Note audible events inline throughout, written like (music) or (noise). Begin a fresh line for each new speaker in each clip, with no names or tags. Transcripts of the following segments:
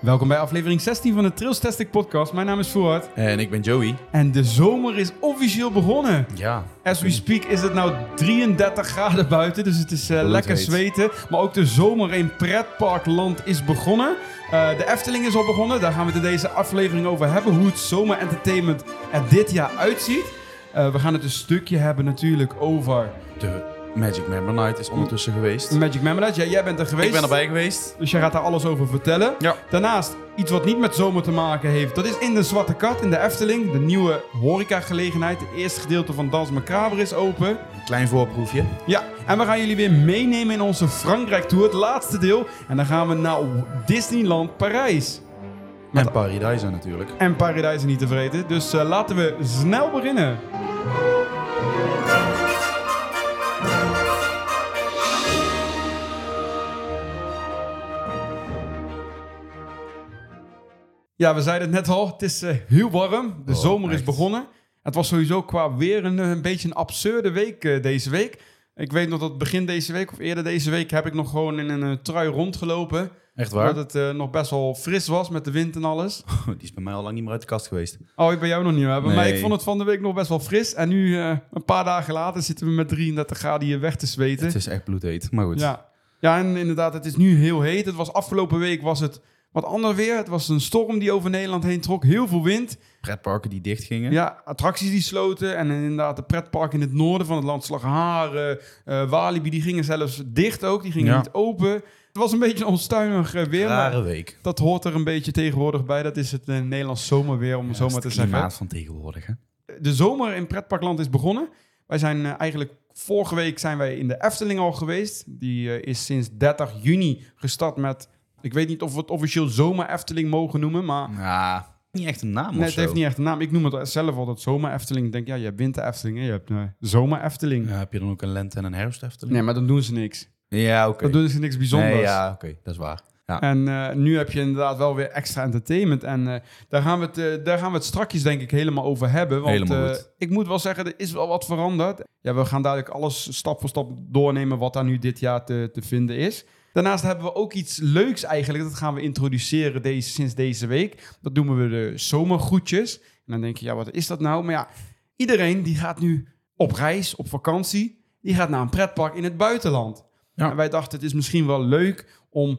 Welkom bij aflevering 16 van de Trails Testing Podcast. Mijn naam is Fuad.
En ik ben Joey.
En de zomer is officieel begonnen.
Ja.
As we speak is het nou 33 graden buiten, dus het is eh, lekker
heet.
zweten. Maar ook de zomer in pretparkland is begonnen. Eh, de Efteling is al begonnen, daar gaan we het in deze aflevering over hebben. Hoe het zomerentertainment er dit jaar uitziet. Eh, we gaan het een stukje hebben natuurlijk over
De Magic Member Night is ondertussen geweest.
Magic Memories. Ja, jij bent er geweest.
Ik ben erbij geweest.
Dus jij gaat daar alles over vertellen.
Ja.
Daarnaast, iets wat niet met zomer te maken heeft, dat is in de Zwarte Kat in de Efteling. De nieuwe horecagelegenheid. Het eerste gedeelte van Dans Macabre is open.
Een klein voorproefje.
Ja, en we gaan jullie weer meenemen in onze Frankrijk-tour, het laatste deel. En dan gaan we naar Disneyland Parijs. Met-
En Paradise natuurlijk.
En Paradijs niet te vreten, dus eh, laten we snel beginnen. Ja, we zeiden het net al, het is eh, heel warm. De
Oh,
zomer is
echt.
begonnen. Het was sowieso qua weer een, eh, een beetje een absurde week eh, deze week. Ik weet nog dat begin deze week of eerder deze week heb ik nog gewoon in een eh, trui rondgelopen.
Echt
Dat
waar?
het eh, nog best wel fris was met de wind en alles.
Die is bij mij al lang niet meer uit de kast geweest.
Oh, ik ben jou nog niet hebben. Maar
Nee.
ik vond het van de week nog best wel fris. En nu, eh, een paar dagen later, zitten we met 33 graden hier weg te zweten.
Het is echt bloedheet, maar goed.
Ja. ja, en inderdaad, het is nu heel heet. Het was afgelopen week was het wat ander weer. Het was een storm die over Nederland heen trok. Heel veel wind.
Pretparken die dichtgingen.
Ja, attracties die sloten. En inderdaad, de pretpark in het noorden van het land, Slagharen, eh Walibi, die gingen zelfs dicht ook. Die gingen
Ja.
niet open. Het was een beetje een onstuimig eh, weer. maar
Rare week.
dat hoort er een beetje tegenwoordig bij. Dat is het eh, Nederlands zomerweer, om het zo maar
Dat
te
is
zeggen.
het klimaat van tegenwoordig, hè?
De zomer in pretparkland is begonnen. Wij zijn eh, eigenlijk vorige week zijn wij in de Efteling al geweest. Die eh, is sinds 30 juni gestart met. Ik weet niet of we het officieel zomer Efteling mogen noemen, maar
Ah, niet echt een naam
nee,
of
het
zo.
heeft niet echt een naam. Ik noem het zelf altijd zomer Efteling. Ik denk, ja, je hebt winter Efteling en je hebt eh, zomer Efteling.
Ja, heb je dan ook een lente- en een herfstefteling?
Nee, maar dan doen ze niks.
Ja, oké.
Dan doen ze niks bijzonders.
Nee, ja, oké. Dat is waar. Ja.
En eh, nu heb je inderdaad wel weer extra entertainment. En eh, daar, gaan we het, eh, daar gaan we het strakjes denk ik helemaal over hebben. Want
Helemaal
eh,
goed.
ik moet wel zeggen, er is wel wat veranderd. Ja, we gaan duidelijk alles stap voor stap doornemen wat daar nu dit jaar te, te vinden is. Daarnaast hebben we ook iets leuks eigenlijk. Dat gaan we introduceren deze, sinds deze week. Dat noemen we de zomergroetjes. En dan denk je, ja, wat is dat nou? Maar ja, iedereen die gaat nu op reis, op vakantie. Die gaat naar een pretpark in het buitenland.
Ja.
En wij dachten, het is misschien wel leuk om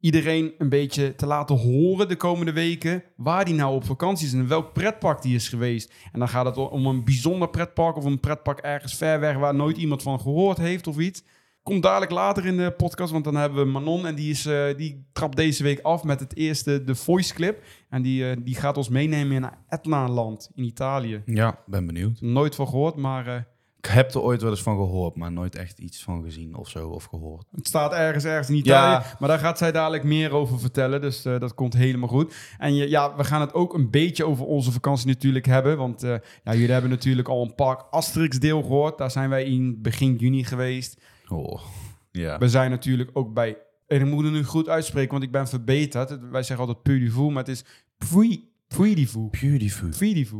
iedereen een beetje te laten horen de komende weken waar die nou op vakantie is en in welk pretpark die is geweest. En dan gaat het om een bijzonder pretpark of een pretpark ergens ver weg waar nooit iemand van gehoord heeft of iets. Komt dadelijk later in de podcast, want dan hebben we Manon en die, is, eh, die trapt deze week af met het eerste de voice clip. En die, eh, die gaat ons meenemen in Etna-land in Italië.
Ja, ben benieuwd.
Nooit van gehoord, maar eh,
Ik heb er ooit wel eens van gehoord, maar nooit echt iets van gezien of zo of gehoord.
Het staat ergens, ergens in Italië.
Ja.
Maar daar gaat zij dadelijk meer over vertellen. Dus eh, dat komt helemaal goed. En je, ja, we gaan het ook een beetje over onze vakantie natuurlijk hebben. Want eh, ja, jullie hebben natuurlijk al een Park Asterix deel gehoord. Daar zijn wij in begin juni geweest.
Oh, ja.
We zijn natuurlijk ook bij... En ik moet het nu goed uitspreken, want ik ben verbeterd. Het- Wij zeggen altijd Pudivu, maar het is Pui- Puidivu.
Beautiful.
Puidivu.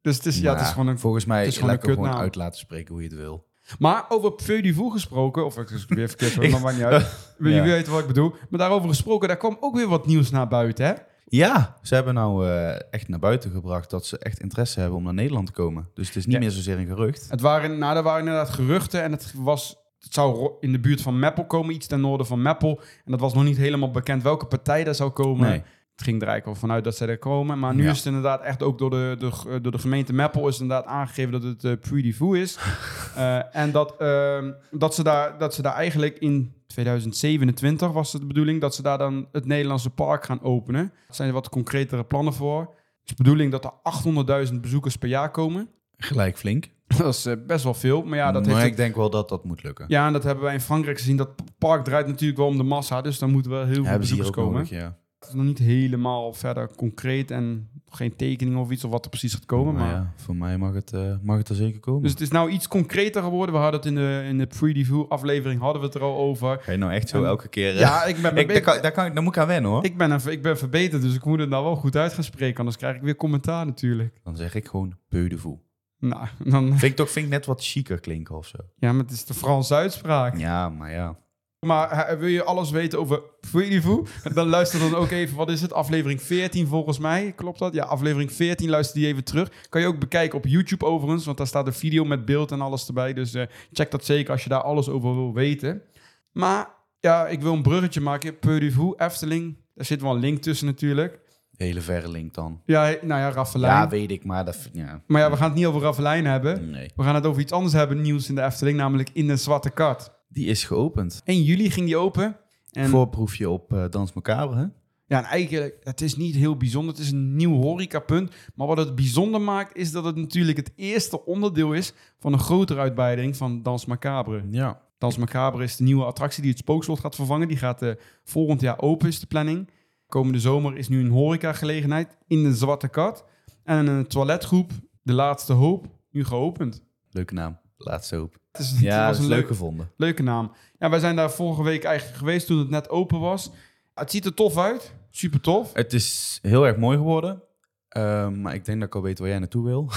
Dus het is, ja, het is gewoon een...
Volgens mij
het is gewoon
lekker
een
gewoon
kutnaam.
uit laten spreken hoe je het wil.
Maar over Puidivu gesproken... Of ik ik weer
(laughs)
verkeerd, maar dat maakt niet uit. Je
Ja.
weet wat ik bedoel. Maar daarover gesproken, daar kwam ook weer wat nieuws naar buiten, hè?
Ja, ze hebben nou eh, echt naar buiten gebracht dat ze echt interesse hebben om naar Nederland te komen. Dus het is niet
Ja.
meer zozeer een gerucht.
Het waren, nou, er waren inderdaad geruchten en het was... Het zou ro- in de buurt van Meppel komen, iets ten noorden van Meppel. En dat was nog niet helemaal bekend welke partij daar zou komen.
Nee.
Het ging er eigenlijk al vanuit dat zij er komen. Maar nu
Ja.
is het inderdaad echt ook door de, de, eh, door de gemeente Meppel... is inderdaad aangegeven dat het eh Puy de Fou
(laughs)
is. Eh, en dat, ehm, dat, ze daar, dat ze daar eigenlijk in 2027 was het de bedoeling... dat ze daar dan het Nederlandse park gaan openen. Er zijn wat concretere plannen voor. Het is de bedoeling dat er 800.000 bezoekers per jaar komen. (laughs)
Gelijk flink.
Dat is eh, best wel veel. Maar ja, dat
maar
heeft
ik denk wel dat dat moet lukken.
ja, en dat hebben wij in Frankrijk gezien. Dat park draait natuurlijk wel om de massa, dus daar moeten wel heel veel
hebben ze hier
bezoekers
ook
komen.
nodig, ja.
Het is nog niet helemaal verder concreet en geen tekening of iets of wat er precies gaat komen. Maar
Maar ja, voor mij mag het, eh, mag het er zeker komen.
Dus het is nou iets concreter geworden. We hadden het in de, in de pre-review aflevering hadden we het er al over.
Ga je nou echt zo
En-
elke keer... eh,
Ja, ik ben,
ik, daar,
ik,
kan, daar, kan ik, daar moet ik aan wennen hoor.
ik, ben, even- ik ben verbeterd, dus ik moet het nou wel goed uit gaan spreken. Anders krijg ik weer commentaar natuurlijk.
Dan zeg ik gewoon peu de fou.
Nou, dan,
Vind ik toch vind ik net wat chiquer klinken of zo.
ja, maar het is de Franse uitspraak.
Ja, maar ja.
Maar eh, wil je alles weten over Fouillivou? Dan luister dan ook even, wat is het? Aflevering 14 volgens mij, klopt dat? Ja, aflevering 14, luister die even terug. Kan je ook bekijken op YouTube overigens, want daar staat een video met beeld en alles erbij. Dus eh, check dat zeker als je daar alles over wil weten. Maar ja, ik wil een bruggetje maken. Fouillivou, Efteling, daar zit wel een link tussen natuurlijk.
Hele verre link dan.
Ja, nou ja, Raffelijn.
Ja, weet ik, maar dat... vind- Ja.
maar ja, we gaan het niet over Raffelijn hebben.
Nee.
We gaan het over iets anders hebben, nieuws in de Efteling, namelijk In de Zwarte Kat.
Die is geopend.
1 juli ging die open. En
Voorproefje op eh, Dans Macabre, hè?
Ja, en eigenlijk, het is niet heel bijzonder. Het is een nieuw horecapunt. Maar wat het bijzonder maakt, is dat het natuurlijk het eerste onderdeel is van een grotere uitbreiding van Dans Macabre.
Ja.
Dans Macabre is de nieuwe attractie die het spookslot gaat vervangen. Die gaat eh, volgend jaar open, is de planning. Komende zomer is nu een horecagelegenheid in de Zwarte Kat. En een eh, toiletgroep, De Laatste Hoop, nu geopend. Dus
Leuke naam. Laatste (laughs) hoop.
Het, is,
Ja,
het
dat
was
is
een
leuk
leuke,
gevonden.
leuke naam. Ja, wij zijn daar vorige week eigenlijk geweest toen het net open was. Het ziet er tof uit. Super tof.
Het is heel erg mooi geworden. Ehm, maar ik denk dat ik al weet waar jij naartoe wil. (laughs)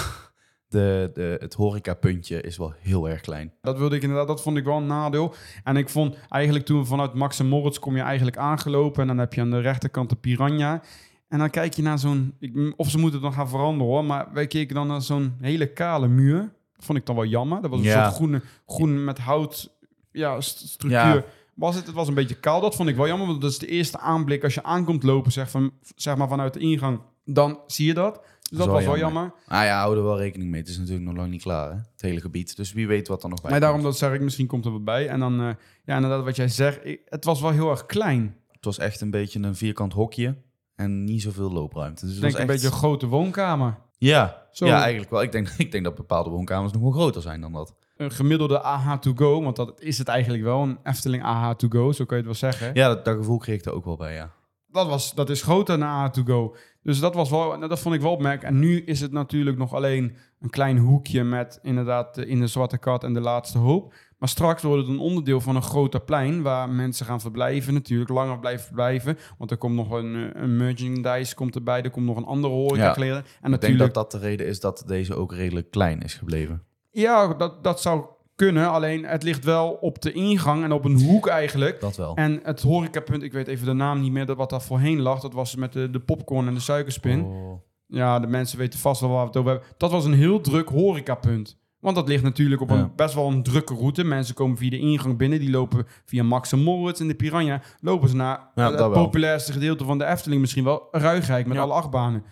De, de, het horecapuntje is wel heel erg klein.
Dat wilde ik inderdaad, dat vond ik wel een nadeel. En ik vond eigenlijk toen we vanuit Max en Moritz kom je eigenlijk aangelopen. En dan heb je aan de rechterkant de Piranha. En dan kijk je naar zo'n, ik- of ze moeten het dan gaan veranderen hoor. Maar wij keken dan naar zo'n hele kale muur. Dat vond ik dan wel jammer. Dat was een
Ja.
soort groene, groen met hout ja, st- structuur.
Ja.
Was het, het was een beetje kaal. Dat vond ik wel jammer, want dat is de eerste aanblik. Als je aankomt lopen, zeg, van, zeg maar vanuit de ingang, dan zie je dat. Dus dat,
wel
was wel
jammer.
jammer.
Ah ja, hou er wel rekening mee. Het is natuurlijk nog lang niet klaar, hè? Het hele gebied. Dus wie weet wat er nog bij
Maar
komt.
daarom dat zeg ik, misschien komt er wat bij. En dan, eh, ja, inderdaad, wat jij zegt, ik- het was wel heel erg klein.
Het was echt een beetje een vierkant hokje en niet zoveel loopruimte. Dus
Ik
het
denk
was
een
echt-
beetje een grote woonkamer.
Ja,
Zo.
ja, eigenlijk wel. Ik denk, (laughs) ik denk dat bepaalde woonkamers nog wel groter zijn dan dat.
Een gemiddelde AH2Go, want dat is het eigenlijk wel. Een Efteling AH2Go, zo kun je het wel zeggen.
Ja, dat, dat gevoel kreeg ik er ook wel bij, ja.
Dat, was, dat is groter dan AH2Go. Dus dat, was wel, nou, dat vond ik wel opmerkelijk. En nu is het natuurlijk nog alleen een klein hoekje met inderdaad eh, in de Zwarte Kat en de Laatste Hoop. Maar straks wordt het een onderdeel van een groter plein waar mensen gaan verblijven. Natuurlijk langer blijven verblijven, want er komt nog een, eh, een merchandise komt erbij. Er komt nog een andere horeca kleren. En
Ik denk
natuurlijk
dat dat de reden is dat deze ook redelijk klein is gebleven.
Ja, dat, dat zou kunnen. Alleen het ligt wel op de ingang en op een hoek eigenlijk.
Dat wel.
En het horecapunt, ik weet even de naam niet meer, dat wat daar voorheen lag. Dat was met de, de popcorn en de suikerspin.
Oh.
Ja, de mensen weten vast wel waar we het over hebben. Dat was een heel druk horecapunt. Want dat ligt natuurlijk op een
Ja.
best wel een drukke route. Mensen komen via de ingang binnen. Die lopen via Max en Moritz en de Piranha. Lopen ze naar
Ja,
eh,
dat
het
wel.
populairste gedeelte van de Efteling misschien wel. Ruigrijk met
Ja.
alle achtbanen.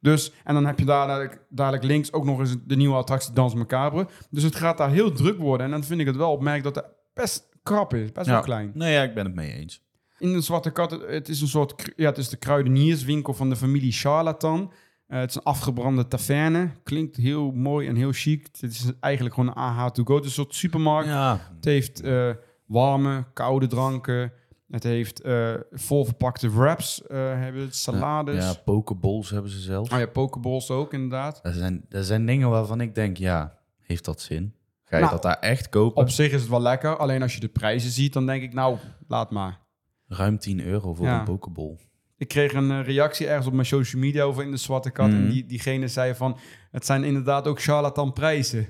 Dus, en dan heb je daar dadelijk, dadelijk links ook nog eens de nieuwe attractie Dans Macabre. Dus het gaat daar heel druk worden. En dan vind ik het wel opmerkelijk dat het best krap is. Best wel
Ja.
klein.
Nee, ja, ik ben het mee eens.
In de Zwarte Kat, het- het is een soort, kru- ja, het is de kruidenierswinkel van de familie Charlatan. Eh, het is een afgebrande taverne. Klinkt heel mooi en heel chic. Het is eigenlijk gewoon een AH to go. Het is een soort supermarkt.
Ja,
Het heeft eh, warme, koude dranken. Het heeft eh volverpakte wraps, eh, hebben het, salades.
ja pokeballs hebben ze zelf.
Oh ja, pokeballs ook inderdaad.
Dat zijn, dat zijn dingen waarvan ik denk, ja, heeft dat zin? Ga je
Nou,
dat daar echt kopen?
Op zich is het wel lekker. Alleen als je de prijzen ziet, dan denk ik, nou, laat maar.
Ruim 10 euro voor
Ja.
een pokeball.
Ik kreeg een eh, reactie ergens op mijn social media over in de Zwarte Kat. En
Mhm.
die, diegene zei van, het zijn inderdaad ook charlatan prijzen.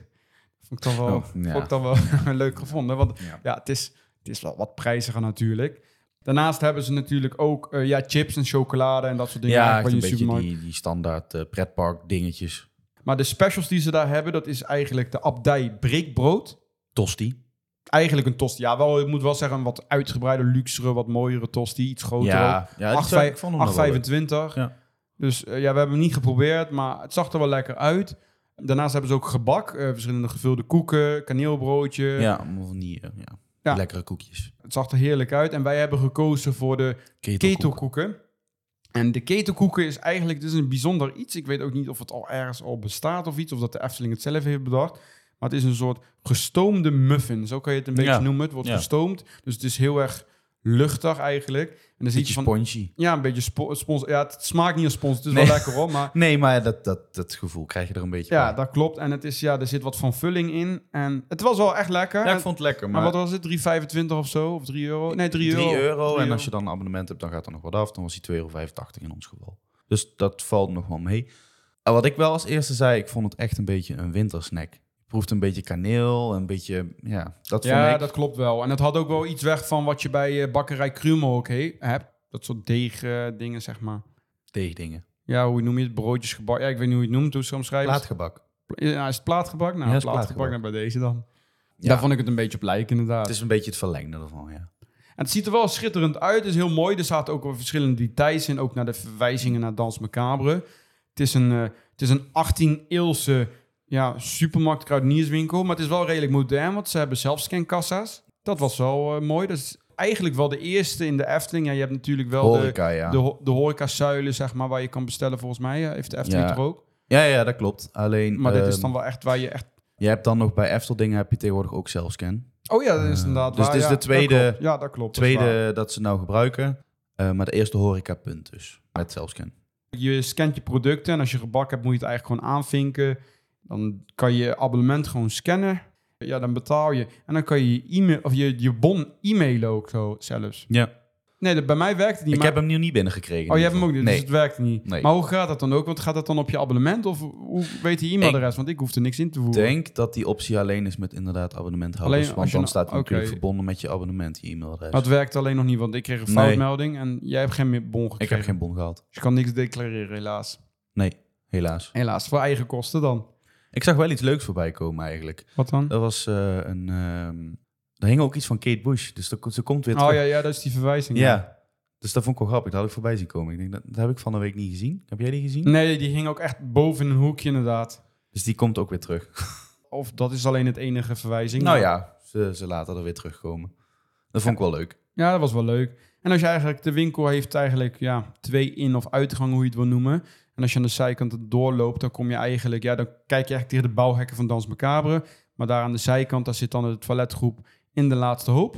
Vond ik dan wel,
Oh, ja.
vond ik dan wel (laughs) leuk gevonden. Want ja,
Ja.
het, is, het is wel wat prijziger natuurlijk. Daarnaast hebben ze natuurlijk ook eh, ja, chips en chocolade en dat soort dingen.
Ja, echt
eigenlijk
een
bij je
beetje
supermarkt.
die, die standaard eh, pretpark dingetjes.
Maar de specials die ze daar hebben, dat is eigenlijk de abdij breekbrood.
Tosti.
Eigenlijk een tosti. Ja, wel, ik moet wel zeggen, een wat uitgebreide, luxere, wat mooiere tosti. Iets groter ook.
Ja, ja die zou- ik vond hem nog wel leuk.
8,25.
Ja.
Dus eh, ja, we hebben hem niet geprobeerd, maar het zag er wel lekker uit. Daarnaast hebben ze ook gebak, eh, verschillende gevulde koeken, kaneelbroodje.
Ja, allemaal van die eh, ja.
Ja.
lekkere koekjes.
Het zag er heerlijk uit. En wij hebben gekozen voor de
Ketelkoek.
ketelkoeken. En de ketelkoeken is eigenlijk dus een bijzonder iets. Ik weet ook niet of het al ergens al bestaat of iets, of dat de Efteling het zelf heeft bedacht. Maar het is een soort gestoomde muffin. Zo kan je het een beetje
Ja.
noemen. Het wordt
Ja.
gestoomd, dus het is heel erg luchtig eigenlijk. En dan zit je
Beetje
van...
spongy.
Ja, een beetje spo- spons. Ja, het smaakt niet als spons. Het is
Nee.
wel lekker hoor,
(laughs)
maar
Nee, maar dat, dat, dat gevoel krijg je er een beetje
ja,
bij.
dat klopt. En het is, ja, er zit wat van vulling in. En het was wel echt lekker.
Ja,
En-
ik vond het lekker,
maar
maar,
wat was het? 3,25 of zo? Of 3 euro? Nee, 3
3
euro.
euro.
3
En als je dan een abonnement hebt, dan gaat er nog wat af. Dan was die 2,85 euro in ons geval. Dus dat valt nog wel mee. En wat ik wel als eerste zei, ik vond het echt een beetje een wintersnack. Je proeft een beetje kaneel, een beetje, ja, dat vond
Ja,
ik.
dat klopt wel. En het had ook wel iets weg van wat je bij eh, bakkerij Krummel ook he- hebt. Dat soort deeg eh, dingen, zeg maar.
Deegdingen.
Ja, hoe noem je het? Broodjes gebak. Ja, ik weet niet hoe je het noemt, hoe ze het omschrijven.
Plaatgebak.
Ja, is het plaatgebak? Nou,
Ja, is
plaatgebak,
plaatgebak.
nou, bij deze dan.
Ja.
Daar vond ik het een beetje op lijken, inderdaad.
Het is een beetje het verlengde ervan, ja.
En het ziet er wel schitterend uit. Het is heel mooi. Er zaten ook wel verschillende details in. Ook naar de verwijzingen naar Dans Macabre. Het is een, eh, het is een 18-eeuwse ja, supermarkt kruidenierswinkel. Maar het is wel redelijk modern, want ze hebben zelf scankassa's. Dat was wel eh, mooi. Dat is eigenlijk wel de eerste in de Efteling. Ja, je hebt natuurlijk wel de,
Horeca, ja.
de, ho- de horeca-zuilen, zeg maar, waar je kan bestellen volgens mij. Ja, heeft de Efteling
Ja.
er ook.
ja. Ja, dat klopt. Alleen,
Maar dit is
ehm,
dan wel echt waar je echt...
je hebt dan nog bij Efteldingen heb je tegenwoordig ook zelfscan.
Oh ja, dat is
eh,
inderdaad
dus
waar.
dit is
ja,
de tweede-
dat klopt. ja, dat klopt. dat is waar.
Tweede dat ze nou gebruiken, eh, maar de eerste horecapunt dus, met zelfscan.
Je scant je producten en als je gebak hebt, moet je het eigenlijk gewoon aanvinken. Dan kan je je abonnement gewoon scannen. Ja, dan betaal je. En dan kan je je, e-mail, of je, je bon e-mailen ook zo zelfs.
Ja.
Nee, dat, bij mij werkt het niet.
ik
maar-
heb hem nu niet binnengekregen.
oh, je
in
hebt
ieder
hem ook
geval.
niet, dus
Nee,
het werkt niet.
Nee.
Maar hoe gaat dat dan ook? Want gaat dat dan op je abonnement of hoe weet je e-mailadres? Want ik hoef er niks in te
Ik
voeren.
denk dat die optie alleen is met inderdaad abonnementhouders.
Alleen als
want
je
dan
nou-
staat hij natuurlijk
oké.
verbonden met je abonnement, je e-mailadres.
Maar het werkt alleen nog niet, want ik kreeg een
Nee.
foutmelding en jij hebt geen meer bon gekregen.
Ik heb geen bon gehad.
Dus je kan niks declareren, helaas.
Nee, helaas.
Helaas, voor eigen kosten dan.
Ik zag wel iets leuks voorbij komen eigenlijk.
Wat dan?
Dat was eh, een... ehm er hing ook iets van Kate Bush, dus dat, ze komt weer terug.
Oh ja, ja, dat is die verwijzing.
Ja. Dus dat vond ik wel grappig. Dat had ik voorbij zien komen. Ik denk, dat, dat heb ik van de week niet gezien. Heb jij die gezien?
Nee, die ging ook echt boven een hoekje inderdaad.
Dus die komt ook weer terug.
Of dat is alleen het enige verwijzing.
Nou ja, ze, ze laten er weer terugkomen. Dat vond ik wel leuk.
Ja, dat was wel leuk. En als je eigenlijk, de winkel heeft eigenlijk ja, twee in- of uitgangen, hoe je het wil noemen. En als je aan de zijkant het doorloopt, dan kom je eigenlijk, ja, dan kijk je eigenlijk tegen de bouwhekken van Dans Macabre. Maar daar aan de zijkant, daar zit dan de toiletgroep in de laatste hoop.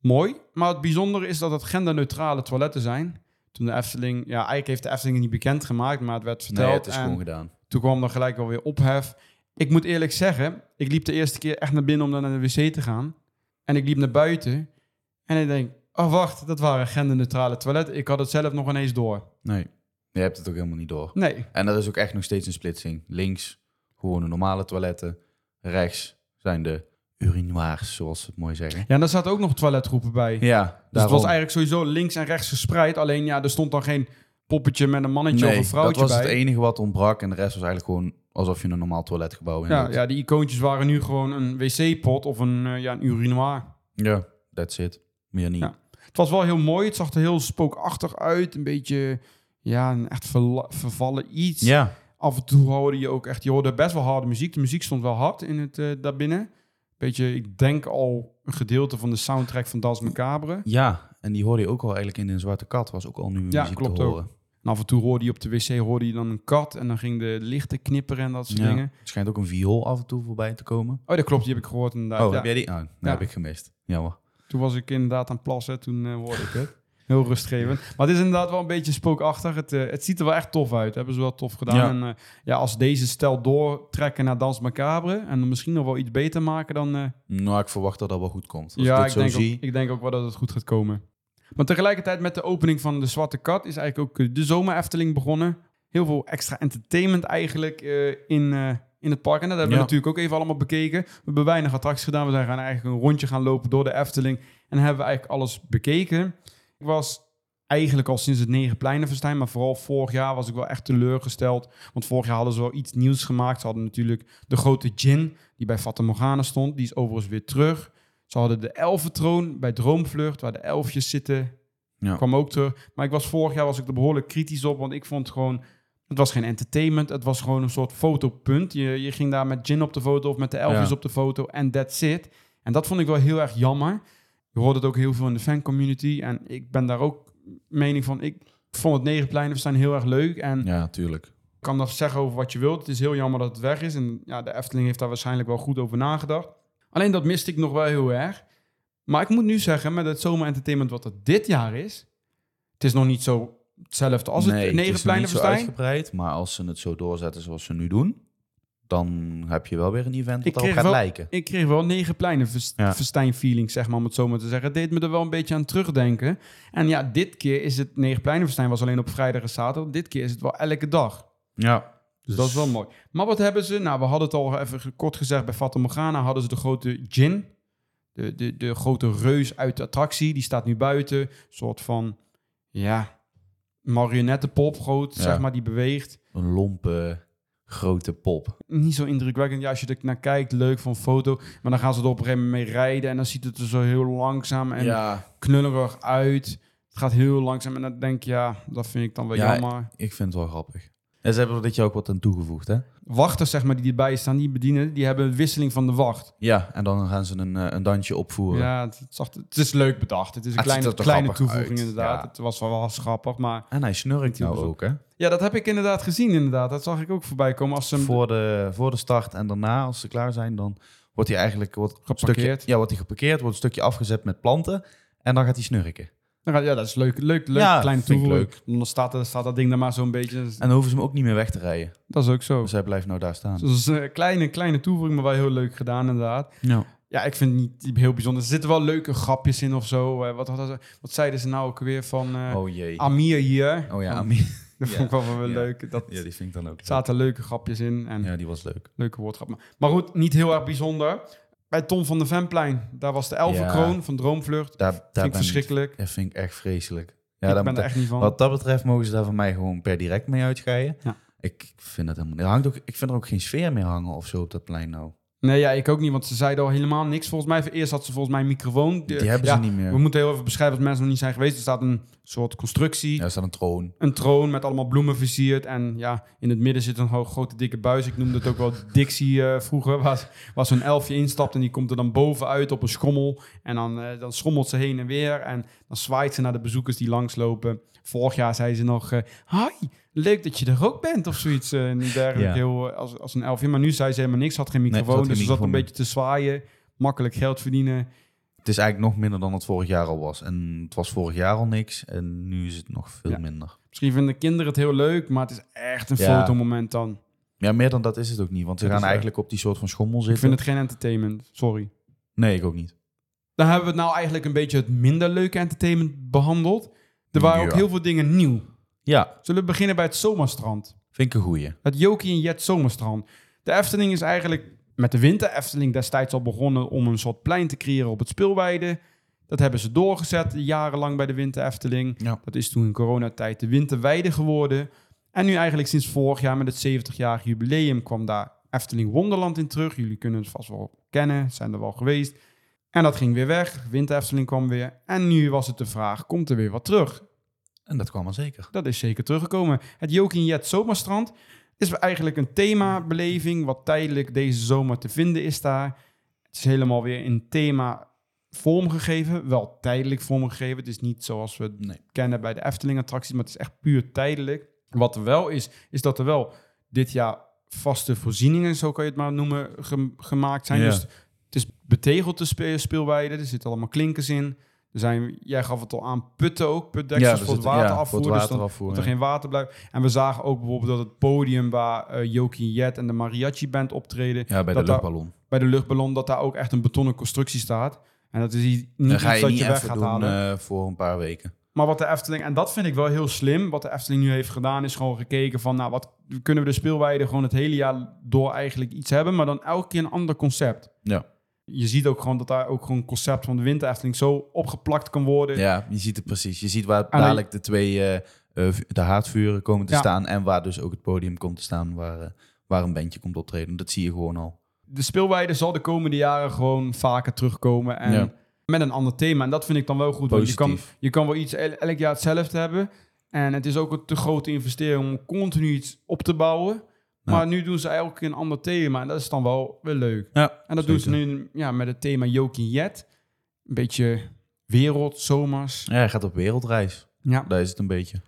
Mooi. Maar het bijzondere is dat het genderneutrale toiletten zijn. Toen de Efteling, ja, eigenlijk heeft de Efteling het niet bekendgemaakt, maar het werd verteld.
nee, het is
en-
gewoon gedaan.
Toen kwam er gelijk wel weer ophef. Ik moet eerlijk zeggen, ik liep de eerste keer echt naar binnen om dan naar de wc te gaan. En ik liep naar buiten. En ik denk, oh wacht, dat waren genderneutrale toiletten. Ik had het zelf nog ineens door.
Nee. Je hebt het ook helemaal niet door.
Nee,
En er is ook echt nog steeds een splitsing. Links, gewoon de normale toiletten. Rechts zijn de urinoirs, zoals ze het mooi zeggen.
ja, en daar zaten ook nog toiletgroepen bij.
Ja,
dus het
daarom.
was eigenlijk sowieso links en rechts gespreid. Alleen ja, er stond dan geen poppetje met een mannetje
Nee,
of een vrouwtje
dat was
bij.
het enige wat ontbrak. En de rest was eigenlijk gewoon alsof je een normaal toiletgebouw in
ja,
doet.
ja, die icoontjes waren nu gewoon een wc-pot of een, eh, ja, een urinoir.
Ja, that's it. Meer niet.
Ja. Het was wel heel mooi. Het zag er heel spookachtig uit. Een beetje, ja, een echt verla- vervallen iets.
ja.
af en toe hoorde je ook echt, je hoorde best wel harde muziek. De muziek stond wel hard in het, eh daarbinnen. Beetje, ik denk al een gedeelte van de soundtrack van Dans Macabre.
Ja, en die hoorde je ook al eigenlijk in de Zwarte Kat. Was ook al nu
Ja,
muziek
klopt
te
ook.
horen.
En af en toe hoorde je op de wc hoorde je dan een kat en dan ging de lichten knipperen en dat soort
Ja.
dingen.
Het schijnt ook een viool af en toe voorbij te komen.
Oh, dat klopt, die heb ik gehoord inderdaad.
oh,
Ja.
heb jij die? Oh, dat
Ja.
heb ik gemist. Jammer.
Toen was ik inderdaad aan het plassen, toen eh, hoorde ik
(laughs)
het. Heel rustgevend. Maar het is inderdaad wel een beetje spookachtig. Het, eh, het ziet er wel echt tof uit. Hebben ze wel tof gedaan.
Ja.
En eh, ja, als deze stel doortrekken naar Dans Macabre... en misschien nog wel iets beter maken, dan eh,
Nou, ik verwacht dat dat wel goed komt. Als
ja,
ik
ik,
dit zo
denk
zie.
Ook, ik denk ook wel dat het goed gaat komen. Maar tegelijkertijd met de opening van De Zwarte Kat is eigenlijk ook eh, de zomer Efteling begonnen. Heel veel extra entertainment eigenlijk eh, in, eh, in het park. En dat hebben we
Ja.
natuurlijk ook even allemaal bekeken. We hebben weinig attracties gedaan. We zijn gaan eigenlijk een rondje gaan lopen door de Efteling. En hebben we eigenlijk alles bekeken. Ik was eigenlijk al sinds het Negenpleinenfestijn, maar vooral vorig jaar was ik wel echt teleurgesteld. Want vorig jaar hadden ze wel iets nieuws gemaakt. Ze hadden natuurlijk de grote Jin, die bij Fata Morgana stond. Die is overigens weer terug. Ze hadden de elfentroon bij Droomvlucht, waar de elfjes zitten.
Ja.
Kwam ook terug. Maar ik was vorig jaar was ik er behoorlijk kritisch op, want ik vond gewoon... Het was geen entertainment, het was gewoon een soort fotopunt. Je, je ging daar met Jin op de foto of met de elfjes
Ja.
op de foto en that's it. En dat vond ik wel heel erg jammer. Je hoort het ook heel veel in de fancommunity. En ik ben daar ook mening van. Ik vond het Negenpleinen staan heel erg leuk. En
Ja, tuurlijk.
kan dat zeggen over wat je wilt. Het is heel jammer dat het weg is. En ja, de Efteling heeft daar waarschijnlijk wel goed over nagedacht. Alleen dat miste ik nog wel heel erg. Maar ik moet nu zeggen, met het zomerentertainment wat er dit jaar is... Het is nog niet zo hetzelfde als
Nee,
het
is nog niet zo
Negenpleinenfestijn.
uitgebreid, maar als ze het zo doorzetten zoals ze nu doen, dan heb je wel weer een event
Ik
dat daarop
kreeg
gaat
wel-
lijken.
Ik kreeg wel Negenpleinenfestijn
Ja.
festijn feeling, zeg maar, om het zo maar te zeggen. Het deed me er wel een beetje aan terugdenken. En ja, dit keer is het Negenpleinenfestijn was alleen op vrijdag en zaterdag. Dit keer is het wel elke dag.
Ja.
Dus dat is wel mooi. Maar wat hebben ze? Nou, we hadden het al even ge- kort gezegd. Bij Fata Morgana hadden ze de grote djinn. De, de, de grote reus uit de attractie. Die staat nu buiten. Een soort van, ja, marionettenpop. Groot,
Ja.
zeg maar, die beweegt.
Een lompe, grote pop.
Niet zo indrukwekkend. Ja, als je er naar kijkt, leuk van foto. Maar dan gaan ze er op een gegeven moment mee rijden. En dan ziet het er zo heel langzaam en
ja,
knullerig uit. Het gaat heel langzaam. En dan denk je, ja, dat vind ik dan wel
Ja,
jammer.
ik vind het wel grappig. En ze hebben er dit jaar ook wat aan toegevoegd, hè?
Wachters, zeg maar, die erbij staan, die bedienen, die hebben een wisseling van de wacht.
Ja, en dan gaan ze een, eh, een dansje opvoeren.
Ja, het, het zag- het is leuk bedacht. Het is een
Ah, het ziet
kleine,
er toch
kleine
grappig
toevoeging
uit,
inderdaad.
ja.
Het was wel, wel grappig, maar...
En hij snurkt nou
Typisch.
ook, hè?
Ja, dat heb ik inderdaad gezien inderdaad. Dat zag ik ook voorbij komen als ze hem...
Voor de, voor de start en daarna, als ze klaar zijn, dan wordt hij eigenlijk... Wordt een
Geparkeerd.
Stukje, ja, wordt hij geparkeerd, wordt een stukje afgezet met planten. En dan gaat hij snurken.
Nou, Ja, dat is leuk. Leuk, leuk
Ja,
kleine
vind ik
toevoeging. Dan staat, er- staat dat ding daar maar zo'n beetje... Dus
En dan hoeven ze hem ook niet meer weg te rijden.
Dat is ook zo.
Dus hij blijft nou daar staan.
Dus dat is een kleine, kleine toevoeging, maar wel heel leuk gedaan inderdaad.
Ja.
Ja, ik vind het niet heel bijzonder. Er zitten wel leuke grapjes in of zo. Eh, Wat, hadden ze- wat zeiden ze nou ook weer van eh,
Oh jee.
Amir hier?
Oh ja,
Van-
Ami.
Dat vond ik wel wel
Ja.
leuk. Dat
Ja, die vind ik dan ook.
zaten leuke grapjes in. En
Ja, die was leuk.
Leuke woordgrap. Maar, maar goed, niet heel erg bijzonder. Bij Tom van de Venplein, daar was de elfenkroon van Droomvlucht.
Daar, daar
Vind
ben
ik verschrikkelijk.
Dat vind ik echt vreselijk. Ja,
ik
dan-
ben er echt niet van.
Wat dat betreft mogen ze daar van mij gewoon per direct mee uitscheiden.
Ja.
Ik vind dat helemaal niet. Er hangt ook, ik vind er ook geen sfeer meer hangen of zo op dat plein nou.
Nee, ja, ik ook niet, want ze zeiden al helemaal niks volgens mij. Eerst had ze volgens mij een microfoon.
Die
De-
hebben
ja,
ze niet meer.
We moeten heel even beschrijven als mensen nog niet zijn geweest. Er staat een soort constructie,
Ja, er staat een troon.
een troon met allemaal bloemen versierd. En ja, in het midden zit een ho- grote dikke buis. Ik noemde het ook
(laughs)
wel Dixie eh, vroeger. Waar, waar zo'n elfje instapt en die komt er dan bovenuit op een schommel. En dan, eh, dan schommelt ze heen en weer. En dan zwaait ze naar de bezoekers die langslopen. Vorig jaar zei ze nog... eh, Hi, leuk dat je er ook bent of zoiets. eh, en dergelijke,
Ja.
heel, eh, als, als een elfje. Maar nu zei ze helemaal niks. Had geen
ze had
microfoon,
geen
dus ze zat een
microfoon.
beetje te zwaaien. Makkelijk geld verdienen.
Het is eigenlijk nog minder dan het vorig jaar al was. En het was vorig jaar al niks. En nu is het nog veel
Ja.
minder.
Misschien vinden kinderen het heel leuk, maar het is echt een
Ja.
fotomoment dan.
Ja, meer dan dat is het ook niet. Want ze
Dat
gaan
is waar.
eigenlijk op die soort van schommel
Ik
zitten.
vind het geen entertainment, sorry.
Nee, ik ook niet.
Dan hebben we het nou eigenlijk een beetje het minder leuke entertainment behandeld. Er waren ook
Ja.
heel veel dingen nieuw.
Ja,
Zullen we beginnen bij het zomerstrand?
vind ik een goeie.
Het Jokie en Jet zomerstrand. De Efteling is eigenlijk met de winter Efteling destijds al begonnen om een soort plein te creëren op het speelweide. Dat hebben ze doorgezet jarenlang bij de winter Efteling.
Ja.
Dat is toen in coronatijd de winterweide geworden. En nu eigenlijk sinds vorig jaar met het 70-jarig jubileum kwam daar Efteling Wonderland in terug. Jullie kunnen het vast wel kennen, zijn er wel geweest. En dat ging weer weg. Winter Efteling kwam weer. En nu was het de vraag, komt er weer wat terug?
En dat kwam al zeker.
Dat is zeker teruggekomen. Het Jokin Jet Zomerstrand is eigenlijk een themabeleving wat tijdelijk deze zomer te vinden is daar. Het is helemaal weer in thema vormgegeven, wel tijdelijk vormgegeven. Het is niet zoals we het
Nee.
kennen bij de Efteling-attracties, maar het is echt puur tijdelijk. Wat er wel is, is dat er wel dit jaar vaste voorzieningen, zo kan je het maar noemen, gem- gemaakt zijn.
Ja.
Dus het is betegeld de spe- speelweide, er zitten allemaal klinkers in. Er zijn, jij gaf het al aan, putten ook, putdeksels voor het
zitten- ja,
water afvoeren.
voor
dus dan-
het waterafvoer,
dat
ja.
er geen water blijft. En we zagen ook bijvoorbeeld dat het podium waar eh Jokie Jet en de Mariachi Band optreden,
Ja, bij de
dat daar-
luchtballon.
bij de luchtballon, dat daar ook echt een betonnen constructie staat. En dat is i- niet
Dan
iets
ga je
dat
niet
je weg
even
gaat
doen
halen.
eh, voor een paar weken.
Maar wat de Efteling, en dat vind ik wel heel slim, wat de Efteling nu heeft gedaan, is gewoon gekeken van, nou, wat kunnen we de speelweide gewoon het hele jaar door eigenlijk iets hebben, maar dan elke keer een ander concept.
Ja.
Je ziet ook gewoon dat daar ook gewoon een concept van de winter Efteling zo opgeplakt kan worden.
Ja, je ziet het precies. Je ziet waar
Alleen-
dadelijk de twee eh, eh, vu- de haardvuren komen te
Ja.
staan en waar dus ook het podium komt te staan waar, eh, waar een bandje komt optreden. Dat zie je gewoon al.
de speelweide zal de komende jaren gewoon vaker terugkomen. En
Ja.
met een ander thema. En dat vind ik dan wel goed. Want je kan,
Positief.
je kan wel iets el- elk jaar hetzelfde hebben. En het is ook een te grote investering om continu iets op te bouwen.
Ja.
Maar nu doen ze elke keer een ander thema. En dat is dan wel, wel leuk.
Ja,
En dat doen ze nu ja, met het thema Jokin Jet. Een beetje wereld, zomers.
Ja, hij gaat op wereldreis.
Ja.
Daar is het een beetje.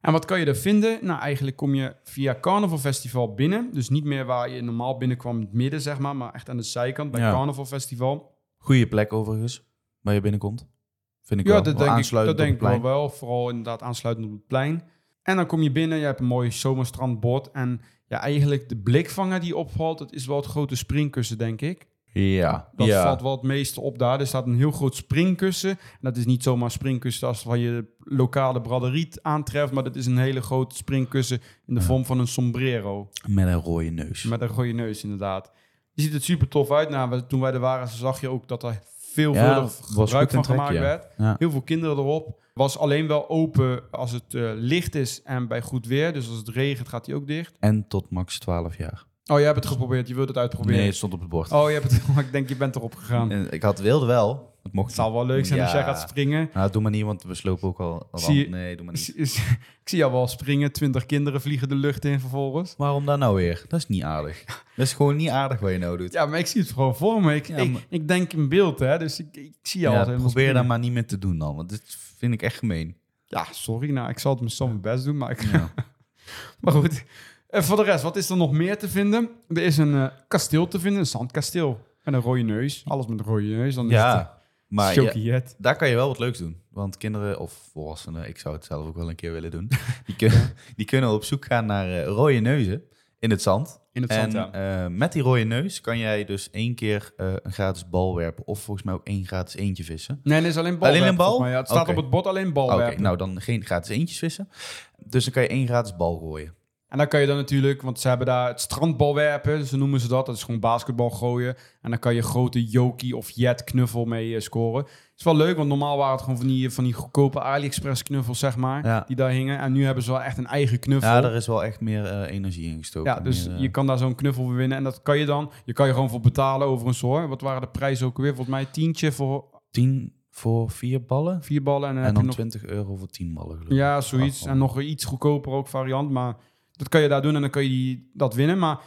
En wat kan je er vinden? Nou, eigenlijk kom je via Carnival Festival binnen. Dus niet meer waar je normaal binnenkwam, in het midden zeg maar. Maar echt aan de zijkant bij
Ja.
Carnival Festival.
Goede plek overigens, waar je binnenkomt. Vind ik
ja,
wel.
dat
Wel
denk ik, dat
aansluitend op
denk ik
het
wel,
plein.
wel. Vooral inderdaad aansluitend op het plein. En dan kom je binnen, je hebt een mooi zomerstrandbord. En ja, eigenlijk de blikvanger die opvalt, dat is wel het grote springkussen, denk ik.
Ja.
Dat
ja.
valt wel het meeste op daar. Er staat een heel groot springkussen. En dat is niet zomaar springkussen als van je lokale braderiet aantreft. Maar dat is een hele groot springkussen in de vorm van een sombrero.
Met een rode neus.
Met een rode neus inderdaad. Je ziet het super tof uit. Nou, we- toen wij er waren zag je ook dat er veel
Ja,
veelvuldig
was goed in
gebruik van
trek,
gemaakt
ja.
werd.
Ja.
Heel veel kinderen erop. Was alleen wel open als het eh, licht is en bij goed weer. Dus als het regent gaat hij ook dicht.
En tot max 12 jaar.
Oh, jij hebt het geprobeerd. Je wilt het uitproberen.
Nee, het stond op het bord.
Oh, je hebt het. (laughs) Maar ik denk, je bent erop gegaan.
En Ik had wilde wel. Het mocht
Het zal wel leuk zijn als
Ja.
jij gaat springen.
niet. Nou, doe maar niet, want we slopen ook al. al
Zie je-
Nee, doe maar niet.
(laughs) Ik zie jou wel springen. Twintig kinderen vliegen de lucht in vervolgens.
Waarom daar nou weer? Dat is niet
(laughs)
aardig. Dat is gewoon niet aardig wat je nou doet.
Ja, maar ik zie het gewoon voor me. Ik,
Ja,
ik,
maar-
ik denk in beeld, hè. Dus ik, ik zie jou
Ja,
al helemaal
probeer
springen.
dat maar niet meer te doen dan, want dit vind ik echt gemeen.
Ja, sorry. Nou, ik zal het mezelf mijn best doen, maar, ik,
(laughs) Ja.
maar goed. En voor de rest, wat is er nog meer te vinden? Er is een eh, kasteel te vinden, een zandkasteel. En een rode neus. Alles met een rode neus. Dan is het eh,
Ja,
maar,
maar ja,
jet.
daar kan je wel wat leuks doen. Want kinderen of volwassenen, ik zou het zelf ook wel een keer
(laughs)
willen doen, die, kun- die kunnen op zoek gaan naar eh, rode neuzen in het zand.
In het
En
zand, ja.
eh, met die rode neus kan jij dus één keer eh, een gratis bal werpen. Of volgens mij ook één gratis eentje vissen.
Nee, nee, is alleen bal.
Alleen een bal?
Maar ja, het staat
Oké.
op het bord alleen bal
Oké,
werpen.
nou dan geen gratis eentjes vissen. Dus dan kan je één gratis bal gooien.
En dan kan je dan natuurlijk, want ze hebben daar het strandbal werpen, zo noemen ze dat. Dat is gewoon basketbal gooien. En dan kan je grote jokie of jet knuffel mee eh, scoren. Is wel leuk, want normaal waren het gewoon van die, van die goedkope AliExpress knuffels, zeg maar.
Ja.
Die daar hingen. En nu hebben ze wel echt een eigen knuffel.
Ja, daar is wel echt meer eh, energie in gestoken.
Ja, dus
Meer, eh,
je kan daar zo'n knuffel voor winnen. En dat kan je dan. Je kan je gewoon voor betalen overigens hoor. Wat waren de prijzen ook weer? Volgens mij tientje voor
tien voor vier ballen.
vier ballen. En, dan
En
heb je
dan Ah, oh.
nog,
20 euro voor 10 ballen geloof ik.
ja, zoiets.
Ach,
En nog een iets goedkoper ook variant. Maar dat kan je daar doen en dan kan je die, dat winnen. Maar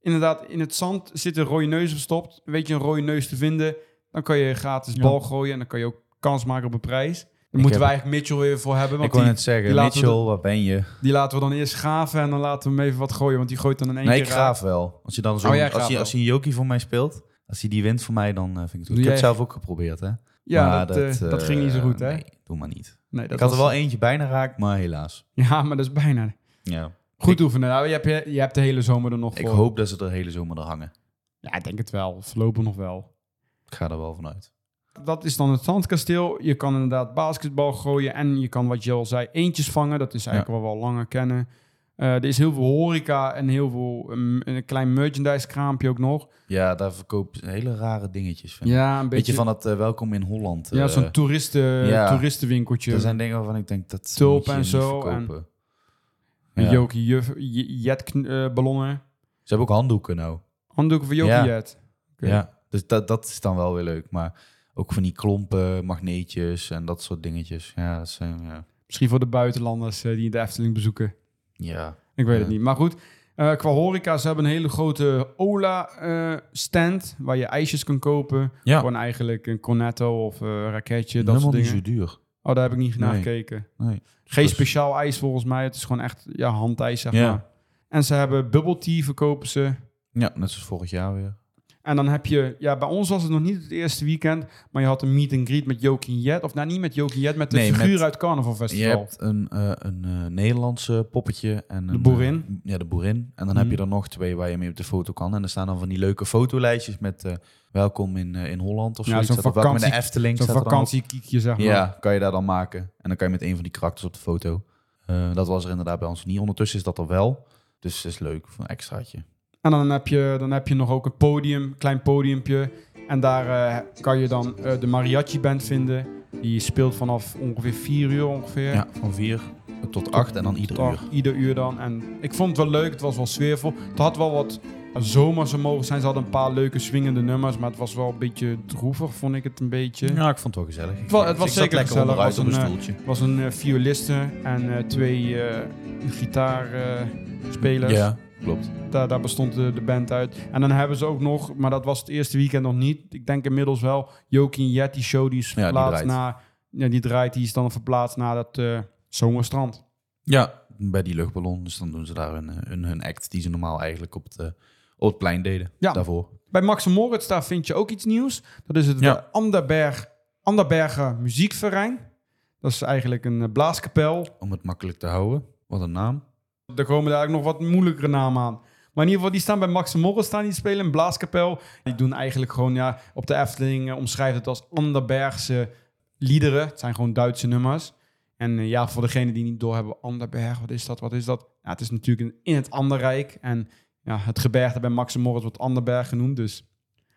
inderdaad, in het zand zit een rode neus verstopt. Weet je een rode neus te vinden, dan kan je gratis
Ja.
bal gooien. En dan kan je ook kans maken op een prijs.
Ik
Daar moeten wij
heb-
eigenlijk Mitchell weer voor hebben.
Ik
Want
wou
die,
net zeggen,
die laten we
Mitchell, waar ben je?
die laten we dan eerst graven en dan laten we hem even wat gooien. Want die gooit dan in één
Nee, ik
keer raak.
graaf wel. Als je dan zo,
Oh, jij
als,
graaft
je,
wel.
als je een jokie voor mij speelt, als hij die wint voor mij, dan eh, vind ik het goed.
Doe
ik heb het
jij-
zelf ook geprobeerd, hè?
Ja,
Maar
dat, eh, dat
eh,
ging niet zo goed, hè?
Nee, doe maar niet.
Nee, dat
ik had er
was-
wel eentje bijna raakt, maar helaas.
Ja, maar dat is bijna.
Ja.
Goed oefenen. Nou, je, hebt, je hebt de hele zomer er nog
Ik
voor.
hoop dat ze er de hele zomer er hangen.
Ja, ik denk het wel. Voorlopig nog wel.
Ik ga er wel vanuit.
Dat is dan het zandkasteel. Je kan inderdaad basketbal gooien. En je kan, wat je al zei, eentjes vangen. Dat is eigenlijk wat we al langer kennen. Eh, er is heel veel horeca en heel veel... ehm, een klein merchandise kraampje ook nog.
Ja, daar verkoopt ze hele rare dingetjes. Vind ik.
Ja, een
Beetje
beetje...
van dat eh, welkom in Holland.
ja,
eh,
zo'n toeristen,
ja.
toeristenwinkeltje.
Er zijn dingen waarvan ik denk dat
Tulpen
moet je
en
niet
zo en-
verkopen.
Een
Ja.
Jokie Juf- J- Jet kn- eh, ballonnen.
Ze hebben ook handdoeken nou.
Handdoeken voor Jokie
Ja.
Jet. Oké.
Ja, dus dat, dat is dan wel weer leuk. Maar ook van die klompen, magneetjes en dat soort dingetjes. Ja, dat zijn... Ja.
Misschien voor de buitenlanders eh, die de Efteling bezoeken.
ja.
Ik weet
Ja.
het niet. Maar goed, eh, qua horeca, ze hebben een hele grote Ola-stand waar je ijsjes kan kopen.
Ja.
Gewoon eigenlijk een cornetto of eh raketje, dat
Helemaal
soort
niet
dingen.
zo duur.
Oh, daar heb ik niet naar
Nee.
gekeken.
Nee.
Geen
Dus-
speciaal ijs volgens mij. Het is gewoon echt ja, handijs, zeg
Ja.
maar. En ze hebben bubble tea, verkopen ze.
Ja, net zoals vorig jaar weer.
En dan heb je... Ja, bij ons was het nog niet het eerste weekend. Maar je had een meet and greet met Jokie Jet. Of nou, niet met Jokie Jet. Met de
Nee,
figuur
met-
uit Carnaval
Je
Festival.
hebt een, eh, een eh, Nederlandse poppetje en een,
boerin.
eh, ja, de boerin. En dan heb
Mhm.
je er nog twee waar je mee op de foto kan. En er staan dan van die leuke fotolijstjes met eh, welkom in, eh, in Holland of
Ja,
zo.
zo'n
welkom in de
vakantie-
Efteling.
Zo'n
staat er dan ook.
vakantiekiekje, zeg maar.
Ja, kan je daar dan maken. En dan kan je met een van die karakters op de foto. Eh, dat was er inderdaad bij ons niet. Ondertussen is dat er wel. Dus het is leuk, voor een extraatje.
En dan heb je, dan heb je nog ook een podium, klein podiumpje. En daar eh, kan je dan eh, de mariachi band vinden. Die speelt vanaf ongeveer 4 uur ongeveer.
Ja, van vier tot acht en dan ieder
Dag,
uur.
Ieder uur dan. En ik vond het wel leuk, het was wel sfeervol. Het had wel wat eh, zomers mogen zijn. Ze hadden een paar leuke swingende nummers, maar het was wel een beetje droevig, vond ik het een beetje.
Ja, ik vond het wel gezellig.
Het was- het
Ik
was
zat
zeker
lekker
gezellig.
onderuit
Was
op een
een, eh,
stoeltje.
Er was een eh, violiste en eh, twee eh gitaarspelers.
Ja, klopt.
Daar, daar bestond de, de band uit. En dan hebben ze ook nog, maar dat was het eerste weekend nog niet. Ik denk inmiddels wel, Jokin Jet, die show die is
die
verplaatst
draait.
naar... Ja, die draait, die is dan verplaatst naar dat eh, zomerstrand.
Ja, bij die luchtballon. Dus dan doen ze daar hun, hun, hun act die ze normaal eigenlijk op het, eh, op het plein deden.
Ja.
Daarvoor.
Bij Max en Moritz, daar vind je ook iets nieuws. Dat is het
Ja.
eh, Anderberg, Anderberger Muziekverein. Dat is eigenlijk een eh, blaaskapel.
Om het makkelijk te houden. Wat een naam.
Er komen daar eigenlijk nog wat moeilijkere namen aan. Maar in ieder geval, die staan bij Max en Morris staan die te spelen in Blaaskapel. Die doen eigenlijk gewoon, ja, op de Efteling eh, omschrijft het als Anderbergse liederen. Het zijn gewoon Duitse nummers. En eh, ja, voor degene die niet doorhebben, Anderberg, wat is dat, wat is dat? Ja, het is natuurlijk in- in het Anderrijk. En ja, het gebergte bij Max en Morris wordt Anderberg genoemd, dus...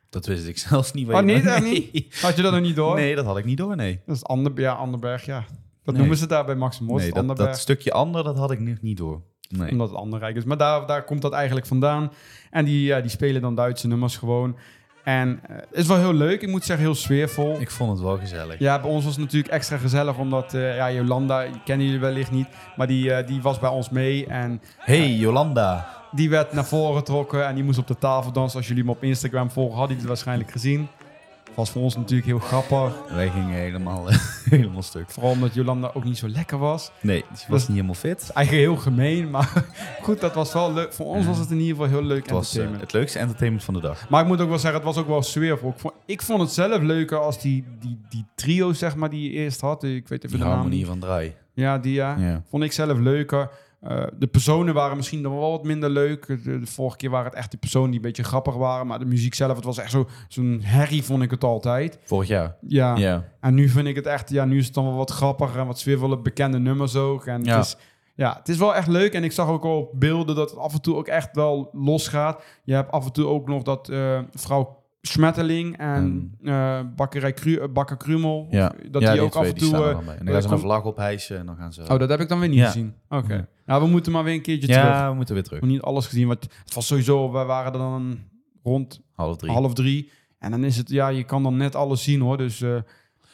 Dat wist ik (laughs) zelfs niet.
Oh, nee,
niet
echt niet? Had je dat nog niet door?
Nee, dat had ik niet door, nee.
Dat is Ander, ja, Anderberg, ja. Dat
Nee.
noemen ze daar bij Max en Morris,
nee
het
dat,
Anderberg.
dat stukje ander, dat had ik nog niet door. Nee.
Omdat het ander rijk is. Maar daar, daar komt dat eigenlijk vandaan. En die, ja, die spelen dan Duitse nummers gewoon. En eh, het is wel heel leuk. Ik moet zeggen, heel sfeervol.
Ik vond het wel gezellig.
Ja, bij ons was het natuurlijk extra gezellig. Omdat eh, ja, Jolanda, die kennen jullie wellicht niet. Maar die, eh, die was bij ons mee. En
Hey, Jolanda.
die werd naar voren getrokken. En die moest op de tafel dansen. Als jullie hem op Instagram volgen, hadden jullie het waarschijnlijk gezien. Was voor ons natuurlijk heel grappig.
Wij gingen helemaal, eh, (laughs) helemaal stuk.
Vooral omdat Jolanda ook niet zo lekker was.
Nee, ze was niet helemaal fit.
Eigenlijk heel gemeen. Maar (laughs) goed, dat was wel leuk. Voor ons was het in ieder geval heel leuk
Het was eh,
entertainment.
het leukste entertainment van de dag.
Maar ik moet ook wel zeggen, het was ook wel sfeervol. Ik vond, ik vond het zelf leuker als die, die, die trio, zeg maar, die je eerst had. Ik weet even
Die
de naam
harmonie
niet.
van draai.
Ja, die ja.
Ja.
Vond ik zelf leuker. Eh, de personen waren misschien dan wel wat minder leuk. De, de vorige keer waren het echt de personen die een beetje grappig waren. Maar de muziek zelf, het was echt zo- zo'n herrie, vond ik het altijd.
Vorig jaar.
Ja.
Ja.
En nu vind ik het echt, ja, nu is het dan wel wat grappiger en wat sfeervolle bekende nummers ook. En
Ja.
het is, ja, het is wel echt leuk. En ik zag ook al op beelden dat het af en toe ook echt wel losgaat. Je hebt af en toe ook nog dat eh, vrouw Smetterling en eh Bakkerij Kru, eh, Bakker Krumel.
Ja.
Dat die ook af en toe...
staan er
eh,
dan bij. En dan gaan ze
komt-
een vlag ophijsen en dan gaan ze...
oh, dat heb ik dan weer niet
Ja.
gezien. Oké.
Ja.
Nou, we moeten maar weer een keertje terug. We
ja, we moeten weer terug.
hebben niet alles gezien, want het was sowieso... We waren er dan rond
Half drie.
half drie. En dan is het... Ja, je kan dan net alles zien, hoor. Dus eh,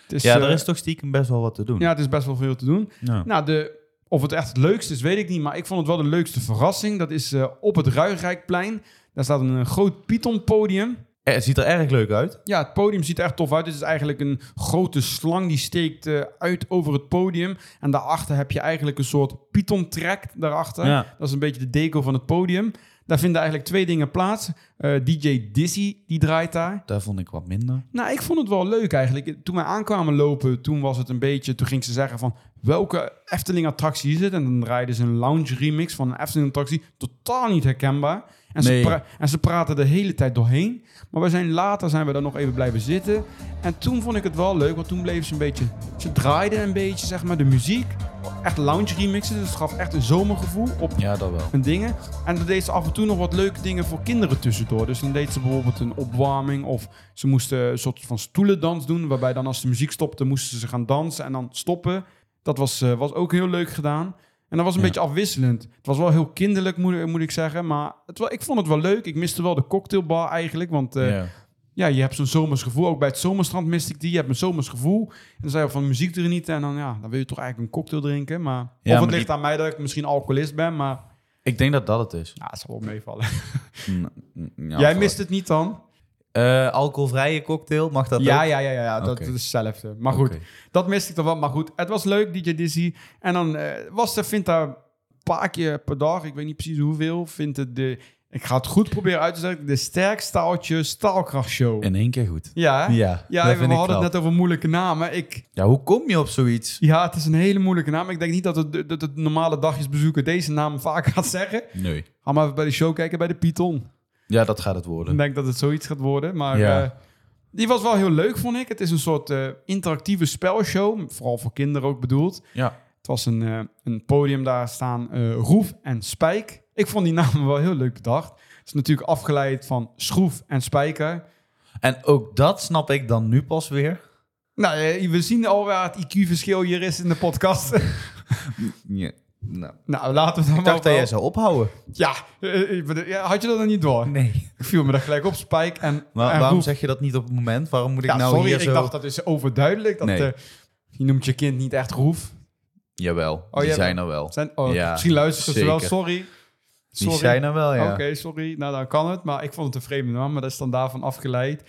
het is...
ja,
eh,
er is toch stiekem best wel wat te doen.
ja, het is best wel veel te doen.
Ja.
Nou, de, of het echt het leukste is, weet ik niet. Maar ik vond het wel de leukste verrassing. Dat is eh, op het Ruigrijkplein. Daar staat een, eh, groot Python-podium.
Eh, Het ziet er erg leuk uit.
Ja, het podium ziet er echt tof uit. Het is eigenlijk een grote slang die steekt eh, uit over het podium. En daarachter heb je eigenlijk een soort Python-track daarachter.
Ja.
Dat is een beetje de deco van het podium. Daar vinden eigenlijk twee dingen plaats. Eh, DJ Dizzy, die draait daar.
Daar vond ik wat minder.
Nou, ik vond het wel leuk eigenlijk. Toen wij aankwamen lopen, toen was het een beetje... Toen ging ze zeggen van, welke Efteling-attractie is het? En dan draaiden ze een lounge-remix van een Efteling-attractie. Totaal niet herkenbaar. En,
Nee.
ze pra- en ze praten de hele tijd doorheen. Maar we zijn later zijn we daar nog even blijven zitten. En toen vond ik het wel leuk, want toen bleven ze een beetje... Ze draaiden een beetje, zeg maar, de muziek. Echt lounge-remixen, dus het gaf echt een zomergevoel op
Ja, dat wel.
en dingen. En dan deed ze af en toe nog wat leuke dingen voor kinderen tussendoor. Dus dan deed ze bijvoorbeeld een opwarming of ze moesten een soort van stoelendans doen. Waarbij dan als de muziek stopte moesten ze gaan dansen en dan stoppen. Dat was, eh, was ook heel leuk gedaan. En dat was een
Ja.
beetje afwisselend. Het was wel heel kinderlijk, moet, moet ik zeggen. Maar het, wa- ik vond het wel leuk. Ik miste wel de cocktailbar eigenlijk. Want eh,
ja.
ja, je hebt zo'n zomers gevoel. Ook bij het zomerstrand miste ik die. Je hebt een zomers gevoel. En dan zei je van muziek genieten. En dan, ja, dan wil je toch eigenlijk een cocktail drinken. Maar, of
maar
het
die-
ligt aan mij dat ik misschien alcoholist ben. Maar
Ik denk dat dat het is.
ja, Nou, het zal wel meevallen.
Mm, Ja,
Jij
voor-
mist het niet dan?
Eh, alcoholvrije cocktail, mag dat
ja,
ook?
ja, ja, ja, ja, dat
Oké.
is hetzelfde. Maar goed,
Oké.
dat miste ik dan wel. Maar goed, het was leuk, DJ Dizzy. En dan eh, was er, vindt daar een paar keer per dag, ik weet niet precies hoeveel, vindt het de, ik ga het goed proberen uit te zeggen, de sterkste staaltje staalkrachtshow.
In één keer goed.
Ja, hè?
Ja,
ja
dat
we
vind ik
hadden
knap.
het net over moeilijke namen. Ik,
Ja, hoe kom je op zoiets?
ja, het is een hele moeilijke naam. Ik denk niet dat het, dat het normale dagjesbezoeker deze naam vaak gaat zeggen.
Nee.
Ga maar even bij de show kijken bij de Python.
Ja, dat gaat het worden.
Ik denk dat het zoiets gaat worden. Maar
Ja.
eh, die was wel heel leuk, vond ik. Het is een soort eh, interactieve spelshow. Vooral voor kinderen ook bedoeld.
Ja.
Het was een, eh, een podium daar staan. eh, Roef en Spijk. Ik vond die namen wel heel leuk bedacht. Het is natuurlijk afgeleid van Schroef en Spijker.
En ook dat snap ik dan nu pas weer.
Nou, eh, we zien al waar het IQ-verschil hier is in de podcast. (laughs)
Ja. Nou,
nou, laten we dan
ik dacht
maar...
dat jij zou ophouden.
Ja, eh, ik bedoel, ja, had je dat dan niet door?
Nee.
Ik viel me daar gelijk op, Spijk en,
Maar
en
waarom
Roef.
zeg je dat niet op het moment? Waarom moet ik
Ja,
nou
sorry,
hier
ik
zo...
dacht dat is overduidelijk. Dat,
Nee.
eh, je noemt je kind niet echt Roef.
Jawel, die
jij-
zijn er wel.
Zijn, oh,
Ja,
misschien luisteren ze wel,
zeker.
sorry.
Die
Sorry.
zijn er wel, ja.
Oké, sorry. Nou, dan kan het. Maar ik vond het een vreemde naam, maar dat is dan daarvan afgeleid.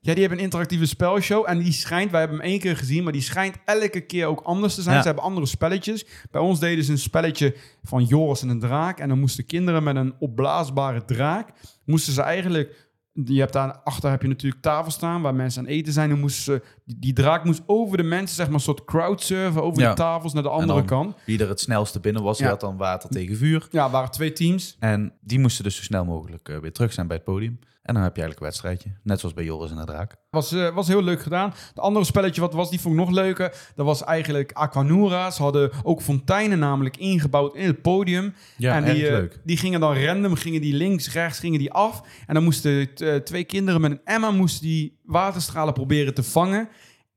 Ja, die hebben een interactieve spelshow. En die schijnt, wij hebben hem één keer gezien, maar die schijnt elke keer ook anders te zijn.
Ja.
Ze hebben andere spelletjes. Bij ons deden ze een spelletje van Joris en een draak. En dan moesten kinderen met een opblaasbare draak, moesten ze eigenlijk Je hebt daar achter heb je natuurlijk tafel staan waar mensen aan eten zijn. Dan moest, ze- die, die draak moest over de mensen, zeg maar, een soort crowdsurfen over
Ja.
de tafels naar de andere
dan-
kant.
Wie er het snelste binnen was, die
Ja.
had dan water tegen vuur.
Ja, waren twee teams.
En die moesten dus zo snel mogelijk eh, weer terug zijn bij het podium. En dan heb je eigenlijk een wedstrijdje. Net zoals bij Joris en de Draak.
Was, eh, was heel leuk gedaan. Het andere spelletje wat was, die vond ik nog leuker. Dat was eigenlijk Aquanura. Ze hadden ook fonteinen namelijk ingebouwd in het podium.
Ja,
en
erg
die, eh,
leuk.
die gingen dan random, gingen die links, rechts, gingen die af. En dan moesten t- eh, twee kinderen met een emmer moesten die waterstralen proberen te vangen.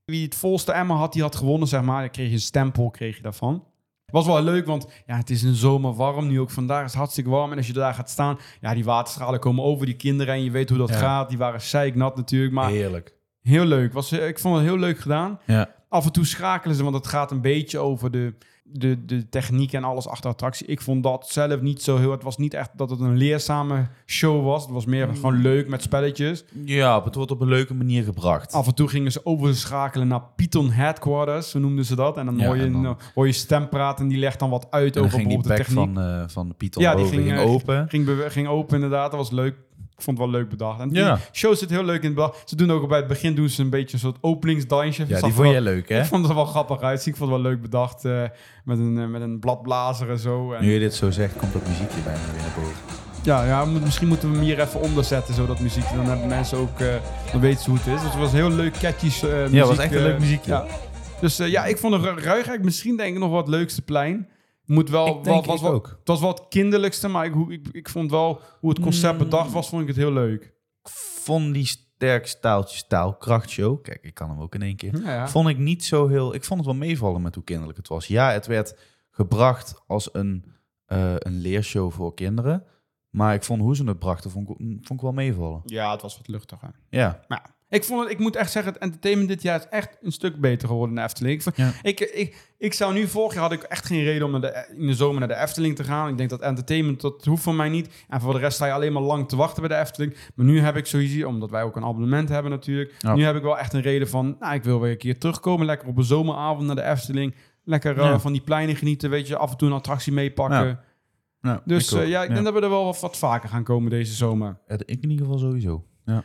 Wie het volste emmer had, die had gewonnen, zeg maar. Dan kreeg je een stempel, kreeg je daarvan. Was wel leuk, want ja, het is in de zomer warm. Nu ook vandaag is het hartstikke warm. En als je daar gaat staan, ja, die waterstralen komen over die kinderen. En je weet hoe dat
Ja.
gaat. Die waren zeiknat natuurlijk. Maar
Heerlijk.
Heel leuk. Was, eh, ik vond het heel leuk gedaan.
Ja.
Af en toe schakelen ze, want het gaat een beetje over de, de, de techniek en alles achter attractie. Ik vond dat zelf niet zo heel... Het was niet echt dat het een leerzame show was. Het was
Hmm.
meer gewoon leuk met spelletjes.
ja, het wordt op een leuke manier gebracht.
Af en toe gingen ze overschakelen naar Python Headquarters, zo noemden ze dat. En dan,
Ja,
hoor, je,
en dan-
dan hoor je stem praten en die legt dan wat uit
en dan
over
ging die
bijvoorbeeld de
pack
techniek.
van, eh van Python
Ja, die
boven
ging,
ging,
eh,
open.
Ging, bewe- ging open inderdaad, dat was leuk. Ik vond het wel leuk bedacht. En
Ja.
die show zit heel leuk in het bedacht. Ze doen ook bij het begin doen ze een beetje een soort openingsdansje.
Ja,
Zag
die
er
vond
wel-
jij leuk, hè?
Ik vond het er wel grappig uitzien. Ik vond het wel leuk bedacht. eh, met, een, eh, met een bladblazer en zo. En,
Nu je dit zo zegt, komt dat muziekje bijna weer naar boven.
ja, ja, moet- misschien moeten we hem hier even onderzetten, zodat muziek. Dan hebben mensen ook, eh, dan weten ze hoe het is. Dus het was heel leuk, catchy eh, muziek.
Ja, het was echt een
eh,
leuk muziekje.
ja. Dus eh, ja, ik vond het Ruigrijk misschien denk ik nog wel het leukste plein. Moet wel,
Ik denk
wel- was
ik
wel,
ook.
Het was wel het kinderlijkste, maar ik, hoe- ik, ik vond wel hoe het concept
Mm.
bedacht was, vond ik het heel leuk.
Ik vond die sterk staaltjes taalkrachtshow. Kijk, ik kan hem ook in één keer.
Ja, ja.
Vond ik niet zo heel. Ik vond het wel meevallen met hoe kinderlijk het was. Ja, het werd gebracht als een, eh, een leershow voor kinderen. Maar ik vond hoe ze het brachten, vond ik, vond ik wel meevallen.
ja het was wat luchtiger.
Ja.
Maar ja, ik, vond het, ik moet echt zeggen, het entertainment dit jaar is echt een stuk beter geworden in de Efteling. Ik, vond-
Ja.
ik, ik, ik zou nu, vorig jaar had ik echt geen reden om naar de, in de zomer naar de Efteling te gaan. Ik denk dat entertainment, dat hoeft van mij niet. En voor de rest sta je alleen maar lang te wachten bij de Efteling. Maar nu heb ik sowieso, omdat wij ook een abonnement hebben natuurlijk.
Ja.
Nu heb ik wel echt een reden van, nou, ik wil weer een keer terugkomen. Lekker op een zomeravond naar de Efteling. Lekker eh,
Ja.
van die pleinen genieten, weet je. Af en toe een attractie meepakken.
Ja, Nou,
Dus
ook.
eh, ja, ik denk dat we er wel wat- wat vaker gaan komen deze zomer.
Ja, Ik in ieder geval sowieso. Ja.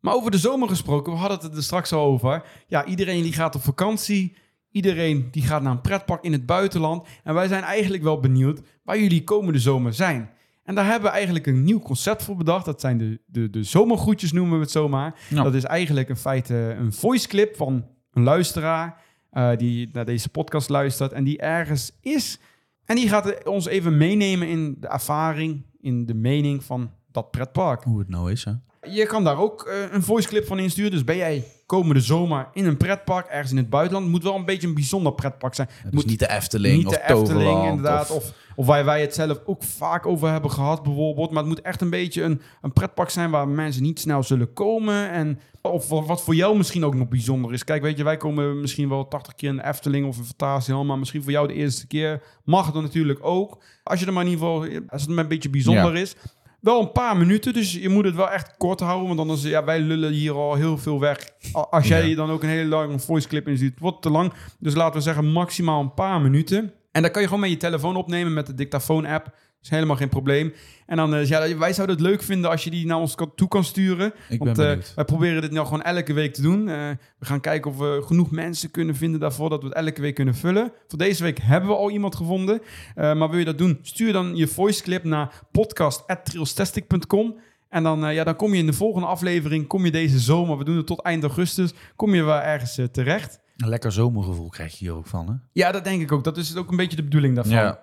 Maar over de zomer gesproken, we hadden het er straks al over. Ja, iedereen die gaat op vakantie. Iedereen die gaat naar een pretpark in het buitenland. En wij zijn eigenlijk wel benieuwd waar jullie komende zomer zijn. En daar hebben we eigenlijk een nieuw concept voor bedacht. Dat zijn de, de, de zomergroetjes, noemen we het zomaar.
Ja.
Dat is eigenlijk in feite een voice clip van een luisteraar... eh, die naar deze podcast luistert en die ergens is. En die gaat eh, ons even meenemen in de ervaring, in de mening van dat pretpark.
Hoe het nou is, hè?
Je kan daar ook eh, een voice clip van insturen. Dus ben jij komende zomer in een pretpark, ergens in het buitenland, het moet wel een beetje een bijzonder pretpark zijn.
Het
moet
is niet de Efteling
niet
of
de Efteling
Toverland.
inderdaad, of, of waar wij het zelf ook vaak over hebben gehad bijvoorbeeld. Maar het moet echt een beetje een, een pretpark zijn waar mensen niet snel zullen komen. En, of wa- wat voor jou misschien ook nog bijzonder is. Kijk, weet je, wij komen misschien wel 80 keer in de Efteling of in Fantasia, maar misschien voor jou de eerste keer mag het natuurlijk ook. Als je er maar in ieder geval, als het maar een beetje bijzonder is. Wel een paar minuten, dus je moet het wel echt kort houden. Want anders, ja, wij lullen hier al heel veel weg. A- Als jij
Ja.
dan ook een hele lange voice clip inziet, het wordt te lang. Dus laten we zeggen maximaal een paar minuten. En dan kan je gewoon met je telefoon opnemen met de dictafoon-app. Is helemaal geen probleem. En dan, eh, ja, wij zouden het leuk vinden als je die naar ons kan- toe kan sturen.
Ik ben
Want eh,
benieuwd.
wij proberen dit nou gewoon elke week te doen. Eh, we gaan kijken of we genoeg mensen kunnen vinden daarvoor dat we het elke week kunnen vullen. Voor deze week hebben we al iemand gevonden. Eh, maar wil je dat doen, stuur dan je voice clip naar podcast.trailstastic.com. En dan, eh, ja, dan kom je in de volgende aflevering, kom je deze zomer, we doen het tot eind augustus, kom je wel ergens eh, terecht.
Een lekker zomergevoel krijg je hier ook van, hè?
Ja, dat denk ik ook. Dat is ook een beetje de bedoeling daarvan.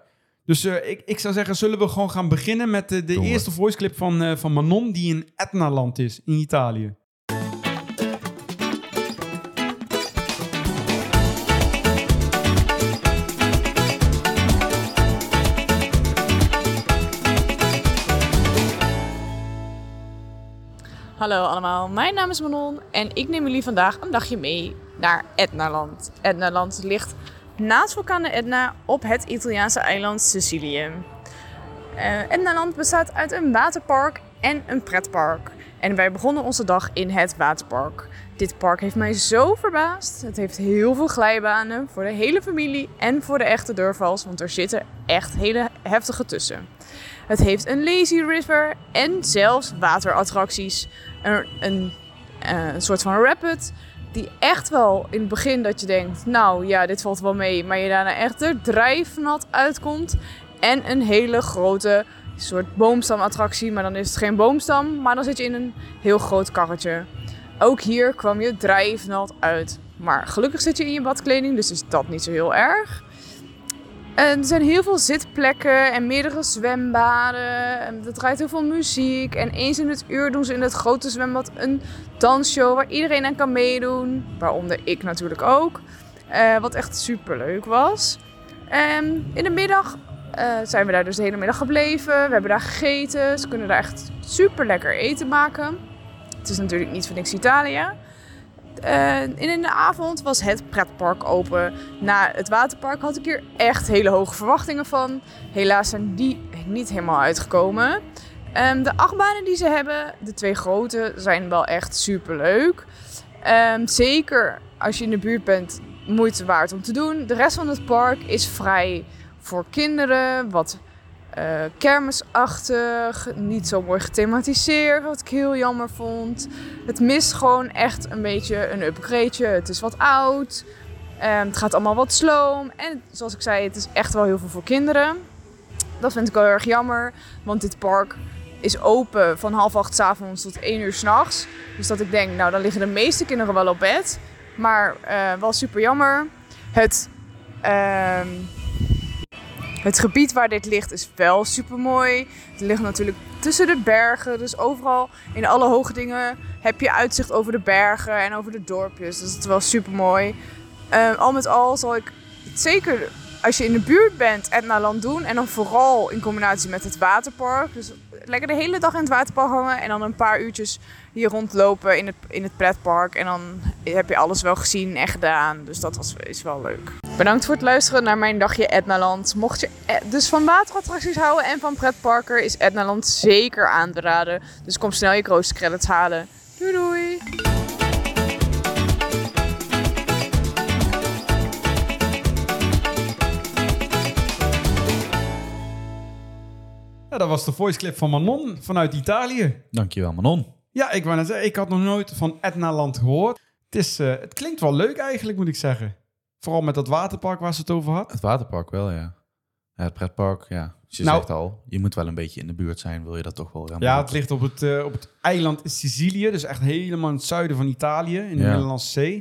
Dus eh, ik, ik zou zeggen, zullen we gewoon gaan beginnen met eh, de
Doen we.
eerste voice clip van, eh, van Manon, die in Etna-land is, in Italië.
Hallo allemaal, mijn naam is Manon en ik neem jullie vandaag een dagje mee naar Etnaland. Etnaland ligt naast vulkaan de Etna op het Italiaanse eiland Sicilië. Eh Etnaland bestaat uit een waterpark en een pretpark. En wij begonnen onze dag in het waterpark. Dit park heeft mij zo verbaasd. Het heeft heel veel glijbanen voor de hele familie en voor de echte durvals, want er zitten echt hele heftige tussen. Het heeft een lazy river en zelfs waterattracties. een, een, eh, een soort van rapid. Die echt wel in het begin dat je denkt, nou ja, dit valt wel mee. Maar je daarna echt er drijfnat uitkomt. En een hele grote soort boomstamattractie. Maar dan is het geen boomstam, maar dan zit je in een heel groot karretje. Ook hier kwam je drijfnat uit. Maar gelukkig zit je in je badkleding, dus is dat niet zo heel erg. En er zijn heel veel zitplekken en meerdere zwembaden. En er draait heel veel muziek. En eens in het uur doen ze in het grote zwembad een dansshow waar iedereen aan kan meedoen. Waaronder ik natuurlijk ook. Eh, wat echt super leuk was. En in de middag eh, zijn we daar dus de hele middag gebleven. We hebben daar gegeten. Ze kunnen daar echt super lekker eten maken. Het is natuurlijk niet voor niks Italië. Eh, en in de avond was het pretpark open. Na het waterpark had ik hier echt hele hoge verwachtingen van. Helaas zijn die niet helemaal uitgekomen. Ehm, de achtbanen die ze hebben, de twee grote, zijn wel echt super leuk. zeker als je in de buurt bent, moeite waard om te doen. De rest van het park is vrij voor kinderen, wat eh, kermisachtig, niet zo mooi gethematiseerd, wat ik heel jammer vond. Het mist gewoon echt een beetje een upgradeje. Het is wat oud. Ehm, het gaat allemaal wat sloom. En zoals ik zei, het is echt wel heel veel voor kinderen. Dat vind ik wel heel erg jammer. Want dit park is open van half acht 's avonds tot één uur s'nachts. Dus dat ik denk, nou dan liggen de meeste kinderen wel op bed. Maar eh, wel super jammer. Het, ehm, het gebied waar dit ligt is wel super mooi. Het ligt natuurlijk tussen de bergen. Dus overal in alle hoge dingen heb je uitzicht over de bergen en over de dorpjes. Dus het is wel super mooi. Ehm, al met al zal ik het zeker, als je in de buurt bent, Etna Land doen. En dan vooral in combinatie met het waterpark. Dus lekker de hele dag in het waterpark hangen. En dan een paar uurtjes hier rondlopen in het, in het pretpark. En dan heb je alles wel gezien en gedaan. Dus dat was, is wel leuk. Bedankt voor het luisteren naar mijn dagje Etnaland. Mocht je eh, dus van waterattracties houden en van pretparker, is Etnaland zeker aan te raden. Dus kom snel je Coaster Credits halen. Doei doei!
Ja, dat was de voice clip van Manon vanuit Italië.
Dankjewel, Manon.
Ja, ik wou net zeggen, ik had nog nooit van Etna Land gehoord. Het, is, eh, het klinkt wel leuk eigenlijk, moet ik zeggen. Vooral met dat waterpark waar ze het over had.
Het waterpark wel, ja. ja het pretpark, ja. Je
Nou-
zegt al, je moet wel een beetje in de buurt zijn, wil je dat toch wel gaan
Ja,
maken.
het ligt op het, eh, op het eiland Sicilië, dus echt helemaal in het zuiden van Italië, in de
Ja.
Middellandse Zee.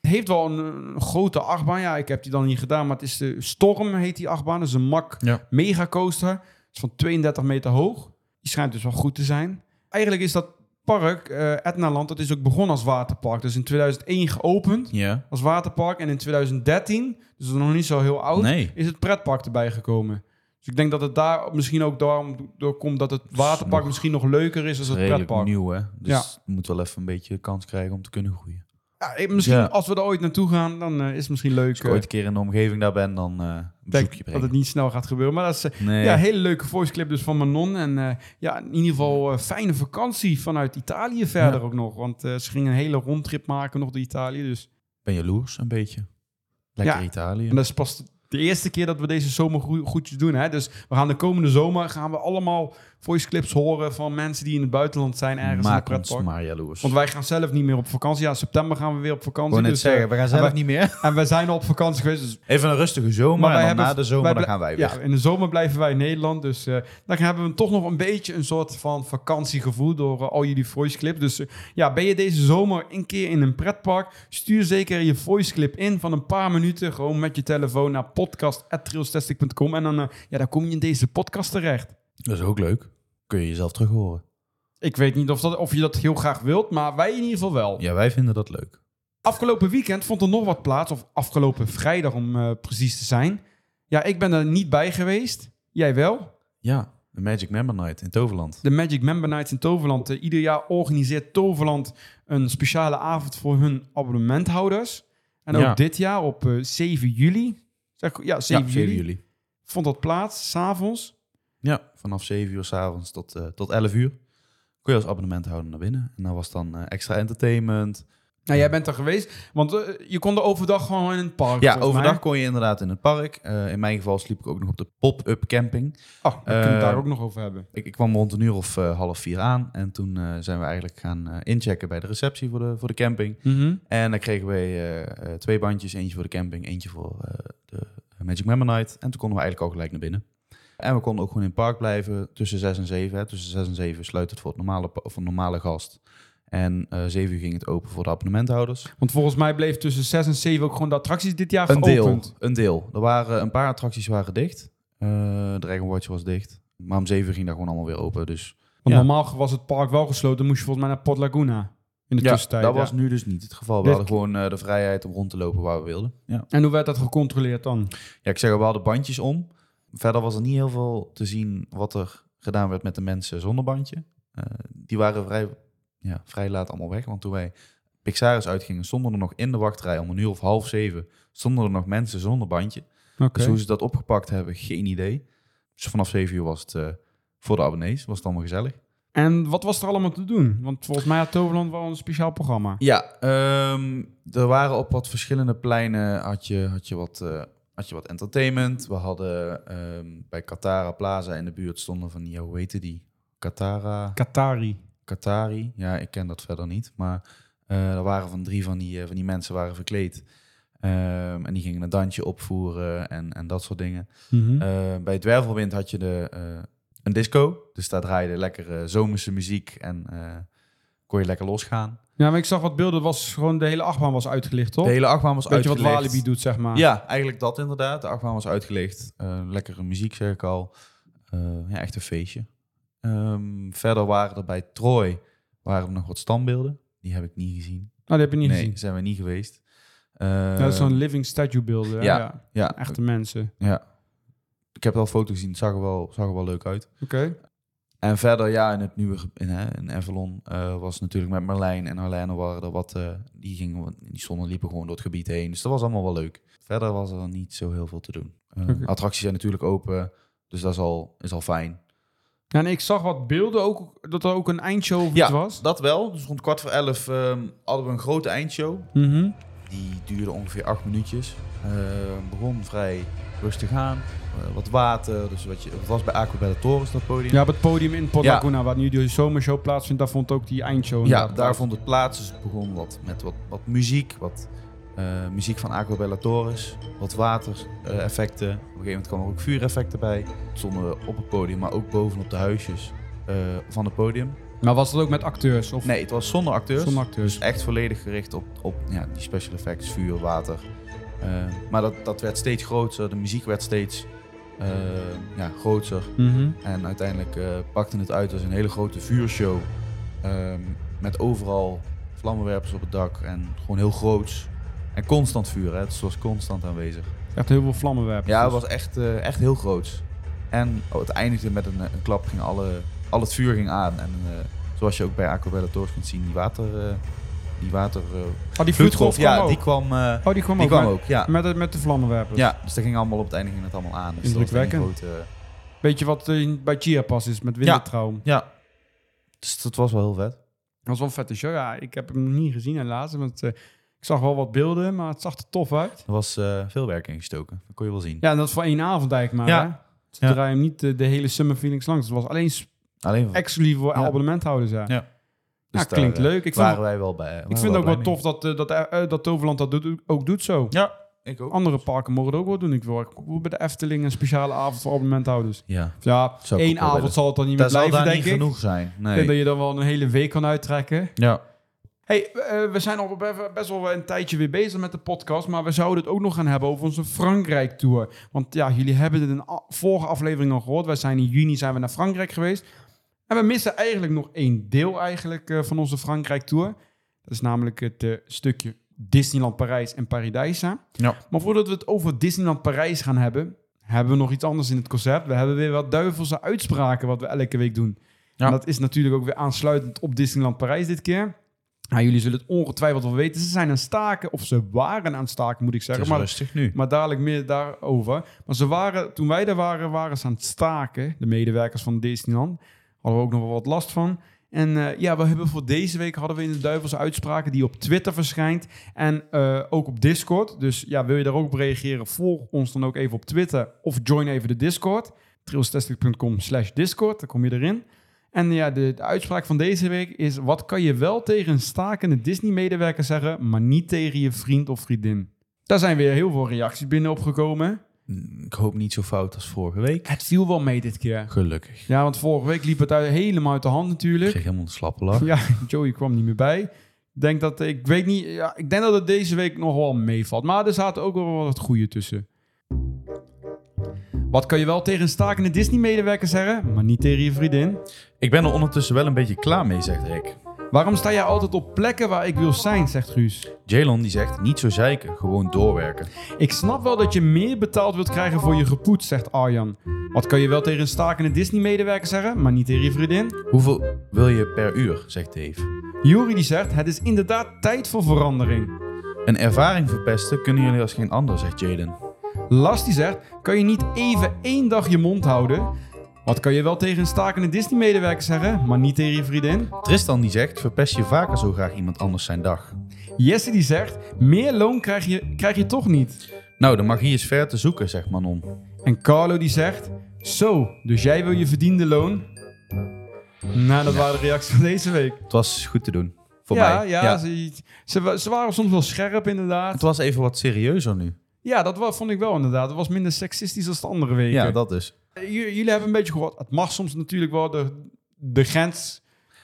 Het heeft wel een, eh, grote achtbaan. Ja, ik heb die dan niet gedaan, maar het is de Storm heet die achtbaan. Dat is een mak
Ja.
megacoaster. Het is van 32 meter hoog. Die schijnt dus wel goed te zijn. Eigenlijk is dat park, eh Etnaland, dat is ook begonnen als waterpark. Dus in 2001 geopend
Ja.
als waterpark en in 2013, dus dat is nog niet zo heel oud,
Nee.
is het pretpark erbij gekomen. Dus ik denk dat het daar misschien ook daarom door komt dat het waterpark
nog
misschien nog leuker is dan het
Redelijk
pretpark.
nieuw, hè. Dus
Ja.
je moet wel even een beetje de kans krijgen om te kunnen groeien.
Ja, ik- misschien
Ja.
als we er ooit naartoe gaan, dan eh, is het misschien leuk.
Als ik ooit een keer in de omgeving daar ben, dan eh een
eh, denk
bezoekje
dat het
brengen.
niet snel gaat gebeuren. Maar dat is eh,
Nee.
ja, een hele leuke voice clip dus van Manon. En eh, ja, in ieder geval eh, fijne vakantie vanuit Italië verder ook nog. Want eh, ze gingen een hele rondtrip maken nog door Italië. Dus.
ben jaloers een beetje. Lekker
Ja.
Italië.
En dat is pas de eerste keer dat we deze zomer goe- goedjes doen. Hè? Dus we gaan de komende zomer gaan we allemaal voice clips horen van mensen die in het buitenland zijn ergens in het
Maak ons
pretpark.
maar jaloers.
Want wij gaan zelf niet meer op vakantie. Ja, in september gaan we weer op
Ik
vakantie.
wou net
dus,
zeggen,
eh,
we gaan zelf
wij-
niet meer. (laughs)
en we zijn al op vakantie geweest. Dus,
Even een rustige zomer
Maar
en
wij
dan
hebben-
na de zomer
wij
dan
bl-
gaan wij weer.
ja, in de zomer blijven wij in Nederland. Dus eh, dan hebben we toch nog een beetje een soort van vakantiegevoel door eh, al jullie voice clip. Dus eh, ja, ben je deze zomer een keer in een pretpark? Stuur zeker je voice clip in van een paar minuten. Gewoon met je telefoon naar podcast.trailstastic.com. En dan, eh, ja, dan kom je in deze podcast terecht.
Dat is ook leuk. Kun je jezelf terug horen.
Ik weet niet of, dat, of je dat heel graag wilt, maar wij in ieder geval wel.
Ja, wij vinden dat leuk.
Afgelopen weekend vond er nog wat plaats, of afgelopen vrijdag om eh, precies te zijn. Ja, ik ben er niet bij geweest. Jij wel?
Ja, de Magic Member Night in Toverland.
De Magic Member Nights in Toverland. Eh, ieder jaar organiseert Toverland een speciale avond voor hun abonnementhouders. En ook
Ja.
dit jaar op eh, 7 juli. Zeg, ik goed? ja, 7,
ja,
juli,
juli.
Vond dat plaats, s'avonds.
Ja, vanaf 7 uur s'avonds tot, eh tot 11 uur. Kun je als abonnement houden naar binnen. En dan was dan eh, extra entertainment,
Nou, jij bent er geweest, want eh, je kon er overdag gewoon in het park.
Ja,
volgens mij.
overdag kon je inderdaad in het park. Eh, in mijn geval sliep ik ook nog op de pop-up camping.
Oh, we kunnen het
Eh,
daar ook nog over hebben.
Ik, ik kwam rond een uur of eh, half vier aan. En toen eh, zijn we eigenlijk gaan eh, inchecken bij de receptie voor de, voor de camping. En dan kregen we eh, eh, twee bandjes. Eentje voor de camping, eentje voor eh, de Magic Member Night. En toen konden we eigenlijk al gelijk naar binnen. En we konden ook gewoon in het park blijven tussen zes en zeven. Hè. Tussen zes en zeven sluit het voor, het normale, pa- voor een normale gast. En eh zeven uur ging het open voor de abonnementhouders.
Want volgens mij bleef tussen 6 en 7 ook gewoon de attracties dit jaar
Een deel,
geopend.
een deel. Er waren een paar attracties waren dicht. Eh Dragon Watch was dicht. Maar om zeven uur ging dat gewoon allemaal weer open. Dus
Want
Ja.
normaal was het park wel gesloten, dan moest je volgens mij naar Port Laguna in de tussentijd.
dat
ja.
was nu dus niet het geval. We
Dit-
hadden gewoon eh, de vrijheid om rond te lopen waar we wilden. Ja.
En hoe werd dat gecontroleerd dan?
ja, ik zeg al, we hadden bandjes om. Verder was er niet heel veel te zien wat er gedaan werd met de mensen zonder bandje. Eh, die waren vrij, ja, vrij laat allemaal weg. Want toen wij Pixaris uitgingen, stonden er nog in de wachtrij om een uur of half zeven... stonden er nog mensen zonder bandje.
Oké.
Dus hoe ze dat opgepakt hebben, geen idee. Dus vanaf zeven uur was het eh, voor de abonnees, was het allemaal gezellig.
En wat was er allemaal te doen? Want volgens mij had Toverland wel een speciaal programma.
Ja, ehm, er waren op wat verschillende pleinen had je, had je, wat, eh, had je wat entertainment. We hadden ehm, bij Katara Plaza in de buurt stonden van, ja, hoe heette die? Katara,
Katari.
Katari. Ja, ik ken dat verder niet. Maar eh, er waren van drie van die, eh, van die mensen waren verkleed. Ehm, en die gingen een dansje opvoeren en, en dat soort dingen.
Mhm.
Eh, bij Dwervelwind had je de, eh, een disco. Dus daar draaide lekkere zomerse muziek en eh, kon je lekker losgaan.
ja, maar ik zag wat beelden. Was gewoon de hele achtbaan was uitgelicht, toch?
De hele achtbaan was
Dat je wat
uitgelicht.
Walibi doet, zeg maar.
Ja, eigenlijk dat inderdaad. De achtbaan was uitgelicht. Eh, lekkere muziek, zeg ik al. Eh, ja, echt een feestje. Ehm, verder waren er bij Troy waren er nog wat standbeelden. Die heb ik niet gezien.
Nou, die heb je niet
nee,
gezien.
zijn we niet geweest. Eh,
Ja, dat is zo'n living statue beelden. hè? Ja.
Ja. ja,
Echte mensen.
ja. Ik heb wel foto's gezien. Het zag er wel, zag er wel leuk uit.
Oké.
En verder, ja, in het nieuwe, ge- in, hè, in Avalon eh, was natuurlijk met Marlijn en Arlene waren er wat, eh, die gingen, wat- die stonden liepen gewoon door het gebied heen. Dus dat was allemaal wel leuk. Verder was er niet zo heel veel te doen. Eh,
Oké.
Attracties zijn natuurlijk open, dus dat is al, is al fijn.
Ja, en ik zag wat beelden ook, dat er ook een eindshow of iets
Ja.
was.
Dat wel, dus rond kwart voor elf ehm, hadden we een grote eindshow.
Mhm.
Die duurde ongeveer acht minuutjes. Eh, begon vrij rustig aan, Eh, wat water, dus wat je, het was bij Aqua bij de Torens dat podium.
Ja, op het podium in Port
Ja.
Laguna, waar nu de zomershow plaatsvindt, daar vond ook die eindshow.
Ja,
inderdaad
daar
plaats.
vond het plaats. Dus het begon wat met wat, wat muziek, wat eh, muziek van Aquabella Torres, wat watereffecten. op een gegeven moment kwamen er ook vuureffecten bij. Het stonden we op het podium, maar ook bovenop de huisjes eh, van het podium.
Maar was dat ook met acteurs? Of
Nee, het was zonder acteurs.
zonder acteurs?
Dus echt volledig gericht op, op ja, die special effects, vuur, water. Eh, maar dat, dat werd steeds groter, de muziek werd steeds eh, ja, groter.
Mhm.
En uiteindelijk eh, pakte het uit als een hele grote vuurshow. Ehm, met overal vlammenwerpers op het dak en gewoon heel groots. En constant vuur, hè? het was constant aanwezig.
Echt heel veel vlammenwerpers.
Ja, het was echt, eh, echt heel groots. En oh, het eindigde met een, eh, een klap, ging alle, al het vuur ging aan. En eh, zoals je ook bij Aquabella Torres kunt zien, die water... eh die water... eh,
Oh, die vloedgolf kwam
ja,
ook.
die kwam, eh,
Oh, die kwam
die
ook.
kwam
met,
ook, ja.
Met, het- met de vlammenwerpers.
Ja, dus dat ging allemaal op het einde ging het allemaal aan. Dus dat was een
Indrukwekkend.
grote...
Weet je wat eh, bij Chia Pas is, met Wintertraum?
Ja, dus dat was wel heel vet.
Dat was wel een vette show. Ja, ik heb hem nog niet gezien helaas. Want eh, ik zag wel wat beelden, maar het zag er tof uit.
Er was eh, veel werk ingestoken, dat kon je wel zien.
Ja, en dat is voor één avond eigenlijk maar.
Ja.
hè? Ze
Ja.
draaien hem niet eh, de hele Summer Feelings langs. Het was alleen s-
Alleen dus
exclusief voor
Ja.
abonnementhouders, ja.
Ja.
Ja,
daar,
klinkt
eh,
leuk. Ik
waren
vind,
wij wel bij.
ik vind het ook wel tof dat, eh, dat, eh, eh, dat Toverland dat doet, ook doet zo.
Ja, ik ook.
Andere parken mogen het ook wel doen. Ik wil ik wil bij de Efteling een speciale avond voor abonnementhouders.
Ja.
Ja,
Zou ik ook
één
wel
avond
willen.
zal het dan niet meer
Dat zal
blijven,
daar
denk
niet
ik.
genoeg zijn.
Ik denk
Nee.
dat je dan wel een hele week kan uittrekken.
Ja.
hey, eh, we zijn al be- best wel een tijdje weer bezig met de podcast. Maar we zouden het ook nog gaan hebben over onze Frankrijk-tour. Want ja, jullie hebben het in de a- vorige aflevering al gehoord. Wij zijn in juni zijn we naar Frankrijk geweest. En we missen eigenlijk nog één deel eigenlijk, eh, van onze Frankrijk-tour. Dat is namelijk het eh, stukje Disneyland Parijs en Paradijsa.
Ja.
Maar voordat we het over Disneyland Parijs gaan hebben... hebben we nog iets anders in het concept. We hebben weer wat duivelse uitspraken wat we elke week doen.
Ja.
En dat is natuurlijk ook weer aansluitend op Disneyland Parijs dit keer. Nou, jullie zullen het ongetwijfeld wel weten. Ze zijn aan het staken, of ze waren aan het staken, moet ik
Het
zeggen.
is
Maar,
rustig nu.
maar dadelijk meer daarover. Maar ze waren, toen wij daar waren, waren ze aan het staken. De medewerkers van Disneyland. Hadden we ook nog wel wat last van. En En eh, ja, we hebben voor deze week hadden we in de Duivelse uitspraken die op Twitter verschijnt. En eh, ook op Discord. Dus ja, wil je daar ook op reageren? Volg ons dan ook even op Twitter of join even de Discord. trailstestic.com slash Discord, daar kom je erin. En ja, de, de uitspraak van deze week is... Wat kan je wel tegen een stakende Disney-medewerker zeggen... maar niet tegen je vriend of vriendin? Daar zijn weer heel veel reacties binnen opgekomen.
Ik hoop niet zo fout als vorige week.
Het viel wel mee dit keer.
Gelukkig.
Ja, want vorige week liep het uit, helemaal uit de hand
Ik
natuurlijk.
kreeg helemaal de slappe lach.
Ja, (laughs) Joey kwam niet meer bij. Ik Denk dat, ik weet niet, ja, ik denk dat het deze week nog wel meevalt. Maar er zaten ook wel wat goede tussen. Wat kan je wel tegen een stakende Disney-medewerker zeggen, maar niet tegen je vriendin?
Ik ben er ondertussen wel een beetje klaar mee, zegt Rick.
Waarom sta jij altijd op plekken waar ik wil zijn, zegt Guus.
Jalon die zegt, niet zo zeiken, gewoon doorwerken.
Ik snap wel dat je meer betaald wilt krijgen voor je gepoet, zegt Arjan. Wat kan je wel tegen een stakende Disney-medewerker zeggen, maar niet tegen je vriendin?
Hoeveel wil je per uur, zegt Dave.
Juri die zegt, het is inderdaad tijd voor verandering.
Een ervaring verpesten kunnen jullie als geen ander, zegt Jaden.
Las die zegt, kan je niet even één dag je mond houden? Wat kan je wel tegen een stakende Disney-medewerker zeggen, maar niet tegen je vriendin?
Tristan die zegt, verpest je vaker zo graag iemand anders zijn dag.
Jesse die zegt, meer loon krijg je, krijg je toch niet.
Nou, de magie is ver te zoeken, zegt Manon.
En Carlo die zegt, zo, dus jij wil je verdiende loon? Nou, dat waren de reacties van deze week.
Het was goed te doen. Voor
ja,
mij.
ja, Ze, ze, wa- ze waren soms wel scherp
Het
inderdaad.
was even wat serieuzer nu.
Ja, dat wa- vond ik wel inderdaad. Het was minder seksistisch als de andere weken.
Ja, dat is.
Eh, j- jullie hebben een beetje gehoord, het mag soms natuurlijk wel de, de grens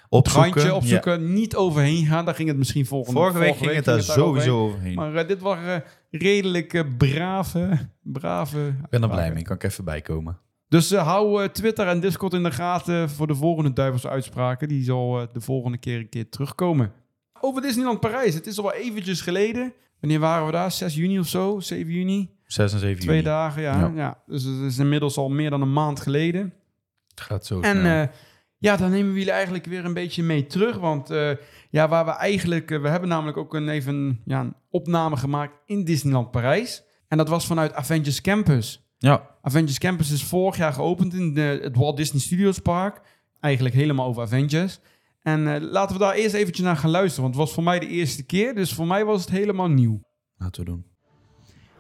Opzoeken.
randje opzoeken, niet overheen gaan. Daar ging het misschien
Ja.
volgende
Vorige week ging het daar
overheen.
sowieso overheen.
Maar eh, dit waren eh, redelijk eh, brave, brave...
Ik ben er blij mee, kan ik even bijkomen.
Dus eh, hou eh, Twitter en Discord in de gaten voor de volgende Duivelse uitspraken. Die zal eh, de volgende keer een keer terugkomen. Over Disneyland Parijs. Het is al wel eventjes geleden. Wanneer waren we daar? 6 juni of zo? 7 juni?
6 en 7 juni.
Twee dagen, ja. ja.
Ja.
Dus het is inmiddels al meer dan een maand geleden.
Het gaat zo
En
snel.
eh, ja, dan nemen we jullie eigenlijk weer een beetje mee terug. Want eh, ja, waar we eigenlijk... eh, we hebben namelijk ook een, even een, ja, een opname gemaakt in Disneyland Parijs. En dat was vanuit Avengers Campus.
ja,
Avengers Campus is vorig jaar geopend in de, het Walt Disney Studios Park. Eigenlijk helemaal over Avengers. En eh, laten we daar eerst eventjes naar gaan luisteren. Want het was voor mij de eerste keer. Dus voor mij was het helemaal nieuw.
laten we doen.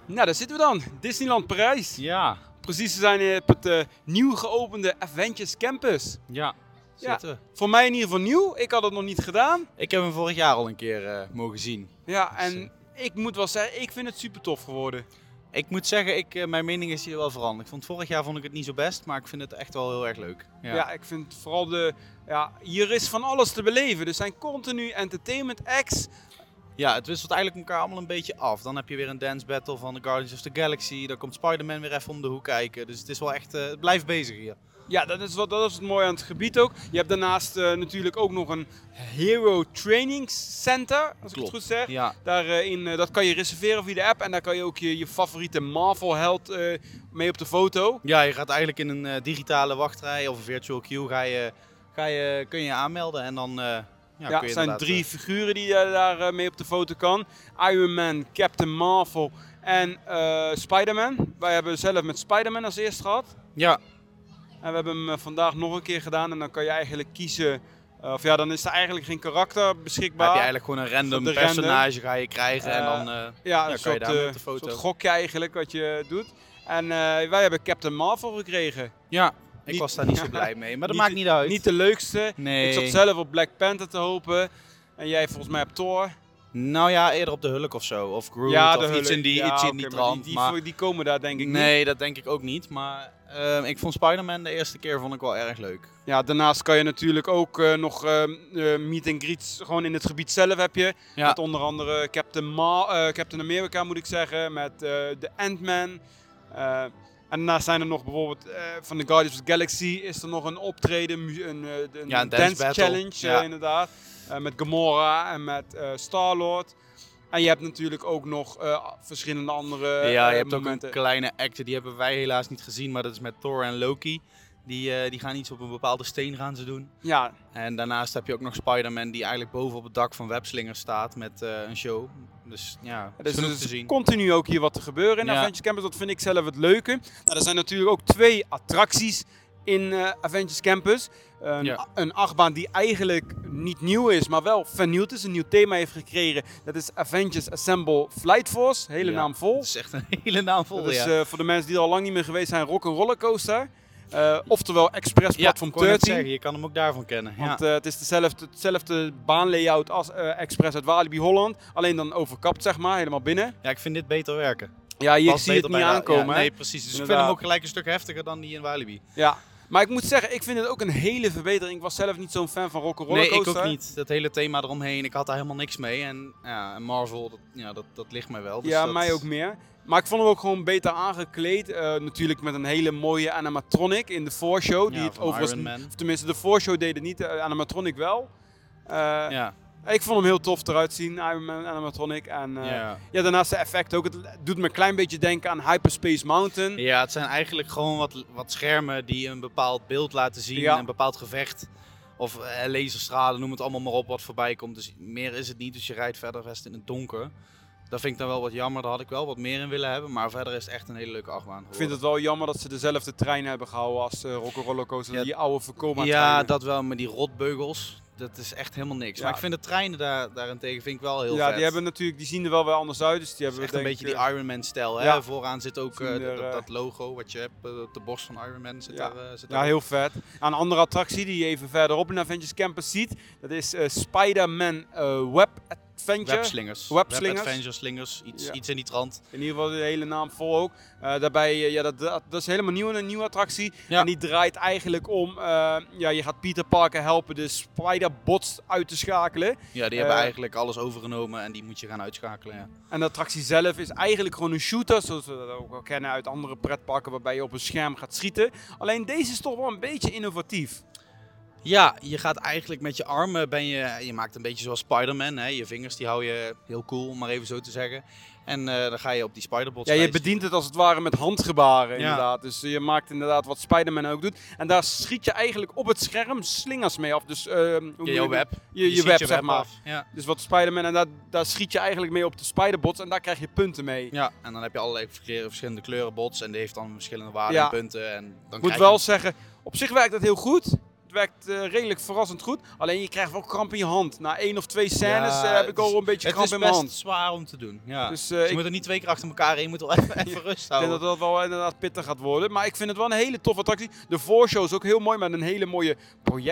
Nou, daar zitten we dan. Disneyland Parijs.
Ja,
Precies, we zijn op het eh, nieuw geopende Avengers Campus.
ja.
Ja.
Zitten. we.
Voor mij in ieder geval nieuw. Ik had het nog niet gedaan.
Ik heb hem vorig jaar al een keer eh, mogen zien.
Ja,
Dus,
en ik moet wel zeggen, ik vind het super tof geworden.
Ik moet zeggen, ik, eh, mijn mening is hier wel veranderd. Ik vond vorig jaar vond ik het niet zo best, maar ik vind het echt wel heel erg leuk.
Ja, ik vind vooral de. Ja, hier is van alles te beleven. Er zijn continu entertainment acts.
Ja, het wisselt eigenlijk elkaar allemaal een beetje af. Dan heb je weer een dance battle van de Guardians of the Galaxy. Dan komt Spider-Man weer even om de hoek kijken. Dus het is wel echt, eh, het blijft bezig hier.
Ja, dat is, wat, dat is het mooie aan het gebied ook. Je hebt daarnaast eh, natuurlijk ook nog een Hero Training Center, als ik
Klopt.
het goed zeg.
Ja,
Daarin, eh, dat kan je reserveren via de app en daar kan je ook je, je favoriete Marvel-held eh, mee op de foto.
ja je gaat eigenlijk in een eh, digitale wachtrij of een virtual queue ga je, ga je, kun je je aanmelden. En dan eh, ja,
Ja, er
kun je
zijn
inderdaad, eh,
drie figuren die je daar eh, mee op de foto kan. Iron Man, Captain Marvel en eh, Spider-Man. Wij hebben zelf met Spider-Man als eerst gehad.
ja,
En we hebben hem eh, vandaag nog een keer gedaan. En dan kan je eigenlijk kiezen... eh, of ja, dan is er eigenlijk geen karakter
Dan heb
beschikbaar.
je eigenlijk gewoon een random
de
personage ga je krijgen en
Eh,
dan... eh,
ja, een
kan je
soort,
daarmee
eh,
op de foto.
soort gokje eigenlijk wat je doet. En eh, wij hebben Captain Marvel gekregen.
ja, ik
niet-
was daar niet zo blij mee, maar dat
Niet-
maakt niet uit.
Niet de leukste.
nee.
Ik zat zelf op Black Panther te hopen. En jij volgens mij op Thor.
Nou ja, eerder op de Hulk of zo, of Groot of iets
Hulk.
in die,
Ja,
iets
oké,
in die
maar
trant.
Die,
maar-
die, die komen daar denk ik niet.
nee, dat denk ik ook niet, maar ehm, ik vond Spider-Man de eerste keer vond ik wel erg leuk.
Ja, daarnaast kan je natuurlijk ook eh, nog ehm, eh, meet and greets gewoon in het gebied zelf heb je.
Ja.
Met onder andere Captain, Ma eh, Captain America moet ik zeggen, met eh, de Ant-Man. Eh, en daarnaast zijn er nog bijvoorbeeld eh, van de Guardians of the Galaxy is er nog een optreden, mu- een, eh, een,
Ja, een dance
dance,
battle.
challenge eh,
Ja.
inderdaad. Eh, met Gamora en met eh, Star-Lord. En je hebt natuurlijk ook nog eh, verschillende andere
ja, je
eh,
hebt ook een
momenten.
kleine acte, die hebben wij helaas niet gezien, maar dat is met Thor en Loki. Die, eh, die gaan iets op een bepaalde steen gaan ze doen.
ja,
En daarnaast heb je ook nog Spider-Man die eigenlijk boven op het dak van Webslinger staat met eh, een show. Dus ja,
Ja,
is
Dus er
genoeg
is
te zien.
continu ook hier wat te gebeuren in
Ja.
Avengers Campus. Dat vind ik zelf het leuke. Nou, er zijn natuurlijk ook twee attracties in eh, Avengers Campus. Een,
Ja.
een achtbaan die eigenlijk niet nieuw is, maar wel vernieuwd is. Een nieuw thema heeft gekregen. Dat is Avengers Assemble Flight Force. Hele
Ja.
naam vol.
Dat is echt een (laughs) hele naam vol,
Dat is
ja.
eh, voor de mensen die er al lang niet meer geweest zijn, Rock and Roller Coaster. Eh, oftewel Express
ja,
Platform
ik wou net
13.
zeggen, je kan hem ook daarvan kennen. Ja.
Want eh, het is dezelfde, hetzelfde baanlayout als eh, Express uit Walibi Holland. Alleen dan overkapt, zeg maar, helemaal binnen.
ja, ik vind dit beter werken.
Ja, je
Past
ziet
beter
het niet
bij de-
aankomen.
ja,
hè?
nee, precies. Dus ik vind
Inderdaad.
hem ook gelijk een stuk heftiger dan die in Walibi.
Ja, maar ik moet zeggen, ik vind het ook een hele verbetering. Ik was zelf niet zo'n fan van Rock'n'Roller
Nee, ik ook niet. Dat hele thema eromheen, ik had daar helemaal niks mee. En, ja, en Marvel, dat, ja, dat, dat ligt mij wel. Dus
ja,
dat-
mij ook meer. Maar ik vond hem ook gewoon beter aangekleed. Eh, natuurlijk met een hele mooie animatronic in de voorshow. die
Ja,
het
van Iron Man.
overigens, of tenminste de voorshow deed het niet, de animatronic wel. Eh,
Ja,
Ik vond hem heel tof eruit zien, Iron Man animatronic. En eh,
ja.
ja, daarnaast de effect ook. Het doet me een klein beetje denken aan Hyperspace Mountain.
ja, het zijn eigenlijk gewoon wat, wat schermen die een bepaald beeld laten zien.
Ja.
Een bepaald gevecht. Of eh, laserstralen, noem het allemaal maar op wat voorbij komt. Dus meer is het niet, dus je rijdt verder rest in het donker. Dat vind ik dan wel wat jammer, daar had ik wel wat meer in willen hebben. Maar verder is het echt een hele leuke achtbaan.
Ik vind het wel jammer dat ze dezelfde trein hebben gehouden als eh Rock'n'Roller Coaster.
Ja,
die oude Vekoma
Ja, dat wel, maar die rotbeugels, dat is echt helemaal niks.
Ja.
Maar ik vind de treinen daar, daarentegen vind ik wel heel
ja,
vet.
die hebben natuurlijk, die zien er wel weer anders uit. Dus die
Het is
hebben
echt een
denk
beetje
ik,
die Iron Man stijl. hè?
Ja.
Vooraan zit ook eh,
Minder,
dat- dat,
eh,
dat logo wat je hebt eh, op de borst van Iron Man. Zit
Ja.
daar, eh, zit
Ja,
daar
nou, heel vet. Aan een andere attractie die je even verderop in Avengers Campus ziet, dat is eh, Spider-Man eh, Web Adventure.
Webslingers.
Webslingers.
Web Adventure slingers, iets,
Ja.
iets in die trant.
in ieder geval de hele naam vol ook. Eh, daarbij, eh, ja, dat, dat, dat is helemaal nieuw, een nieuwe attractie.
Ja.
En die draait eigenlijk om, eh, ja, je gaat Peter Parker helpen de Spider-bots uit te schakelen.
Ja, die
Eh,
hebben eigenlijk alles overgenomen en die moet je gaan uitschakelen. Ja.
En de attractie zelf is eigenlijk gewoon een shooter, zoals we dat ook wel kennen uit andere pretparken, waarbij je op een scherm gaat schieten. Alleen deze is toch wel een beetje innovatief.
Ja, je gaat eigenlijk met je armen, ben je, je maakt een beetje zoals Spider-Man. Hè? Je vingers die hou je heel cool, om maar even zo te zeggen. En eh, dan ga je op die Spider-bots.
Ja, je
lijst.
bedient het als het ware met handgebaren,
Ja.
inderdaad. Dus je maakt inderdaad wat Spider-Man ook doet. En daar schiet je eigenlijk op het scherm slingers mee af. Dus, ehm, hoe moet
Ja,
ik
jouw
het-
web.
Je, je,
schiet
web, zeg maar.
af. Ja.
Dus wat Spider-Man, en daar, daar schiet je eigenlijk mee op de Spider-bots en daar krijg je punten mee.
ja, en dan heb je allerlei verkle- verschillende kleurenbots. En die heeft dan verschillende waarden
Ja.
en punten. En dan
Ik moet
krijg
wel
je
zeggen, op zich werkt dat heel goed. Het werkt eh, redelijk verrassend goed. Alleen je krijgt wel kramp in je hand. Na één of twee scènes
Ja,
eh, heb ik
het
al
is-
wel een beetje
Het
kramp
is
in mijn
best
hand.
zwaar om te doen. Ja. Dus,
Dus eh,
je
ik
moet er niet twee keer achter elkaar in. Je moet wel (laughs) even, even
denk
rust houden.
dat dat wel inderdaad pittig gaat worden. Maar ik vind het wel een hele toffe attractie. De voorshow is ook heel mooi met een hele mooie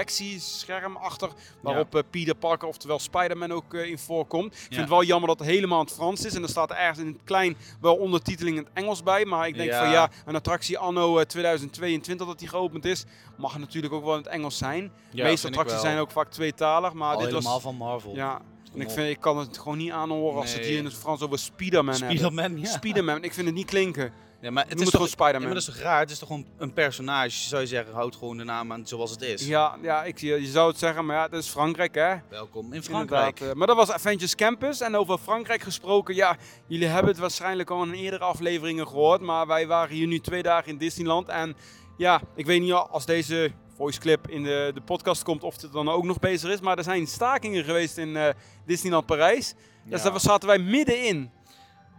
projectiescherm achter. Waarop eh, Peter Parker, oftewel Spider-Man, ook eh, in voorkomt. Ik
Ja.
vind het wel jammer dat het helemaal in het Frans is. En er staat ergens in het klein wel ondertiteling in het Engels bij. Maar ik denk
Ja.
van ja, een attractie anno eh, 2022 dat die geopend is, mag natuurlijk ook wel in het Engels zijn. De meeste attracties zijn ook vaak tweetalig, maar
Al
dit was...
helemaal van Marvel.
Ja, en
Kom
ik,
op.
vind, ik kan het gewoon niet aanhoren als ze het
Nee.
hier in het Frans over Spider-Man hebben.
Spider-Man, ja.
Spider-Man, ik vind het niet klinken.
ja maar
Het
het
moet
is
gewoon
toch, ja, maar
Spider-Man.
dat is toch raar? Het is toch gewoon een personage? Zou je zeggen, houd gewoon de naam aan zoals het is.
Ja, ja ik, je je zou het zeggen, maar ja, dat is Frankrijk hè.
Welkom in Frankrijk.
Inderdaad, eh, maar dat was Avengers Campus. En over Frankrijk gesproken, ja, jullie hebben het waarschijnlijk al in eerdere afleveringen gehoord. Maar wij waren hier nu twee dagen in Disneyland. En ja, ik weet niet als deze voice clip in de, de podcast komt of het dan ook nog bezig is. Maar er zijn stakingen geweest in eh, Disneyland Parijs. Dus
ja.
daar zaten wij middenin.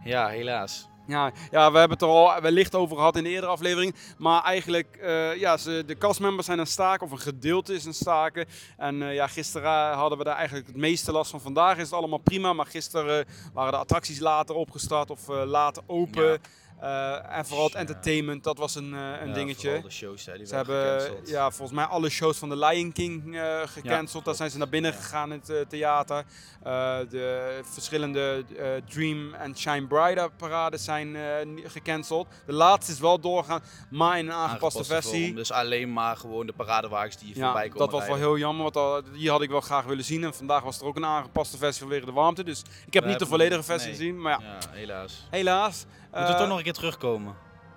ja, helaas.
Ja, ja, we hebben het er al wellicht over gehad in de eerdere aflevering. Maar eigenlijk, eh, ja, ze, de castmembers zijn aan het staken, of een gedeelte is aan het staken. En eh, ja, gisteren hadden we daar eigenlijk het meeste last van. Vandaag is het allemaal prima, maar gisteren eh, waren de attracties later opgestart of eh, later open.
Ja.
Eh, en vooral het
Ja.
entertainment, dat was een, eh, een
Ja,
dingetje.
vooral de shows, hè, die
Ze
werden
hebben
gecanceld.
ja, volgens mij alle shows van The Lion King eh gecanceld. Daar
klopt.
zijn ze naar binnen
Ja.
gegaan in het eh, theater. Eh, de verschillende eh, Dream en Shine Brighter parades zijn eh, ni- gecanceld. De laatste is wel doorgaan, maar in een aangepaste,
Aangepaste vorm,
versie.
Dus alleen maar gewoon de paradewagens die je voorbij
Ja,
komen
dat was wel
rijden.
heel jammer, want al- die had ik wel graag willen zien. En vandaag was er ook een aangepaste versie vanwege de warmte. Dus ik heb
We
niet de
hebben-
volledige versie
nee.
gezien, maar ja,
Ja, helaas.
helaas.
Moeten we
Eh,
toch nog een keer terugkomen?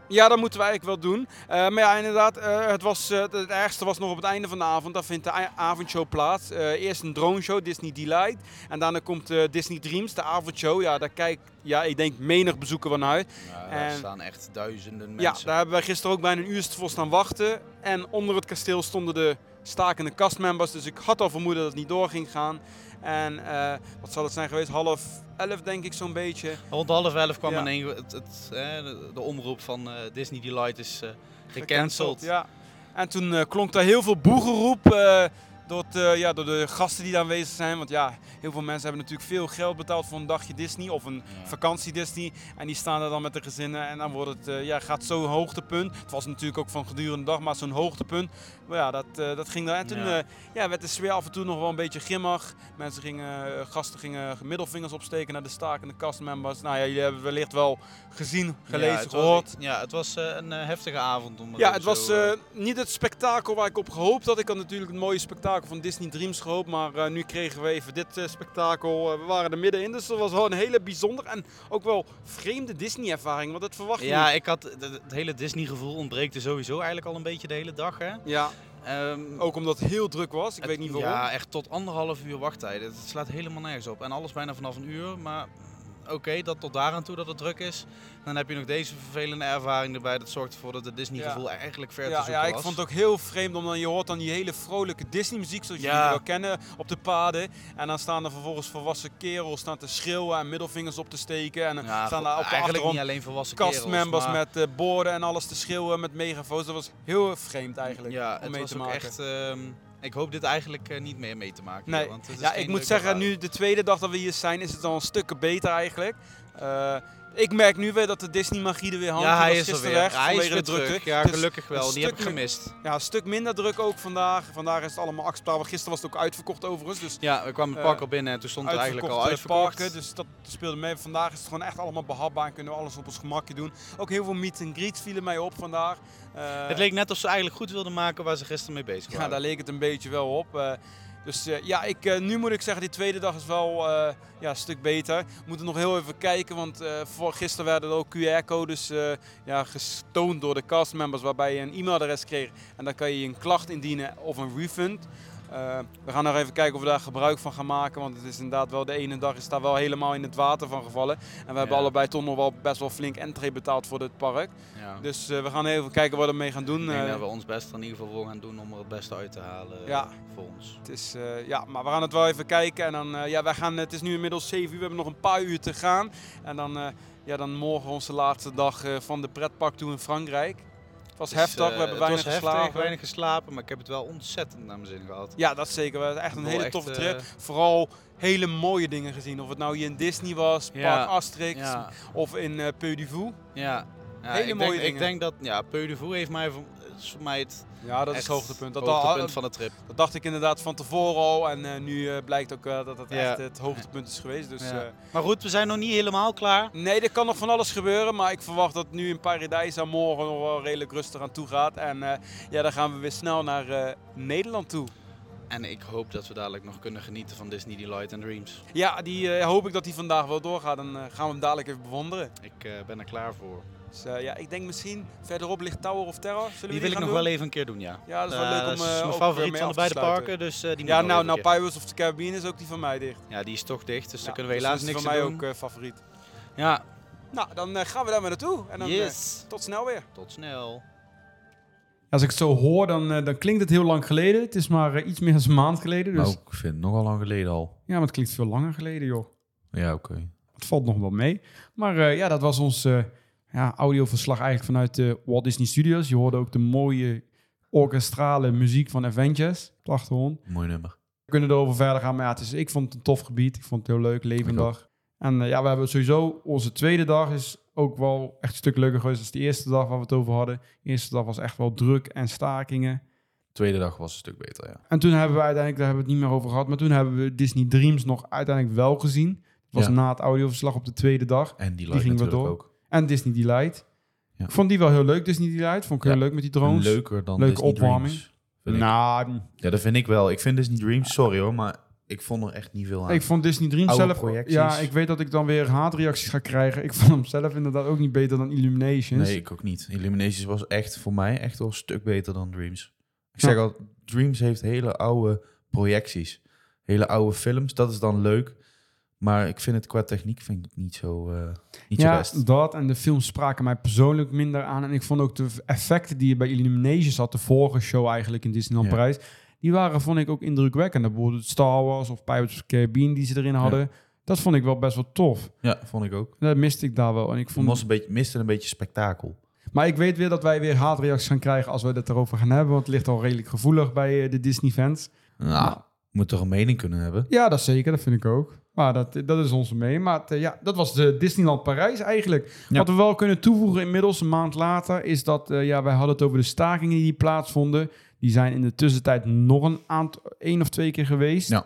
Ja, dat moeten we eigenlijk wel doen. Eh, maar ja, inderdaad, eh, het, was, eh, het ergste was nog op het einde van de avond. Daar vindt de a- avondshow plaats. Eh, eerst een droneshow, Disney Delight. En daarna komt eh, Disney Dreams, de avondshow. Ja, daar kijkt, ja, ik denk, menig bezoeker van uit.
Ja, daar
en-
staan echt duizenden
Ja,
mensen.
daar hebben wij gisteren ook bijna een uur voor staan wachten. En onder het kasteel stonden de stakende castmembers. Dus ik had al vermoeden dat het niet door ging gaan. En eh, wat zal het zijn geweest? Half elf, denk ik, zo'n beetje.
Rond half elf kwam
Ja.
in één het, het, eh, de, de omroep van eh, Disney Delight is eh, gecanceld.
Ja. En toen eh, klonk daar heel veel boegeroep eh, door, het, eh, ja, door de gasten die daar aanwezig zijn. Want ja, heel veel mensen hebben natuurlijk veel geld betaald voor een dagje Disney of een vakantie Disney. En die staan daar dan met de gezinnen en dan wordt het, eh, ja, gaat zo'n hoogtepunt. Het was natuurlijk ook van gedurende de dag, maar zo'n hoogtepunt. Maar ja, dat, eh, dat ging daar. En toen
Ja.
eh, ja, werd de sfeer af en toe nog wel een beetje grimmig. Mensen gingen, eh, gasten gingen middelvingers opsteken naar de stakende castmembers. Nou ja, jullie hebben het wellicht wel gezien, gelezen,
ja, het was-
gehoord.
ja, het was eh, een eh, heftige avond. Om
Ja,
ook
het
zo,
was
eh,
eh, niet het spektakel waar ik op gehoopt had. Ik had natuurlijk het mooie spektakel van Disney Dreams gehoopt. Maar eh, nu kregen we even dit eh, spektakel. Eh, we waren er middenin, dus dat was wel een hele bijzondere en ook wel vreemde Disney-ervaring. Want dat verwacht je
ja,
niet.
ik had het- het hele Disney-gevoel ontbreekt er sowieso eigenlijk al een beetje de hele dag. Hè?
Ja,
Ehm,
ook omdat het heel druk was. Ik
het-
weet niet waarom.
Ja, echt tot anderhalf uur wachttijd. Het slaat helemaal nergens op. En alles bijna vanaf een uur. Maar oké, dat tot daar aan toe dat het druk is. Dan heb je nog deze vervelende ervaring erbij. Dat zorgt ervoor dat het Disney-gevoel eigenlijk ver te
Ja,
zoeken
ja, ik
was.
vond het ook heel vreemd, omdat je hoort dan die hele vrolijke Disney-muziek, zoals
Ja.
jullie wel kennen, op de paden. En dan staan er vervolgens volwassen kerels staan te schreeuwen en middelvingers op te steken. En dan
Ja,
staan
goed,
daar op de
eigenlijk
achtergrond
niet alleen volwassen
castmembers
kerels, maar-
met eh, borden en alles te schreeuwen met megafoons. Dat was heel vreemd eigenlijk
Ja,
om
het
mee
was
te
ook
maken.
echt... ehm, ik hoop dit eigenlijk eh, niet meer mee te maken.
Nee.
joh, want het is
ja,
geen
ik moet
leuke
zeggen,
ervaring.
nu de tweede dag dat we hier zijn, is het al een stuk beter eigenlijk. Eh, ik merk nu weer dat de Disney-magie er weer hangt.
Ja,
Die
hij
was
is er weer.
gisteren weg
hij is
vanwege
weer
de drukte.
terug. Ja,
Het is
gelukkig wel.
een
Die heb ik
stuk meer-
gemist.
Ja, een stuk minder druk ook vandaag. Vandaag is het allemaal acceptabel. Gisteren was het ook uitverkocht overigens. Dus
Ja, we kwamen het
Eh,
park al binnen en toen stond het eigenlijk al
uitverkochte
uitverkocht.
parken. Dus dat speelde mee. Vandaag is het gewoon echt allemaal behapbaar en kunnen we alles op ons gemakje doen. Ook heel veel meet and greets vielen mij op vandaag. Eh,
het leek net of ze eigenlijk goed wilden maken waar ze gisteren mee bezig
ja,
waren.
daar leek het een beetje wel op. Eh, dus eh, ja, ik, eh, nu moet ik zeggen, die tweede dag is wel eh, ja, een stuk beter. We moeten nog heel even kijken, want eh, voor gisteren werden er ook QR-codes eh, ja, gestoond door de castmembers, waarbij je een e-mailadres kreeg. En dan kan je een klacht indienen of een refund. Eh, we gaan nog even kijken of we daar gebruik van gaan maken, want het is inderdaad wel de ene dag is daar wel helemaal in het water van gevallen. En we hebben
Ja.
allebei toch nog wel best wel flink entree betaald voor dit park.
Ja.
Dus eh, we gaan even kijken wat we ermee gaan doen.
Ik denk
Eh,
dat we ons best er in ieder geval voor gaan doen om er het beste uit te halen eh,
Ja.
voor ons.
Het is, eh, ja, maar we gaan het wel even kijken. En dan, eh, ja, wij gaan, het is nu inmiddels 7 uur, we hebben nog een paar uur te gaan. En dan, eh, ja, dan morgen onze laatste dag eh, van de pretpark toe in Frankrijk. Het was
Dus,
heftig,
eh,
we hebben
het
weinig
was heftig,
geslapen.
weinig geslapen, maar ik heb het wel ontzettend naar mijn zin gehad.
Ja, dat zeker. We hebben echt een
Wel
hele
echt,
toffe
eh,
trip. Vooral hele mooie dingen gezien. Of het nou hier in Disney was,
Ja,
Park Asterix
Ja,
of in eh Peu du Fou.
ja. Ja,
Hele
ik denk,
mooie
Ik
dingen.
denk dat ja, Peu de Voe heeft mij, voor- is voor mij het
Ja, dat
echt
is het hoogtepunt. Dat,
hoogtepunt
dat-
van de trip.
dat dacht ik inderdaad van tevoren al. En eh, nu eh, blijkt ook eh, dat dat
Ja.
echt het hoogtepunt is geweest. Dus
Ja.
eh,
Maar goed, we zijn nog niet helemaal klaar.
Nee, er kan nog van alles gebeuren. Maar ik verwacht dat nu in Paradijsa morgen nog wel redelijk rustig aan toe gaat. En eh, ja, dan gaan we weer snel naar eh, Nederland toe.
En ik hoop dat we dadelijk nog kunnen genieten van Disney Delight and Dreams.
Ja, die eh, hoop ik dat die vandaag wel doorgaat. En eh, gaan we hem dadelijk even bewonderen.
Ik eh, ben er klaar voor.
Dus eh, ja, ik denk misschien verderop ligt Tower of Terror. Zullen we
Die wil ik
gaan
nog
doen?
wel even een keer doen, ja.
Ja, dat is wel
Eh,
leuk om,
dat is
eh,
mijn
ook weer
favoriet
mee
van
af
de
te
beide
sluiten.
parken, dus eh, die moet
Ja,
nog
nou,
even
nou
een
Pirates of the Caribbean is ook die van mij dicht.
keer. Ja, die is toch dicht, dus
Ja,
daar kunnen we
dus
helaas
dat is
niks
van
aan
mij
doen.
ook eh, favoriet.
Ja,
Nou, dan eh, gaan we daar maar naartoe. En dan, eh,
yes.
tot snel weer.
Tot snel.
Als ik het zo hoor, dan, eh, dan klinkt het heel lang geleden. Het is maar eh, iets meer dan een maand geleden. Dus...
Nou, ik vind het nogal lang geleden al.
Ja, maar het klinkt veel langer geleden, joh.
Ja, oké.
Het valt nog wel mee. Maar eh, ja, dat was ons eh, ja, audioverslag eigenlijk vanuit de Walt Disney Studios. Je hoorde ook de mooie orkestrale muziek van Avengers. Prachtig hoor.
Mooi nummer.
We kunnen erover verder gaan. Maar ja, het is, ik vond het een tof gebied. Ik vond het heel leuk, levendig. En eh, ja, we hebben sowieso... Onze tweede dag is ook wel echt een stuk leuker geweest... dan de eerste dag waar we het over hadden. De eerste dag was echt wel druk en stakingen.
Tweede dag was een stuk beter, ja.
En toen hebben we uiteindelijk... Daar hebben we het niet meer over gehad. Maar toen hebben we Disney Dreams nog uiteindelijk wel gezien. Dat was
Ja.
na het audioverslag op de tweede dag.
En die, die
ging
ging
wel
natuurlijk
door.
ook.
En Disney Delight.
Ja.
Ik vond die wel heel leuk, Disney Delight. Vond ik heel
Ja.
leuk met die drones.
Leuker dan
Leuke
Disney
opwarming.
Dreams. vind ik.
Nou, mm,
Ja, dat vind ik wel. Ik vind Disney Dreams, sorry hoor, maar ik vond er echt niet veel aan.
ik vond Disney Dreams
Oude
zelf...
projecties.
Ja, ik weet dat ik dan weer haatreacties ga krijgen. Ik vond hem zelf inderdaad ook niet beter dan Illuminations.
Nee, ik ook niet. Illuminations was echt voor mij echt wel een stuk beter dan Dreams. Ik
Ja.
zeg al, Dreams heeft hele oude projecties. Hele oude films, dat is dan leuk. Maar ik vind het qua techniek vind ik het niet zo, eh, niet zo
ja,
best.
dat en de films spraken mij persoonlijk minder aan. En ik vond ook de effecten die je bij Illuminations had, de vorige show eigenlijk in Disneyland
Ja.
Parijs, die waren, vond ik ook indrukwekkend. Bijvoorbeeld Star Wars of Pirates of the Caribbean die ze erin hadden. Dat vond ik wel best wel tof.
Ja, vond ik ook.
Dat miste ik daar wel. En ik
Het
vond
was een beetje, miste een beetje spektakel.
Maar ik weet weer dat wij weer haatreacties gaan krijgen als we het erover gaan hebben. Want het ligt al redelijk gevoelig bij eh, de Disney-fans.
Nou, moet toch een mening kunnen hebben?
Ja, dat zeker. Dat vind ik ook. Maar dat, dat is onze mee. Maar het, eh, ja, dat was de Disneyland Parijs eigenlijk.
Ja.
Wat we wel kunnen toevoegen inmiddels, een maand later, is dat eh, ja, wij hadden het over de stakingen die plaatsvonden. Die zijn in de tussentijd nog een aantal, één of twee keer geweest.
Ja.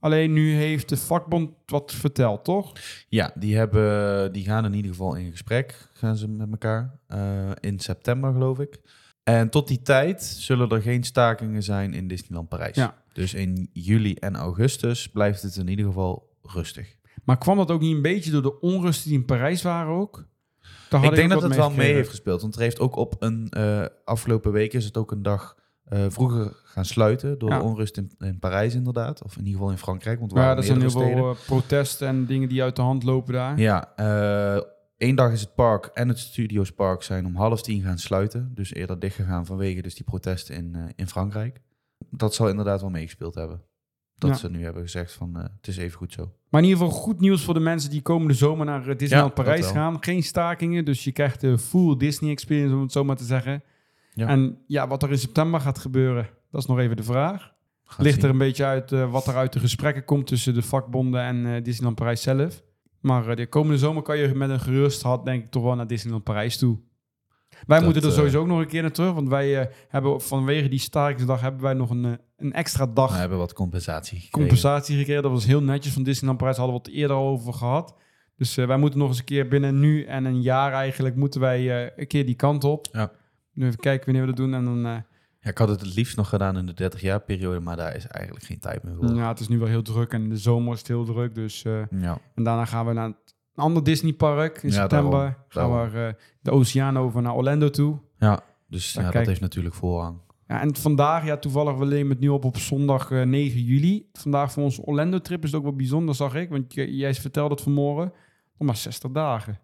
Alleen nu heeft de vakbond wat verteld, toch?
Ja, die, hebben, die gaan in ieder geval in gesprek, gaan ze met elkaar. eh, in september, geloof ik. En tot die tijd zullen er geen stakingen zijn in Disneyland Parijs.
Ja.
Dus in juli en augustus blijft het in ieder geval rustig.
Maar kwam dat ook niet een beetje door de onrusten die in Parijs waren ook? Daar had
ik denk
ook
dat
wat
het wel mee
meegekregen.
heeft gespeeld. Want er heeft ook op een eh, afgelopen week is het ook een dag eh, vroeger gaan sluiten. Door
Ja.
de onrust in, in Parijs inderdaad. Of in ieder geval in Frankrijk. Want er
Ja,
waren
er zijn heel
meerdere
veel
steden.
eh, protesten en dingen die uit de hand lopen daar.
Ja, eh één dag is het park en het Studios Park zijn om half tien gaan sluiten. Dus eerder dichtgegaan vanwege dus die protesten in, eh, in Frankrijk. Dat zal inderdaad wel meegespeeld hebben. Dat
Ja.
ze nu hebben gezegd van eh, het is even goed zo.
Maar in ieder geval goed nieuws voor de mensen die komende zomer naar eh, Disneyland
Ja, dat
Parijs
wel.
gaan. Geen stakingen, dus je krijgt de full Disney experience, om het zo maar te zeggen.
Ja.
En ja, wat er in september gaat gebeuren, dat is nog even de vraag.
We gaan
Ligt
zien.
er een beetje uit eh, wat er uit de gesprekken komt tussen de vakbonden en eh, Disneyland Parijs zelf. Maar eh, de komende zomer kan je met een gerust hart denk ik toch wel naar Disneyland Parijs toe. Wij
Dat,
moeten er
eh,
sowieso ook nog een keer naar terug, want wij eh, hebben vanwege die stakingsdag hebben wij nog een, eh, een extra dag
We hebben wat compensatie gekregen.
compensatie gekregen. Dat was heel netjes van Disneyland Parijs. Hadden we het eerder al over gehad. Dus eh, wij moeten nog eens een keer binnen nu en een jaar eigenlijk... moeten wij eh, een keer die kant op.
Ja.
Nu even kijken wanneer we dat doen. En dan, eh,
Ja, ik had het het liefst nog gedaan in de 30-jaar periode, maar daar is eigenlijk geen tijd meer voor.
ja, het is nu wel heel druk. En in de zomer is het heel druk. Dus, eh,
Ja.
en daarna gaan we naar een ander Disneypark in
Ja,
september.
daarom,
Gaan
daarom.
we eh, de oceaan over naar Orlando toe.
Ja, dus
Dan
ja, dat
kijk-
heeft natuurlijk voorrang.
Ja, en vandaag, ja, toevallig, we nemen het nu op op zondag eh, 9 juli. Vandaag voor onze Orlando-trip is het ook wel bijzonder, zag ik. Want j- jij vertelde het vanmorgen. Nog maar 60 dagen.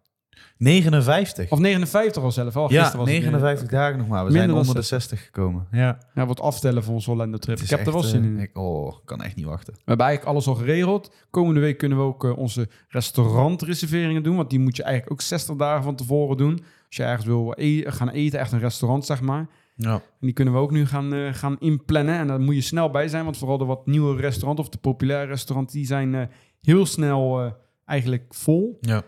59.
Of 59 al zelf. Al
ja,
Oh, gisteren was het
59 dagen nog maar. We
Minder
zijn
dan
onder de 60 gekomen. Ja.
weer- Ja, wat aftellen voor ons Orlando trip.
Het
Ik
is
heb er wel
echt,
zin
eh,
in.
ik- oh, ik kan echt niet wachten.
We hebben eigenlijk alles al geregeld. Komende week kunnen we ook eh, onze restaurantreserveringen doen. Want die moet je eigenlijk ook 60 dagen van tevoren doen. Als je ergens wil e- gaan eten, echt een restaurant zeg maar.
Ja.
En die kunnen we ook nu gaan, eh, gaan inplannen. En daar moet je snel bij zijn. Want vooral de wat nieuwe restaurants of de populaire restaurants... die zijn eh, heel snel eh, eigenlijk vol.
Ja.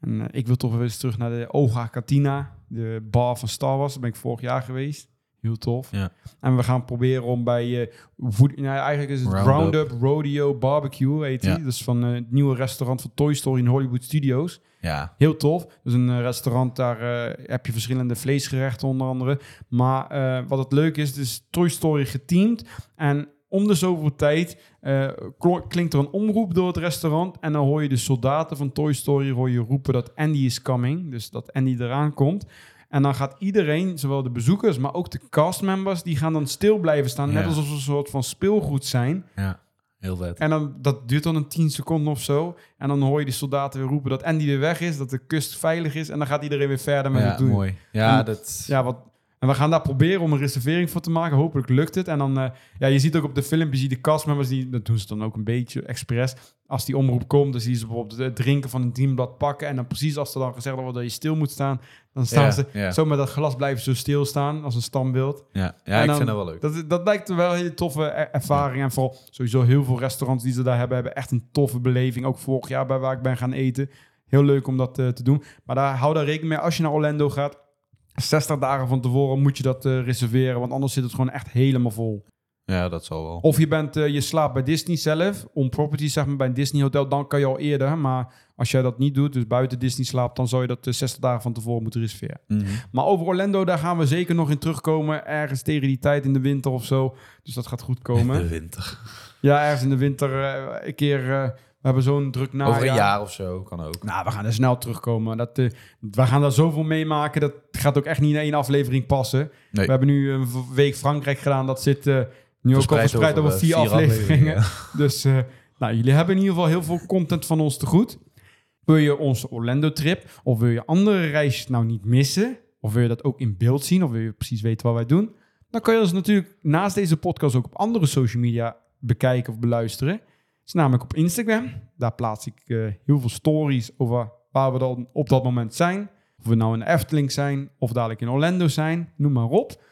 En eh, ik wil toch weer eens terug naar de Oga Katina, de bar van Star Wars. Daar ben ik vorig jaar geweest. Heel tof.
Ja.
En we gaan proberen om bij eh voed- nou, eigenlijk is het
Roundup.
Roundup Rodeo Barbecue heet
Ja.
die. Dat is van eh, het nieuwe restaurant van Toy Story in Hollywood Studios.
Ja.
Heel tof. Dus een eh, restaurant, daar eh, heb je verschillende vleesgerechten onder andere. Maar eh, wat het leuk is, het is Toy Story geteamd. En om de zoveel tijd eh, klo- klinkt er een omroep door het restaurant. En dan hoor je de soldaten van Toy Story hoor je roepen dat Andy is coming. Dus dat Andy eraan komt. En dan gaat iedereen, zowel de bezoekers, maar ook de castmembers... die gaan dan stil blijven staan. Net
Ja.
alsof ze een soort van speelgoed zijn.
ja. Heel vet.
En dan, dat duurt dan een 10 seconden of zo. En dan hoor je de soldaten weer roepen dat Andy weer weg is, dat de kust veilig is. En dan gaat iedereen weer verder met
ja,
het doen.
mooi. Ja,
En-
dat...
Ja, wat, en we gaan daar proberen om een reservering voor te maken. Hopelijk lukt het. En dan, eh, ja, je ziet ook op de film, je ziet de castmembers, die, dat doen ze dan ook een beetje expres. Als die omroep komt, dan zien ze bijvoorbeeld het drinken van een teamblad pakken. En dan precies als er dan gezegd wordt dat je stil moet staan, dan staan
Ja,
ze
ja.
zo met dat glas blijven ze stilstaan als een standbeeld.
Ja,
En
ja ik
dan-
vind dat wel leuk.
Dat, dat lijkt me wel een hele toffe er- ervaring. En vooral sowieso heel veel restaurants die ze daar hebben, hebben echt een toffe beleving. Ook vorig jaar bij waar ik ben gaan eten. Heel leuk om dat eh, te doen. Maar daar, hou daar rekening mee als je naar Orlando gaat. 60 dagen van tevoren moet je dat eh, reserveren, want anders zit het gewoon echt helemaal vol.
Ja, dat zal wel.
Of je, bent, eh, je slaapt bij Disney zelf, on property zeg maar, bij een Disney hotel, dan kan je al eerder. Maar als jij dat niet doet, dus buiten Disney slaapt, dan zou je dat eh, 60 dagen van tevoren moeten reserveren.
Mhm.
Maar over Orlando, daar gaan we zeker nog in terugkomen. Ergens tegen die tijd in de winter of zo. Dus dat gaat goed
(laughs)
komen.
De winter.
ja, ergens in de winter eh, een keer. eh, we hebben zo'n druk najaar.
Over een jaar of zo kan ook.
Nou, we gaan er snel terugkomen. Dat, eh, we gaan daar zoveel meemaken. Dat gaat ook echt niet in één aflevering passen.
Nee.
We hebben nu een v- week Frankrijk gedaan. Dat zit eh, nu ook al
Verspreid
verspreid over,
over, eh,
vier,
vier
afleveringen.
afleveringen,
dus eh, nou, jullie hebben in ieder geval heel veel content van ons te goed. Wil je onze Orlando-trip of wil je andere reisjes nou niet missen? Of wil je dat ook in beeld zien? Of wil je precies weten wat wij doen? Dan kan je ons natuurlijk naast deze podcast ook op andere social media bekijken of beluisteren. Dat is namelijk op Instagram. Daar plaats ik eh, heel veel stories over waar we dan op dat moment zijn. Of we nou in de Efteling zijn of dadelijk in Orlando zijn, noem maar op.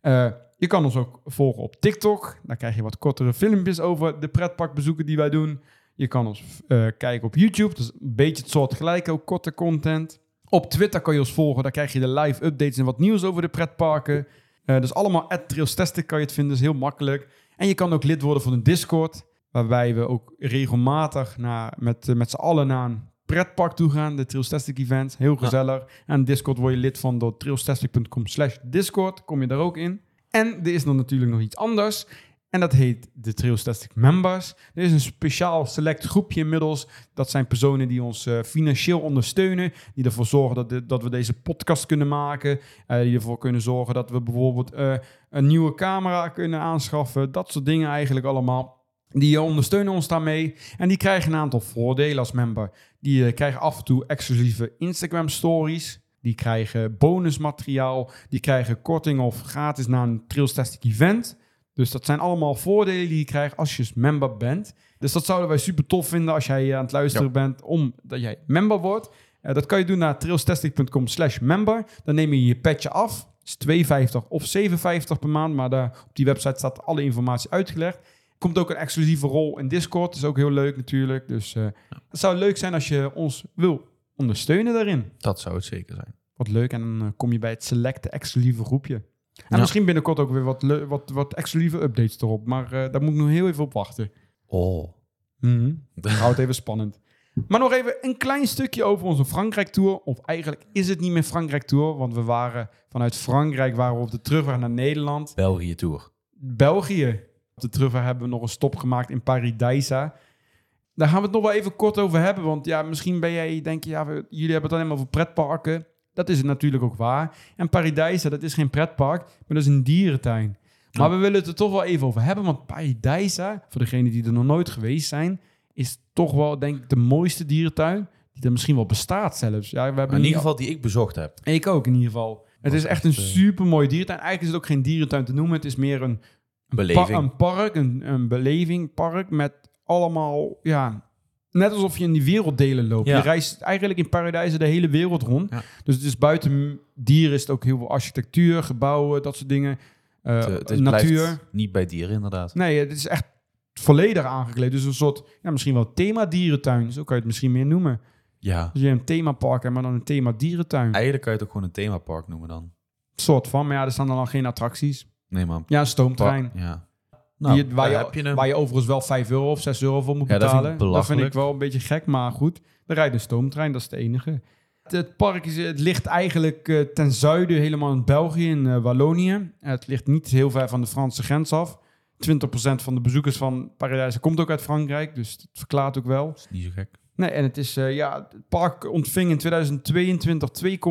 Eh, je kan ons ook volgen op TikTok. Daar krijg je wat kortere filmpjes over de pretparkbezoeken die wij doen. Je kan ons eh, kijken op YouTube. Dat is een beetje het soort gelijk, ook korte content. Op Twitter kan je ons volgen. Daar krijg je de live updates en wat nieuws over de pretparken. Eh dus allemaal at trailstastic kan je het vinden. Dat is heel makkelijk. En je kan ook lid worden van de Discord. Waarbij we ook regelmatig naar, met, eh, met z'n allen naar een pretpark toe gaan. De Trailstastic events. Heel gezellig. En Discord word je lid van door trailstastic.com slash Discord. Kom je daar ook in. En er is dan natuurlijk nog iets anders. En dat heet de Trailstastic Members. Er is een speciaal select groepje inmiddels. Dat zijn personen die ons eh, financieel ondersteunen. Die ervoor zorgen dat, de- dat we deze podcast kunnen maken. Eh, die ervoor kunnen zorgen dat we bijvoorbeeld eh, een nieuwe camera kunnen aanschaffen. Dat soort dingen eigenlijk allemaal. Die eh, ondersteunen ons daarmee. En die krijgen een aantal voordelen als member. Die eh, krijgen af en toe exclusieve Instagram stories. Die krijgen bonusmateriaal. Die krijgen korting of gratis naar een Trailstastic event. Dus dat zijn allemaal voordelen die je krijgt als je als member bent. Dus dat zouden wij super tof vinden als jij eh, aan het luisteren bent om dat jij member wordt. Eh, dat kan je doen naar trailstastic.com slash member. Dan neem je je petje af. Dat is 2,50 of 7,50 per maand. Maar daar, op die website staat alle informatie uitgelegd. Komt ook een exclusieve rol in Discord. Dat is ook heel leuk natuurlijk. Dus eh, het zou leuk zijn als je ons wil ondersteunen daarin.
Dat zou het zeker zijn.
Wat leuk. En dan eh, kom je bij het selecte exclusieve groepje. En
Ja.
misschien binnenkort ook weer wat, leu- wat, wat exclusieve updates erop. Maar eh, daar moet ik nog heel even op wachten.
Oh.
Mhm. Houdt even spannend. Maar nog even een klein stukje over onze Frankrijk-tour. Of eigenlijk is het niet meer Frankrijk-tour. Want we waren vanuit Frankrijk waren we op de terugweg naar Nederland.
België Tour.
België. Op de terugweg hebben we nog een stop gemaakt in Paradijsa. Daar gaan we het nog wel even kort over hebben. Want ja, misschien ben jij, denk je, ja, we- jullie hebben het alleen maar over pretparken. Dat is het natuurlijk ook waar. En Paradijsa, dat is geen pretpark, maar dat is een dierentuin. Maar we willen het er toch wel even over hebben. Want Paradijsa, voor degenen die er nog nooit geweest zijn, is toch wel, denk ik, de mooiste dierentuin die er misschien wel bestaat zelfs. Ja, we hebben
Maar in
niet-
ieder geval die ik bezocht heb.
ik ook in ieder geval. Het is echt een
eh,
super mooie dierentuin. Eigenlijk is het ook geen dierentuin te noemen. Het is meer een
Beleving.
pa- een park, een, een beleving park met allemaal, ja, net alsof je in die werelddelen loopt.
Ja.
Je reist eigenlijk in paradijzen de hele wereld rond.
Ja.
Dus het is buiten m- dieren is het ook heel veel architectuur, gebouwen, dat soort dingen. Eh,
Het, eh, het is-
natuur.
blijft niet bij dieren inderdaad.
Nee, het is echt volledig aangekleed. Dus een soort, ja, misschien wel thema dierentuin. Zo kan je het misschien meer noemen.
Ja.
Dus je hebt een themapark hebt, maar dan een thema dierentuin.
Eigenlijk kan je het ook gewoon een themapark noemen dan.
soort van, maar ja, er staan dan al geen attracties.
Nee man.
Ja, een stoomtrein.
Ja. Nou,
die, waar, je,
daar heb je hem.
waar je overigens wel 5 euro of 6 euro voor moet
Ja, dat vind ik
betalen. dat vind ik
belachelijk.
wel een beetje gek, maar goed. Er rijdt een stoomtrein, dat is het enige. Het, het park is, het ligt eigenlijk eh, ten zuiden helemaal in België, in eh, Wallonië. Eh, het ligt niet heel ver van de Franse grens af. 20% van de bezoekers van Paradijs komt ook uit Frankrijk, dus dat verklaart ook wel.
Is niet zo gek.
Nee, en het is, eh, ja, het park ontving in 2022 eh, 2,12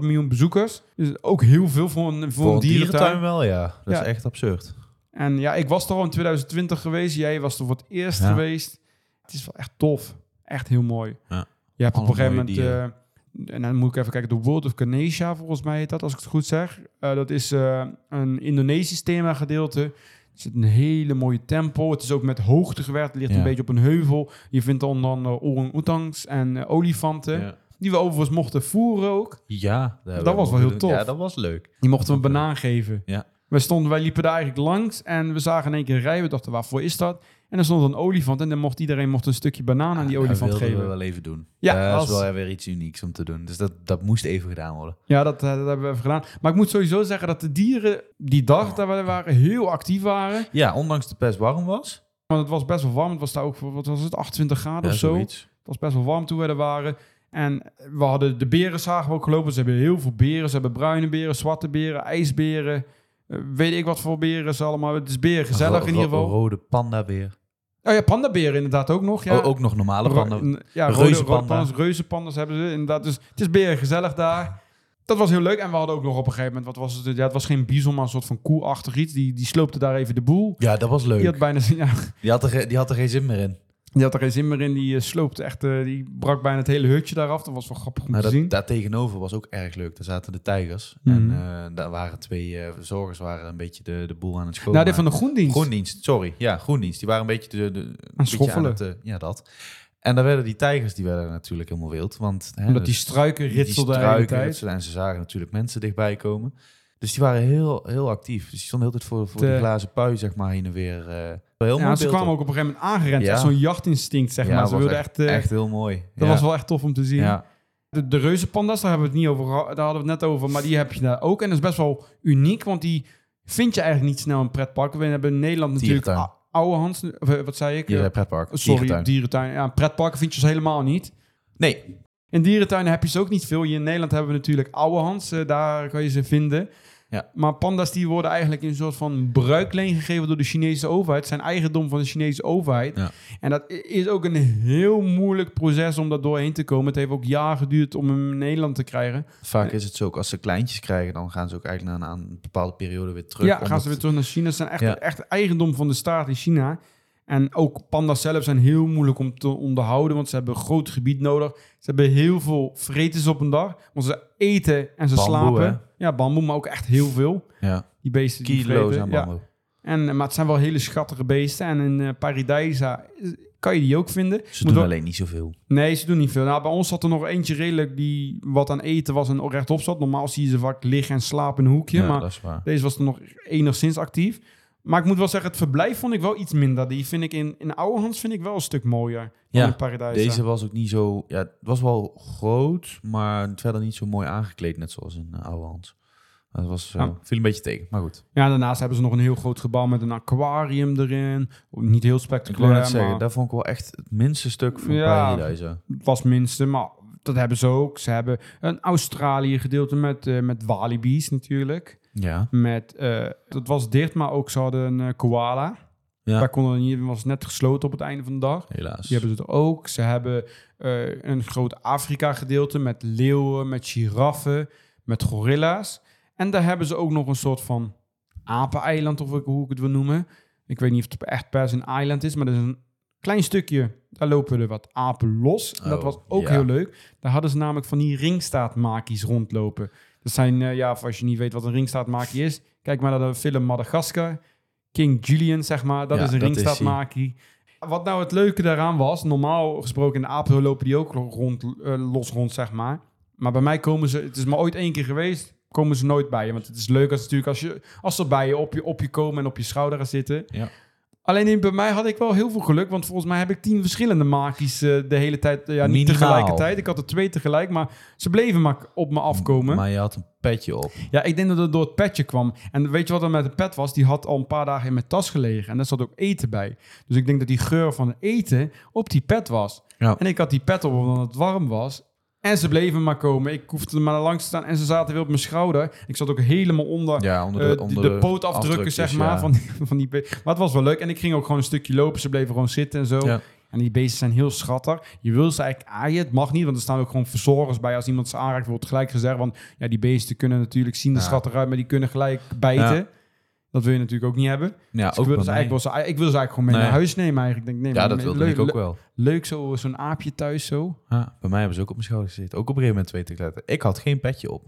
miljoen. bezoekers. Dus ook heel veel voor een, voor
Voor een dierentuin
dierentuin.
wel, ja. Dat
Ja.
is echt absurd.
En ja, ik was er al in 2020 geweest. Jij was er voor het eerst
Ja.
geweest. Het is wel echt tof. Echt heel mooi.
Ja.
Je hebt op een
Alle
gegeven moment...
mooie
eh, en dan moet ik even kijken. The World of Ganesha, volgens mij heet dat, als ik het goed zeg. Eh, dat is eh, een Indonesisch thema gedeelte. Er zit een hele mooie tempel. Het is ook met hoogte gewerkt. Het ligt
Ja.
een beetje op een heuvel. Je vindt onder andere orang-oetangs en eh, olifanten.
Ja,
Die we overigens mochten voeren ook.
ja daar
Dat was wel heel
tof.
tof.
Ja, dat was leuk.
Die mochten we een banaan geven.
Ja.
We stonden, wij liepen daar eigenlijk langs en we zagen in één keer een rij. We dachten, waarvoor is dat? En er stond een olifant en dan mocht iedereen mocht een stukje banaan aan die olifant
Ah, dat wilden
geven.
we wel even doen.
Ja,
Ja, dat
als-
is wel weer iets unieks om te doen. Dus dat, dat moest even gedaan worden.
Ja, dat, eh, dat hebben we even gedaan. Maar ik moet sowieso zeggen dat de dieren die dag daar we waren heel actief waren.
Ja, ondanks dat het best warm was.
Want het was best wel warm. Het was daar ook, wat was het, 28 graden
Ja,
of zo.
zoiets.
Het was best wel warm toen we er waren. En we hadden de beren zagen we ook gelopen. Ze hebben heel veel beren. Ze hebben bruine beren, zwarte beren, ijsberen. eh, weet ik wat voor beren ze allemaal. Het is beren gezellig
Ro-
in ieder
ro-
geval.
Rode panda weer.
Oh ja, pandaberen inderdaad ook nog. Ja.
Oh, ook nog normale
Ro-
panda.
n- ja,
Reuzenpanda.
rode- rode pandas, reuzenpandas hebben ze inderdaad. Dus het is beren gezellig daar. Dat was heel leuk. En we hadden ook nog op een gegeven moment, wat was het? Ja, het was geen bizon, maar een soort van koe-achtig iets. Die, die sloopte daar even de boel.
Ja, dat was leuk.
Die had bijna zin- ja,
Die had, er, ge- die had er geen zin meer in.
die had er geen zin meer in. Die eh, sloopte echt, eh, die brak bijna het hele hutje daar af. Dat was wel grappig om
Maar
te
Nou, dat,
zien.
daar tegenover was ook erg leuk. Daar zaten de tijgers.
Mhm.
En eh, daar waren twee eh, verzorgers waren een beetje de, de boel aan het
Nou,
schoonmaken.
dit van de groendienst.
Groendienst, sorry. Ja, Groendienst. Die waren een beetje de... de een beetje
schoffelen.
aan het, eh, ja, dat. En dan werden die tijgers die werden natuurlijk helemaal wild. Want hè,
Omdat die
dus
struiken
die
ritselden de hele
struiken
tijd.
ritselden En ze zagen natuurlijk mensen dichtbij komen. Dus die waren heel, heel actief. Dus die stonden heel tijd voor, voor
Te-
die glazen pui, zeg maar, heen en weer. eh, heel mooi
Ja,
beeld
ze
op.
kwamen ook op een gegeven moment aangerend.
Ja.
Echt zo'n jachtinstinct, zeg
Ja,
maar.
dat
Ze
was
wilden echt... eh,
Echt heel mooi.
Dat
Ja.
was wel echt tof om te zien.
Ja.
De, de reuzenpanda's, daar hebben we het niet over geha- Daar hadden we het net over. Maar die heb je daar ook. En dat is best wel uniek, want die vind je eigenlijk niet snel in pretparken. We hebben in Nederland natuurlijk
Dierentuin.
ou- oude Hans... of, eh, Wat zei ik?
Hier, eh,
Eh,
pretpark.
Sorry,
Dierentuin.
dierentuin. Ja, in pretparken vind je ze helemaal niet.
Nee.
In dierentuinen heb je ze ook niet veel. Hier in Nederland hebben we natuurlijk oude Hans. eh, daar kan je ze vinden.
Ja.
Maar panda's die worden eigenlijk in een soort van bruikleen gegeven door de Chinese overheid. Zijn eigendom van de Chinese overheid.
Ja.
En dat i- is ook een heel moeilijk proces om daar doorheen te komen. Het heeft ook jaar geduurd om hem in Nederland te krijgen.
Vaak is het zo ook als ze kleintjes krijgen, dan gaan ze ook eigenlijk na een, aan een bepaalde periode weer terug.
ja, gaan
omdat-
ze weer terug naar China. Ze zijn echt,
Ja.
echt eigendom van de staat in China. En ook panda's zelf zijn heel moeilijk om te onderhouden, want ze hebben een groot gebied nodig. Ze hebben heel veel vretens op een dag, want ze eten en ze
Bamboe,
slapen.
hè?
Ja, bamboe, maar ook echt heel veel.
Ja,
Die beesten die
kilo's
vreten.
aan
Ja.
bamboe.
En, eh, maar het zijn wel hele schattige beesten. En in eh, Paradijsa eh, kan je die ook vinden.
Ze
Moet
doen
wel-
alleen niet zoveel.
Nee, ze doen niet veel. Nou, bij ons zat er nog eentje redelijk die wat aan eten was en rechtop zat. Normaal zie je ze vaak liggen en slapen in een hoekje.
Ja,
maar
dat is waar.
deze was nog enigszins actief. Maar ik moet wel zeggen, het verblijf vond ik wel iets minder. Die vind ik in, in Ouwehands vind ik wel een stuk mooier dan
Ja,
in Paradijsa.
Deze was ook niet zo... Ja, het was wel groot, maar verder niet zo mooi aangekleed, net zoals in eh, Oude Hans. Dat was, eh,
Ja.
viel een beetje tegen, maar goed.
Ja, daarnaast hebben ze nog een heel groot gebouw met een aquarium erin. Niet heel
Ik
spectaculair,
wil net zeggen,
maar
daar vond ik wel echt het minste stuk van
Ja.
Paradijzen.
het was minste. Maar dat hebben ze ook. Ze hebben een Australië gedeelte met, eh, met walibi's natuurlijk.
Ja.
Met, eh, dat was dicht, maar ook ze hadden een eh, koala.
Ja.
Daar konden we niet, was net gesloten op het einde van de dag.
Helaas.
Die hebben ze er ook. Ze hebben eh, een groot Afrika-gedeelte met leeuwen, met giraffen, met gorilla's. En daar hebben ze ook nog een soort van apeneiland, of ik- hoe ik het wil noemen. Ik weet niet of het echt per se een eiland is, maar dat is een klein stukje. Daar lopen er wat apen los. En dat
Oh,
was ook
ja.
heel leuk. Daar hadden ze namelijk van die ringstaatmakies rondlopen. Dat zijn, eh, ja, of als je niet weet wat een ringstaatmakie is, kijk maar naar de film Madagaskar. King Julian, zeg maar. Dat
Ja,
is een
dat is hij.
ringstaatmakie. Wat nou het leuke daaraan was, normaal gesproken in de apenhul lopen die ook rond, eh, los rond, zeg maar. Maar bij mij komen ze, het is maar ooit één keer geweest, komen ze nooit bij je. Want het is leuk als, natuurlijk als, je, als ze bij je op, je op je komen en op je schouder gaan zitten.
Ja.
Alleen in- bij mij had ik wel heel veel geluk, want volgens mij heb ik tien verschillende makies eh, de hele tijd. Ja, niet
Minimaal.
tegelijkertijd. Ik had er twee tegelijk, maar ze bleven maar op me afkomen.
Maar je had een petje op.
Ja, ik denk dat het door het petje kwam. En weet je wat er met het pet was? Die had al een paar dagen in mijn tas gelegen. En daar zat ook eten bij. Dus ik denk dat die geur van het eten op die pet was.
Ja.
En ik had die pet op omdat het warm was. En ze bleven maar komen. Ik hoefde er maar langs te staan. En ze zaten weer op mijn schouder. Ik zat ook helemaal onder,
Ja, onder
eh,
de,
de,
onder
de poot afdrukken,
afdrukjes,
zeg maar.
ja.
Van die, (laughs) van die be- maar het was wel leuk. En ik ging ook gewoon een stukje lopen. Ze bleven gewoon zitten en zo.
Ja.
En die beesten zijn heel schattig. Je wil ze eigenlijk aaien. Het mag niet, want er staan ook gewoon verzorgers bij. Als iemand ze aanraakt, wordt gelijk gezegd. Want ja, die beesten kunnen natuurlijk zien de
Ja.
schat eruit, maar die kunnen gelijk bijten.
Ja.
Dat wil je natuurlijk ook niet hebben.
Ja,
Dus ik,
ook
wil
bij
dus
mij.
eigenlijk wel ze, ik wil ze eigenlijk gewoon mee
Nee.
naar huis nemen. Eigenlijk. Ik Denk, nee,
Ja,
maar
dat
nee,
wilde
leuk,
ik ook
le-
wel.
Leuk zo, zo'n aapje thuis zo.
Ja, bij mij hebben ze ook op mijn schouder gezeten. Ook op een gegeven moment twee tegelijkertijd. Ik had geen petje op.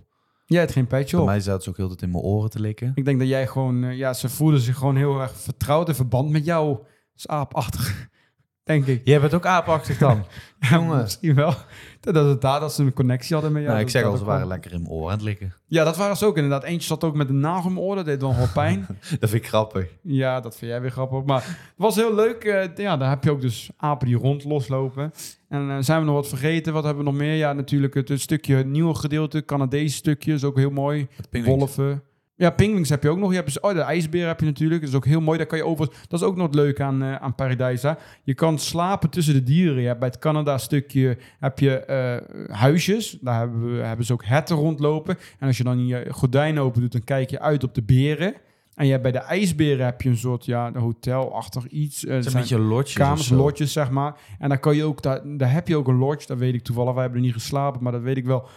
Jij hebt geen petje
Bij
op.
mij zaten ze ook heel de tijd in mijn oren te likken.
Ik denk dat jij gewoon... eh, Ja, ze voelden zich gewoon heel erg vertrouwd in verband met jou. Dat is aapachtig, (laughs) denk ik.
Jij bent ook aapachtig
(laughs)
dan. Jongen.
Misschien wel. Dat dat het daar dat ze een connectie hadden met jou.
nou, ik
Dat-
zeg
dat
al, ze
ook
waren
wel-
lekker in mijn oren aan het likken. (laughs)
Ja, dat waren ze ook inderdaad. Eentje zat ook met een nagel in mijn oor. Dat deed dan wel
(laughs)
pijn.
Dat vind ik grappig.
ja, dat vind jij weer grappig. Maar het was heel leuk. Eh, ja, daar heb je ook dus apen die rond loslopen. En eh, zijn we nog wat vergeten? Wat hebben we nog meer? Ja, natuurlijk het, het stukje het nieuwe gedeelte. Canadese stukje is ook heel mooi.
Het
Wolven. Ja, pinguïns heb je ook nog. Je hebt dus, oh, de ijsbeer heb je natuurlijk. Dat is ook heel mooi. Daar kan je over. Dat is ook nog het leuke aan, eh, aan Paradijsa. Je kan slapen tussen de dieren. Je hebt bij het Canada-stukje heb je eh, huisjes. Daar hebben, we, hebben ze ook herten rondlopen. En als je dan je gordijn open doet, dan kijk je uit op de beren. En je hebt bij de ijsberen heb je een soort ja, een hotelachtig iets. Eh, zijn
Het zijn een beetje lotjes of
kamers,
zo.
lodges, zeg maar. En daar, kan je ook, daar, daar heb je ook een lodge. Dat weet ik toevallig. Wij hebben er niet geslapen, maar dat weet ik wel.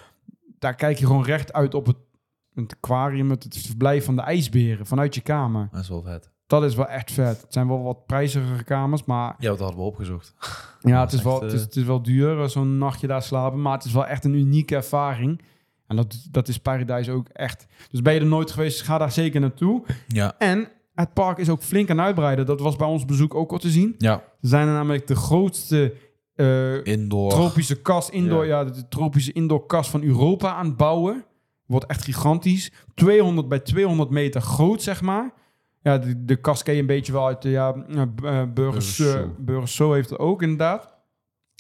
Daar kijk je gewoon recht uit op het, het aquarium, het, het verblijf van de ijsberen vanuit je kamer.
Dat is wel vet.
Dat is wel echt vet. Het zijn wel wat prijzigere kamers, maar
Ja, dat hadden we opgezocht.
ja,
dat
het, is
is
wel,
echt,
het,
eh,
is, het is wel duur, eh, zo'n nachtje daar slapen. Maar het is wel echt een unieke ervaring. En dat, dat is Paradijs ook echt. Dus ben je er nooit geweest, ga daar zeker naartoe.
(laughs) Ja.
En het park is ook flink aan uitbreiden. Dat was bij ons bezoek ook al te zien.
Ja.
Ze zijn er namelijk de grootste eh,
Indoor.
tropische kast, indoor, ja. de tropische indoor kast van Europa aan het bouwen. Wordt echt gigantisch. 200 bij 200 meter groot, zeg maar. Ja, de, de kast ken je een beetje wel uit de ja, eh, b- eh, Burgers,
Burgers'
eh,
Show.
Burgers Show heeft het ook inderdaad.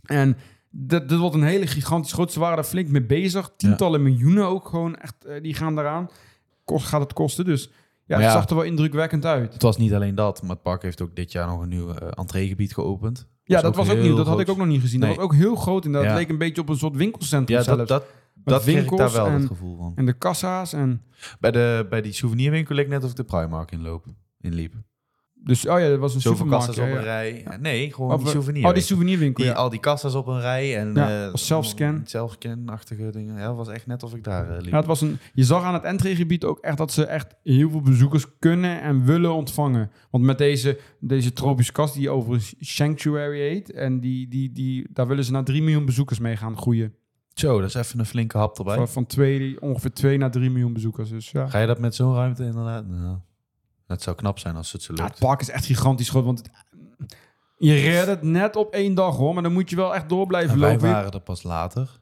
En dat, dat wordt een hele gigantisch groot. Ze waren er flink mee bezig. Tientallen miljoenen ook gewoon echt, eh, die gaan daaraan. Kost, gaat het kosten, dus ja,
Maar
het
ja.
zag er wel indrukwekkend uit.
Het was niet alleen dat, maar het park heeft ook dit jaar nog een nieuw eh, entreegebied geopend.
Ja, dat was ook
heel
nieuw. Dat had
groot.
ik ook nog niet gezien. Dat
Nee.
was ook heel groot inderdaad.
Ja.
Het leek een beetje op een soort winkelcentrum
Ja,
zelfs.
dat, dat, dat kreeg ik daar
winkels
wel
en-
het gevoel van.
En de kassa's en...
Bij, de, bij die souvenirwinkel leek net of ik de Primark inloop, inliep.
Dus, oh ja, dat was een
Zoveel
supermarkt.
kassas op
ja,
een
ja.
rij. Nee, gewoon
Of,
die
eh,
souvenir.
Oh, die souvenirwinkel,
Die-
ja.
Al die kassas op een rij en...
Ja,
eh,
was zelfscan.
Zelfscan-achtige dingen. Ja, het was echt net of ik daar eh, liep.
Ja, het was een, je zag aan het entreegebied ook echt dat ze echt heel veel bezoekers kunnen en willen ontvangen. Want met deze, deze tropische kast, die overigens Sanctuary heet, en die, die, die, daar willen ze naar 3 miljoen bezoekers mee gaan groeien.
Zo, dat is even een flinke hap erbij.
Van, van twee, ongeveer 2 naar 3 miljoen bezoekers. Dus ja.
Ga je dat met zo'n ruimte inderdaad? Nou, dat zou knap zijn als het ze
Ja, het
lukt.
park is echt gigantisch groot, want het- je redt het net op één dag hoor, maar dan moet je wel echt door blijven
En wij
lopen.
waren er pas later.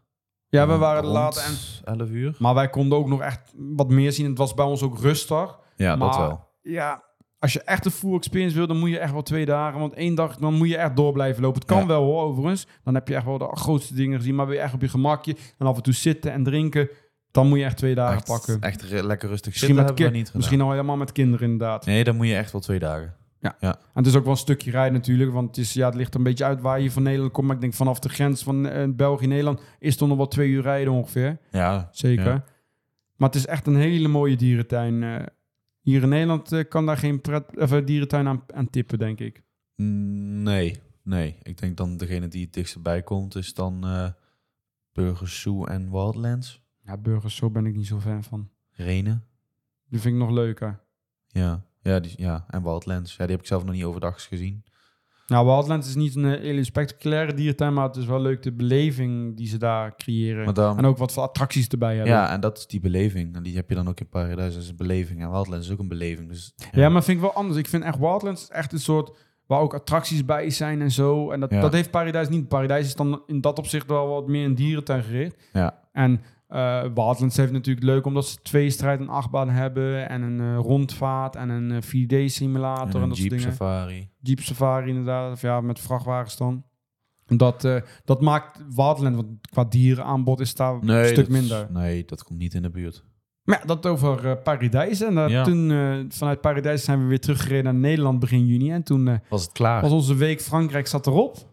ja, we waren er
Rond
laat en
11 uur.
Maar wij konden ook nog echt wat meer zien. Het was bij ons ook rustig.
Ja,
Maar-
dat wel.
Ja, als je echt een full experience wil, dan moet je echt wel twee dagen. Want één dag, dan moet je echt door blijven lopen. Het kan
Ja.
wel hoor, overigens. Dan heb je echt wel de grootste dingen gezien. Maar wil je echt op je gemakje en af en toe zitten en drinken, dan moet je echt twee dagen
Echt,
pakken.
echt re- lekker rustig
misschien
zitten
met
hebben we
kind,
niet gedaan.
misschien al helemaal met kinderen inderdaad.
Nee, dan moet je echt wel twee dagen.
En het is ook wel een stukje rijden natuurlijk, want het, is, ja, het ligt er een beetje uit waar je van Nederland komt. Maar ik denk vanaf de grens van eh, België-Nederland is het nog wel twee uur rijden ongeveer.
Ja,
Zeker.
Ja.
Maar het is echt een hele mooie dierentuin. eh. hier in Nederland eh, kan daar geen pret, of, eh, dierentuin aan, aan tippen, denk ik.
Mm, nee. Nee, ik denk dan degene die het dichtst bij komt is dan eh Burgers Zoo en Wildlands.
Ja, burgers, zo ben ik niet zo fan van.
Renen.
Die vind ik nog leuker.
Ja. Ja, die, ja, en Wildlands. Ja, die heb ik zelf nog niet overdag gezien.
Nou, Wildlands is niet een eh, hele spectaculaire dierentuin, maar het is wel leuk de beleving die ze daar creëren.
Maar dan,
en ook wat voor attracties erbij hebben.
ja, en dat is die beleving. En die heb je dan ook in Paradise als een beleving. En Wildlands is ook een beleving. Dus,
Ja, maar vind ik wel anders. Ik vind echt Wildlands echt een soort waar ook attracties bij zijn en zo. En dat,
Ja.
dat heeft Paradise niet. Paradise is dan in dat opzicht wel wat meer een dierentuin gericht.
Ja.
En eh Wildlands heeft natuurlijk leuk omdat ze twee strijd en achtbaan hebben en een eh, rondvaart en een 4D simulator en,
en een
dat
Jeep
soort dingen.
Safari.
Jeep Safari inderdaad, of ja, met vrachtwagens dan. En Dat, eh, dat maakt Wildland, want qua dierenaanbod is daar een stuk
dat-
minder.
Nee, dat komt niet in de buurt.
Maar ja, dat over eh, Paradijs. En eh,
Ja.
toen eh, vanuit Paradijs zijn we weer teruggereden naar Nederland begin juni. En toen eh,
Was het klaar?
was onze week Frankrijk zat erop. Dat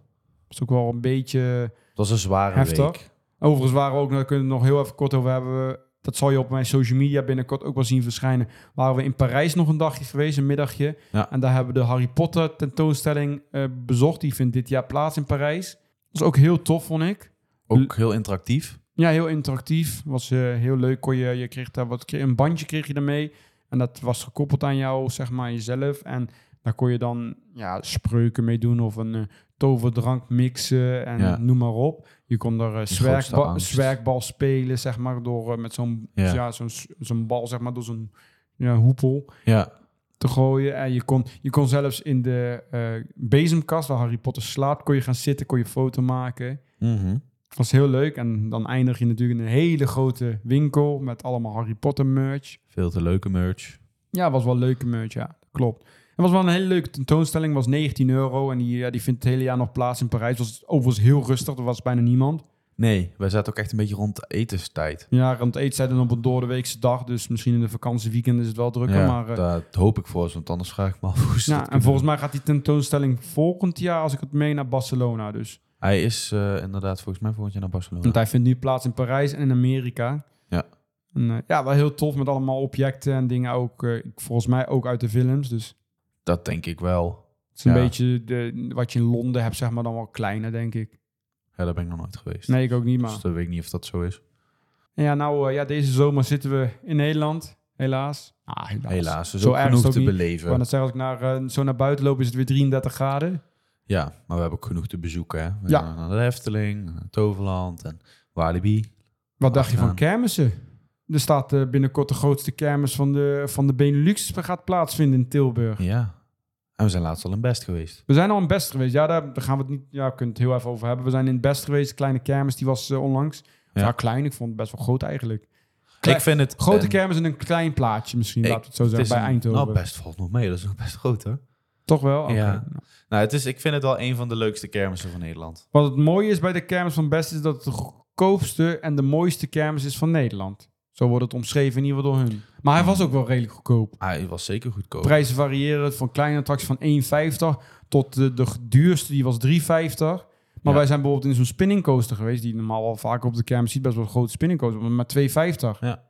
is ook wel een beetje...
Het was een zware
Heftig.
week.
Overigens waren we ook, daar kunnen we het nog heel even kort over hebben. We- Dat zal je op mijn social media binnenkort ook wel zien verschijnen. Waren we in Parijs nog een dagje geweest, een middagje.
Ja.
En daar hebben we de Harry Potter tentoonstelling eh, bezocht. Die vindt dit jaar plaats in Parijs. Dat is ook heel tof, vond ik.
Ook heel interactief.
Ja, heel interactief. Was eh, heel leuk. Kon je, je kreeg daar wat, een bandje kreeg je daarmee. En dat was gekoppeld aan jou, zeg maar, jezelf. En daar kon je dan ja, spreuken mee doen of een eh, toverdrank mixen en
Ja.
noem maar op. Je kon er eh zwerkba-
angst.
zwerkbal spelen, zeg maar, door eh, met zo'n
Ja.
ja. zo'n s- zo'n bal, zeg maar, door zo'n ja, hoepel
Ja.
te gooien. En je kon, je kon zelfs in de eh, bezemkast waar Harry Potter slaapt, kon je gaan zitten, kon je foto maken
Mhm.
was heel leuk. En dan eindig je natuurlijk in een hele grote winkel met allemaal Harry Potter merch.
Veel te leuke merch.
Ja, was wel een leuke merch, ja. Klopt. Het was wel een hele leuke tentoonstelling. was 19 euro en die, ja, die vindt het hele jaar nog plaats in Parijs. was overigens heel rustig, er was bijna niemand.
Nee, wij zaten ook echt een beetje rond de etenstijd.
Ja, rond eettijd en op een doordeweekse dag. Dus misschien in de vakantieweekend is het wel drukker.
ja,
maar, eh,
dat hoop ik voor ze, want anders vraag ik me af hoe ze
ja,
dat
en
kunnen
volgens mij gaat die tentoonstelling volgend jaar, als ik het meen, naar Barcelona. Dus.
doen. Hij is eh, inderdaad volgens mij volgend jaar naar Barcelona.
Want hij vindt nu plaats in Parijs en in Amerika.
Ja.
En, eh, ja, wel heel tof met allemaal objecten en dingen ook. eh, volgens mij ook uit de films. Dus
Dat denk ik wel.
Het is een
Ja.
beetje de, wat je in Londen hebt, zeg maar, dan wel kleiner, denk ik.
Ja, daar ben ik nog nooit geweest.
Nee, ik ook niet, maar...
Dus dat weet ik niet of dat zo is.
En Ja, nou, eh, ja, deze zomer zitten we in Nederland, helaas. Ah, helaas.
Helaas, dus
Zo
ook
erg is
genoeg
het
te
ook niet.
beleven.
Ik wou net zeggen, als ik naar, eh, zo naar buiten loop, is het weer 33 graden.
Ja, maar we hebben ook genoeg te bezoeken. Hè? We
Ja.
gaan naar de Hefteling, naar Toverland en Walibi.
Wat dacht je van
Gaan.
kermissen? Er staat eh, binnenkort de grootste kermis van de, van de Benelux. gaat plaatsvinden in Tilburg.
Ja. En we zijn laatst al een best geweest.
We zijn al in Best geweest. Ja, daar daar gaan we het niet. Ja, we kunnen het heel even over hebben. We zijn in Best geweest. Kleine kermis, die was eh, onlangs. Ja.
Ja.
klein. Ik vond het best wel groot eigenlijk. Klei-
ik vind het...
Grote
en-
kermis en een klein plaatje misschien,
Ik-
laten we het zo
het is
zeggen, bij
een-
Eindhoven.
Nou, best valt nog mee. Dat is nog best groot, hoor.
Toch wel? Oké.
Ja. Nou, het is, ik vind het wel een van de leukste kermissen van Nederland.
Wat het mooie is bij de kermis van Best is dat het de goedkoopste en de mooiste kermis is van Nederland. Zo wordt het omschreven in ieder geval door hun. Maar hij was ook wel redelijk goedkoop.
Ah, hij was zeker goedkoop.
Prijzen variëren van kleine attracties van 1,50 tot de, de duurste, die was 3,50. Maar
Ja.
wij zijn bijvoorbeeld in zo'n spinning coaster geweest, die je normaal al vaker op de kermis ziet, best wel een grote spinning coaster, maar met 2,50.
Ja,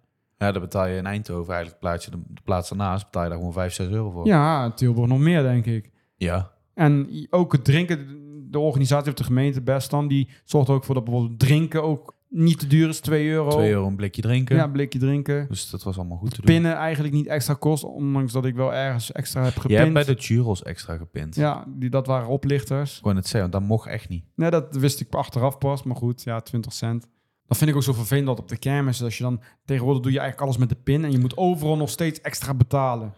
daar betaal je in Eindhoven eigenlijk plaats je de, de plaats daarnaast betaal je daar gewoon 5, 6 euro voor.
Ja, Oh. in Tilburg nog meer, denk ik.
Ja.
En ook het drinken, de organisatie of de gemeente best dan, die zorgt er ook voor dat bijvoorbeeld drinken ook niet te duur is, 2 euro.
2 euro een blikje drinken.
Ja, een blikje drinken.
Dus dat was allemaal goed te doen.
Pinnen eigenlijk niet extra kost, ondanks dat ik wel ergens extra heb
Je hebt
gepind.
bij de churros extra gepind.
Ja, die, dat waren oplichters.
Gewoon het zeggen, want dat mocht echt niet.
Nee, dat wist ik achteraf pas, maar goed, ja, 20 cent. Dat vind ik ook zo vervelend dat op de kermis, als je dan tegenwoordig doe je eigenlijk alles met de pin en je moet overal nog steeds extra betalen.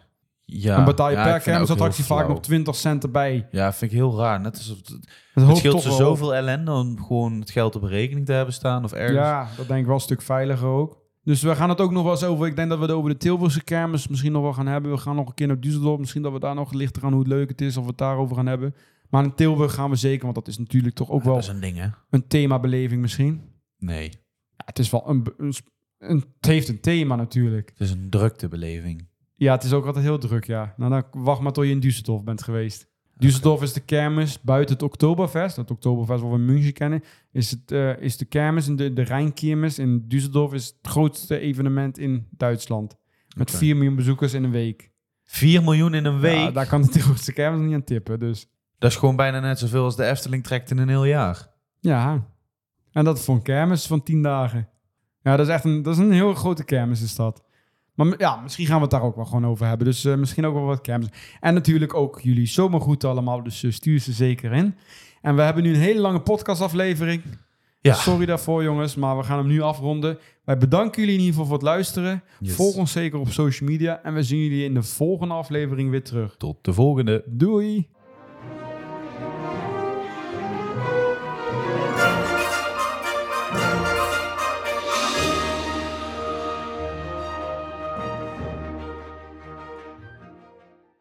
Ja,
dan betaal je
ja, ik
per
vind dat ook
kermisattractie
heel
vaak
flauw.
nog 20 cent erbij.
Ja, vind ik heel raar. Net alsof het, het
Dat hoopt
scheelt
toch
ze
wel op.
zoveel ellende om gewoon het geld op rekening te hebben staan of ergens.
Ja, dat denk ik wel een stuk veiliger ook. Dus we gaan het ook nog wel eens over. Ik denk dat we het over de Tilburgse kermis misschien nog wel gaan hebben. We gaan nog een keer naar Düsseldorp. Misschien dat we daar nog lichter aan hoe leuk het is. Of we het daarover gaan hebben. Maar in Tilburg gaan we zeker. Want dat is natuurlijk toch ook
dat
wel
is een ding, hè?
een themabeleving misschien.
Nee,
Ja, het is wel een, be- een, sp- een... Het heeft een thema natuurlijk.
het is een druktebeleving.
Ja, het is ook altijd heel druk, ja. Nou, dan wacht maar tot je in Düsseldorf bent geweest. Düsseldorf is de kermis buiten het Oktoberfest. Het Oktoberfest wat we in München kennen. Is, het, eh, is de kermis, en de, de Rijnkirmes in Düsseldorf is het grootste evenement in Duitsland. Met
Oké.
4 miljoen bezoekers in een week.
4 miljoen in een week.
Ja, daar kan de (laughs) Tilburgse kermis nog niet aan tippen. Dus
Dat is gewoon bijna net zoveel als de Efteling trekt in een heel jaar.
ja. En dat voor een kermis van 10 dagen. Ja, dat is echt een, dat is een heel grote kermis is dat. Maar m- ja, misschien gaan we het daar ook wel gewoon over hebben. Dus eh, misschien ook wel wat kermis. En natuurlijk ook jullie zomergoed allemaal. Dus eh, stuur ze zeker in. En we hebben nu een hele lange podcastaflevering.
Ja.
Sorry daarvoor jongens, maar we gaan hem nu afronden. Wij bedanken jullie in ieder geval voor het luisteren.
Yes.
Volg ons zeker op social media. En we zien jullie in de volgende aflevering weer terug.
Tot de volgende.
Doei!